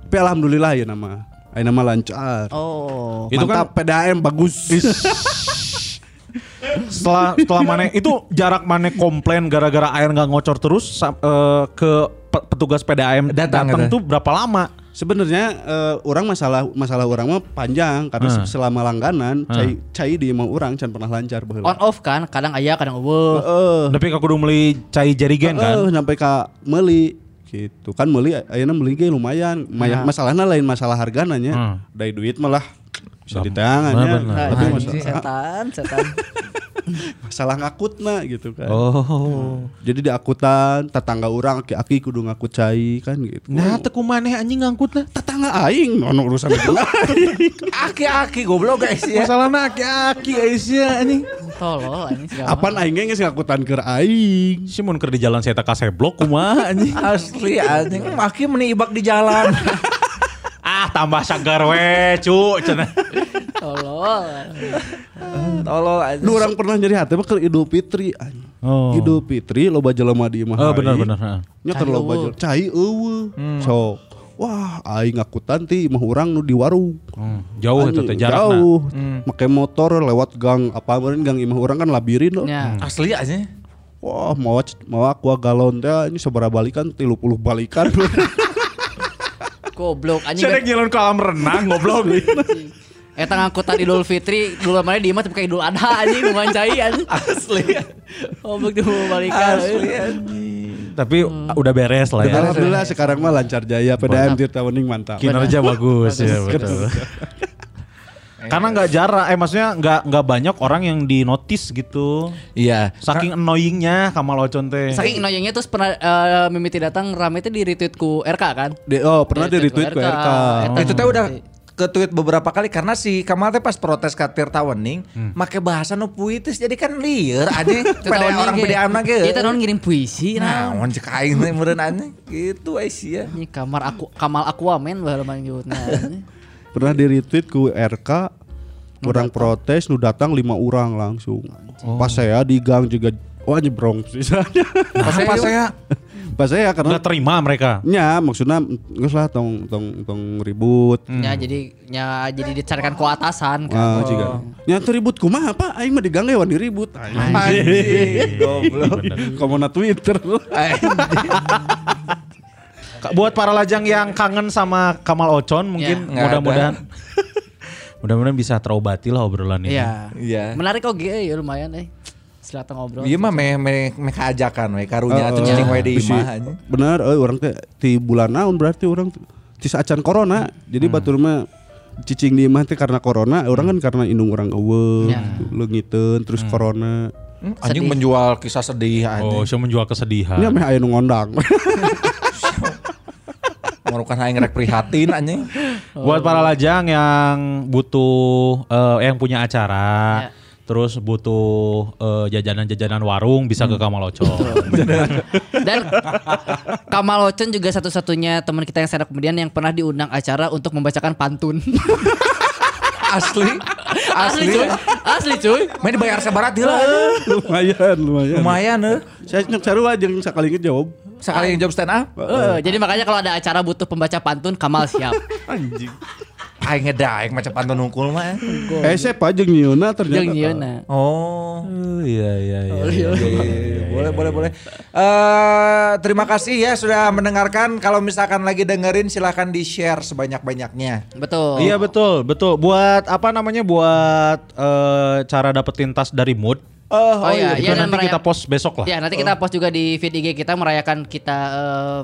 Speaker 5: Tapi alhamdulillah ya nama. Ayo nama lancar.
Speaker 4: Oh.
Speaker 3: Itu kan-
Speaker 5: Mantap PDAM bagus.
Speaker 3: Setelah setelah mana itu jarak mana komplain gara-gara air nggak ngocor terus sa- eh, ke pe- petugas PDAM
Speaker 2: Datang,
Speaker 3: datang,
Speaker 2: gitu.
Speaker 3: tuh berapa lama?
Speaker 5: Sebenarnya eh, orang masalah masalah orang mah panjang karena
Speaker 3: Hmm.
Speaker 5: selama langganan
Speaker 3: Hmm. Oh,
Speaker 5: cai cai di emang orang can pernah lancar baheula.
Speaker 4: On off kan, kadang ayah, kadang eueuh.
Speaker 5: Heeh.
Speaker 3: Tapi aku udah beli cai jarigen
Speaker 5: Heeh,
Speaker 3: kan?
Speaker 5: Eh, sampai ke meuli gitu kan meuli ayeuna meuli ge lumayan. Maya- Masalahnya lain masalah hargana nya.
Speaker 3: Hmm.
Speaker 5: Dari duit malah bisa
Speaker 3: Bener,
Speaker 5: ditahan ya.
Speaker 3: bener.
Speaker 4: Nah,
Speaker 5: Tapi
Speaker 4: anjing,
Speaker 5: masalah,
Speaker 4: setan, setan.
Speaker 5: masalah ngakutna gitu kan.
Speaker 3: Oh.
Speaker 5: Jadi di akutan tetangga orang aki-aki kudu ngaku cai kan gitu.
Speaker 3: Nah, teku maneh anjing ngangkutnya.
Speaker 5: tetangga aing ono urusan jeung aing.
Speaker 2: Aki-aki goblok guys ya.
Speaker 3: Masalahnya aki-aki Aisyah anjing.
Speaker 4: Tolol anjing segala.
Speaker 5: Apaan aingnya geus ngakutan keur aing.
Speaker 3: Si mun keur di jalan saya tak seblok kumaha anjing.
Speaker 2: Asli anjing. Hmm, Aki meni ibak di jalan.
Speaker 3: ah, tambah segar we, cu. cenah.
Speaker 4: Tolol.
Speaker 2: Tolol anjing.
Speaker 5: Lu orang pernah nyari hati mah keur Idul Fitri anjing.
Speaker 3: Oh.
Speaker 5: Idul Fitri loba jelema di imah.
Speaker 3: Oh, benar,
Speaker 5: aing.
Speaker 3: benar, heeh. Hmm.
Speaker 5: Nya keur
Speaker 4: Cai
Speaker 5: loba
Speaker 4: eueuh.
Speaker 5: jelema cai eueuh. Sok. Wah, aing ngakutan ti imah urang nu di warung.
Speaker 3: Hmm, jauh itu teh
Speaker 5: Anjing,
Speaker 3: jarakna. Hmm.
Speaker 5: Jauh. Make motor lewat gang apa meureun gang imah urang kan labirin loh.
Speaker 4: Ya.
Speaker 2: Asli anjing.
Speaker 5: Wah, mau mau aku galon teh ini sabaraha balikan 30 balikan.
Speaker 4: Goblok anjing.
Speaker 3: Cerek nyelon kolam renang goblok.
Speaker 4: Eta ngangkutan Idul Fitri, dulu mana di imah tapi kayak Idul Adha anjing numancai anjing. Asli. Goblok di balikan.
Speaker 3: Tapi udah beres lah ya.
Speaker 5: Alhamdulillah sekarang mah lancar jaya PDAM Tirta Wening mantap.
Speaker 3: Kinerja bagus ya betul. Karena nggak jarang, eh maksudnya nggak nggak banyak orang yang di notice gitu.
Speaker 2: Iya.
Speaker 3: Saking annoyingnya Kamal Ocon teh.
Speaker 2: Eh.
Speaker 4: Saking noyongnya terus pernah eh, Mimiti datang rame itu di retweetku RK kan?
Speaker 5: Di- oh pernah di
Speaker 4: Retweet
Speaker 5: retweet
Speaker 4: ke
Speaker 5: ke
Speaker 4: RK.
Speaker 5: RK.
Speaker 4: Oh.
Speaker 2: Itu teh udah ke tweet beberapa kali karena si Kamal teh pas protes ke Tirta Wening make bahasa nu puitis jadi kan liar anjing Hmm. pada Iya, orang gitu. PDAM na ge.
Speaker 4: Kita non Iya, ngirim puisi nah.
Speaker 2: Naon cek aing teh meureun anjing. Gitu Aisyah.
Speaker 4: Ini kamar aku Kamal Aquaman baheula mah nyebutna.
Speaker 5: Pernah di retweet ke RK. Orang protes nu datang lima orang langsung. Pas saya di gang juga wah nyebrong sisanya.
Speaker 2: Pas saya
Speaker 5: Pas saya karena
Speaker 3: nggak terima mereka.
Speaker 5: nya maksudnya nggak salah tong tong tong ribut.
Speaker 2: Hmm.
Speaker 4: Ya jadi ya jadi dicarikan ke atasan kan.
Speaker 5: Ah, jika. Nya teu ribut kumaha apa? Aing mah di gang hewan diribut.
Speaker 2: anjing goblok.
Speaker 5: Kamu na Twitter.
Speaker 3: Ka- Buat para lajang yang kangen sama Kamal Ocon mungkin
Speaker 2: nggak ada.
Speaker 3: mudah-mudahan Iya. mudah-mudahan bisa terobati lah obrolan ini.
Speaker 4: Iya.
Speaker 2: Iya.
Speaker 4: Menarik oke ya lumayan eh. Silahkan ngobrol.
Speaker 2: Iya mah meh meh meh kaajakan we karunya
Speaker 5: Heeh.
Speaker 2: tuh cicing we di
Speaker 5: Bisi.
Speaker 2: imah anjing.
Speaker 5: Bener, eh, orang teh di bulan naon berarti orang teh- tis acan corona. Jadi batur mah cicing di imah teh karena corona, orang kan karena indung orang eueuh,
Speaker 4: Ya.
Speaker 5: gitu, leungiteun terus corona.
Speaker 2: Hmm, Anjing menjual kisah sedih
Speaker 3: Oh,
Speaker 2: anjing.
Speaker 3: saya menjual kesedihan.
Speaker 5: Nya meh ya, aya nu ngondang.
Speaker 2: Ngurukan aing rek prihatin anjing.
Speaker 3: Buat para lajang yang butuh eh, yang punya
Speaker 4: Ya.
Speaker 3: acara, terus butuh eh, jajanan-jajanan warung bisa ke Kamal Ocon.
Speaker 4: Dan Kamal Ocen juga satu-satunya teman kita yang stand up kemudian yang pernah diundang acara untuk membacakan pantun.
Speaker 2: Asli.
Speaker 4: Asli
Speaker 2: Asli.
Speaker 4: cuy. Asli cuy.
Speaker 2: Main dibayar sebarat heula anjing.
Speaker 5: lumayan, lumayan.
Speaker 2: Lumayan eh.
Speaker 5: Saya nyok sarua jeung sakali ngejawab.
Speaker 2: Sekali yang job stand up
Speaker 4: Eh, jadi makanya kalau ada acara butuh pembaca pantun Kamal siap.
Speaker 5: Anjing.
Speaker 2: aing ngedaek macam pantun hungkul mah.
Speaker 5: Eh, sepa jeung nyieuna ternyata.
Speaker 4: Jeung
Speaker 2: eh.
Speaker 4: nyieuna.
Speaker 2: Oh.
Speaker 3: Iya iya iya.
Speaker 2: boleh boleh boleh. Eh terima kasih ya sudah mendengarkan. Kalau misalkan lagi dengerin silahkan di share sebanyak banyaknya.
Speaker 4: Betul.
Speaker 3: Iya betul betul. Buat apa namanya buat eh, cara dapetin tas dari mood.
Speaker 4: Oh, iya, iya,
Speaker 3: itu
Speaker 4: dan
Speaker 3: nanti
Speaker 4: merayap-
Speaker 3: kita post besok lah. Oh.
Speaker 4: Ya nanti kita post juga di feed IG kita merayakan kita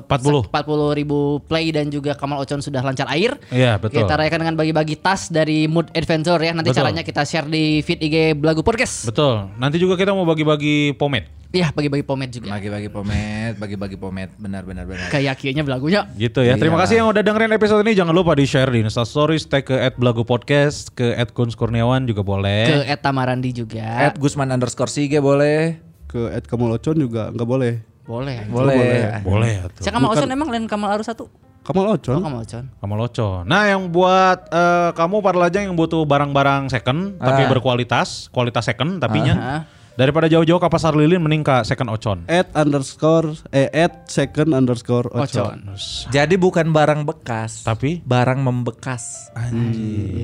Speaker 4: eh, 40
Speaker 3: 40.
Speaker 4: ribu play dan juga Kamal Ocon sudah lancar air.
Speaker 3: Iya, betul.
Speaker 4: Kita rayakan dengan bagi-bagi tas dari Mood Adventure ya. Nanti
Speaker 3: Betul.
Speaker 4: caranya kita share di feed IG Belagu Podcast.
Speaker 3: Betul. Nanti juga kita mau bagi-bagi pomade
Speaker 4: Iya bagi-bagi pomet juga.
Speaker 2: Bagi-bagi pomet, bagi-bagi pomet, benar benar benar.
Speaker 4: Kayak kianya belagunya.
Speaker 3: gitu ya. Terima
Speaker 2: Iya.
Speaker 3: kasih yang udah dengerin episode ini. Jangan lupa di-share di Insta Stories, tag ke @blagopodcast, ke @kunskurniawan juga
Speaker 4: Ke
Speaker 3: boleh.
Speaker 4: Eta Marandi juga.
Speaker 3: Eh.
Speaker 2: At Gusman underscore Sige boleh.
Speaker 5: Ke Ed Kamal Ocon juga enggak boleh.
Speaker 4: Boleh.
Speaker 2: Boleh.
Speaker 3: Boleh ya tuh.
Speaker 4: Saya Kamal Ocon emang lain Kamal Arus satu.
Speaker 5: Kamu
Speaker 4: Oh,
Speaker 5: locon.
Speaker 4: Kamal Ocon.
Speaker 3: Kamu loco. Nah yang buat eh, kamu para lajang yang butuh barang-barang second tapi
Speaker 2: Ah.
Speaker 3: berkualitas, kualitas second tapinya.
Speaker 4: Ah.
Speaker 3: Daripada jauh-jauh ke pasar lilin mending ke second ocon.
Speaker 5: at underscore eh at second underscore
Speaker 4: Ocon.
Speaker 5: ocon.
Speaker 2: Jadi bukan barang bekas,
Speaker 3: Tapi?
Speaker 2: barang membekas.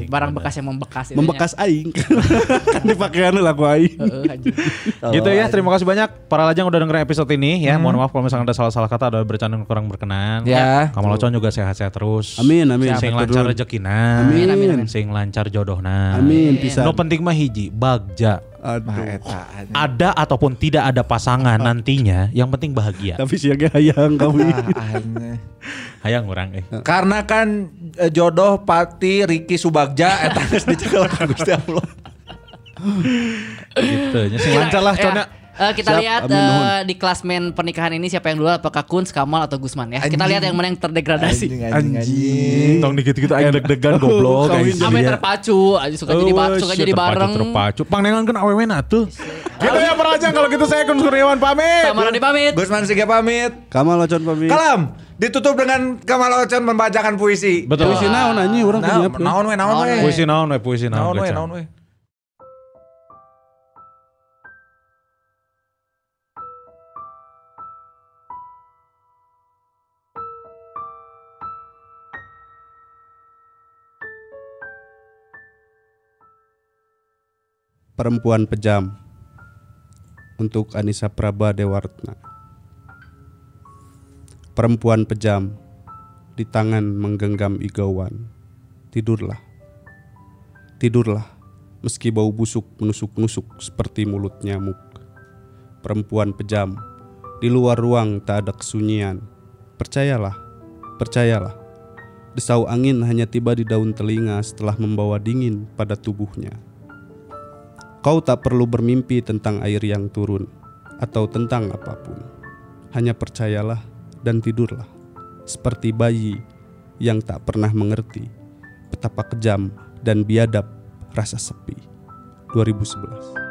Speaker 4: Barang bekas yang membekas itunya.
Speaker 5: Membekas aing. kan dipakai anu lagu aing.
Speaker 4: Heeh, anjing.
Speaker 5: Oh.
Speaker 3: gitu ya, terima kasih banyak para lajang udah dengerin episode ini ya.
Speaker 5: Hmm.
Speaker 3: Mohon maaf kalau misalnya ada salah-salah kata ada bercanda yang kurang berkenan.
Speaker 2: Ya.
Speaker 3: Kamu locon juga sehat-sehat terus.
Speaker 5: Amin, amin.
Speaker 3: Sing
Speaker 5: Sehat
Speaker 3: lancar
Speaker 5: terus.
Speaker 3: rezekina.
Speaker 5: Amin, amin,
Speaker 4: amin.
Speaker 3: Sing lancar jodohna.
Speaker 5: Amin
Speaker 3: Iya,
Speaker 5: pisan.
Speaker 3: No penting mah hiji, bagja.
Speaker 5: Aduh.
Speaker 3: Ada ataupun tidak ada pasangan nantinya, yang penting bahagia.
Speaker 5: Tapi siaga hayang kamu.
Speaker 3: Hayang orang eh.
Speaker 2: Karena kan eh, jodoh Pati Riki Subagja eta geus dicekel ku Gusti Allah.
Speaker 3: gitu. nya Sing lancar lah
Speaker 4: Ya,
Speaker 3: connya.
Speaker 4: eh, kita
Speaker 5: Siap,
Speaker 4: lihat
Speaker 5: amin,
Speaker 4: eh,
Speaker 5: nuhun.
Speaker 4: di klasmen pernikahan ini siapa yang dulu apakah Kunz, Kamal atau Gusman ya. Kita
Speaker 2: Anjing.
Speaker 4: lihat yang mana yang terdegradasi.
Speaker 2: anjing. anjing.
Speaker 3: Tong dikit-dikit aing deg-degan goblok
Speaker 5: Kawin
Speaker 4: Sama yang terpacu, aja suka jadi bareng, suka jadi bareng.
Speaker 3: Iya. Terpacu. Pangnengan kan awewe na tuh. Gitu ya para lajang kalau gitu saya Kun Kurniawan pamit.
Speaker 4: Sama Rani pamit.
Speaker 2: Gusman Siga pamit.
Speaker 5: Kamal ocon pamit.
Speaker 2: Kalam ditutup dengan Kamal Ocon membacakan puisi.
Speaker 3: Betul.
Speaker 5: Puisi naon anjing urang punya
Speaker 2: Naon
Speaker 5: apa?
Speaker 2: naon we naon we.
Speaker 3: Puisi naon we puisi naon.
Speaker 2: Naon we
Speaker 3: Gacan.
Speaker 2: naon we.
Speaker 5: Perempuan pejam. Untuk Anissa Praba Dewartna. Perempuan pejam di tangan menggenggam igawan. Tidurlah. Tidurlah meski bau busuk menusuk-nusuk seperti mulut nyamuk. Perempuan pejam di luar ruang tak ada kesunyian. Percayalah, percayalah. Desau angin hanya tiba di daun telinga setelah membawa dingin pada tubuhnya. Kau tak perlu bermimpi tentang air yang turun atau tentang apapun. Hanya percayalah dan tidurlah. Seperti bayi yang tak pernah mengerti betapa kejam dan biadab rasa sepi. 2011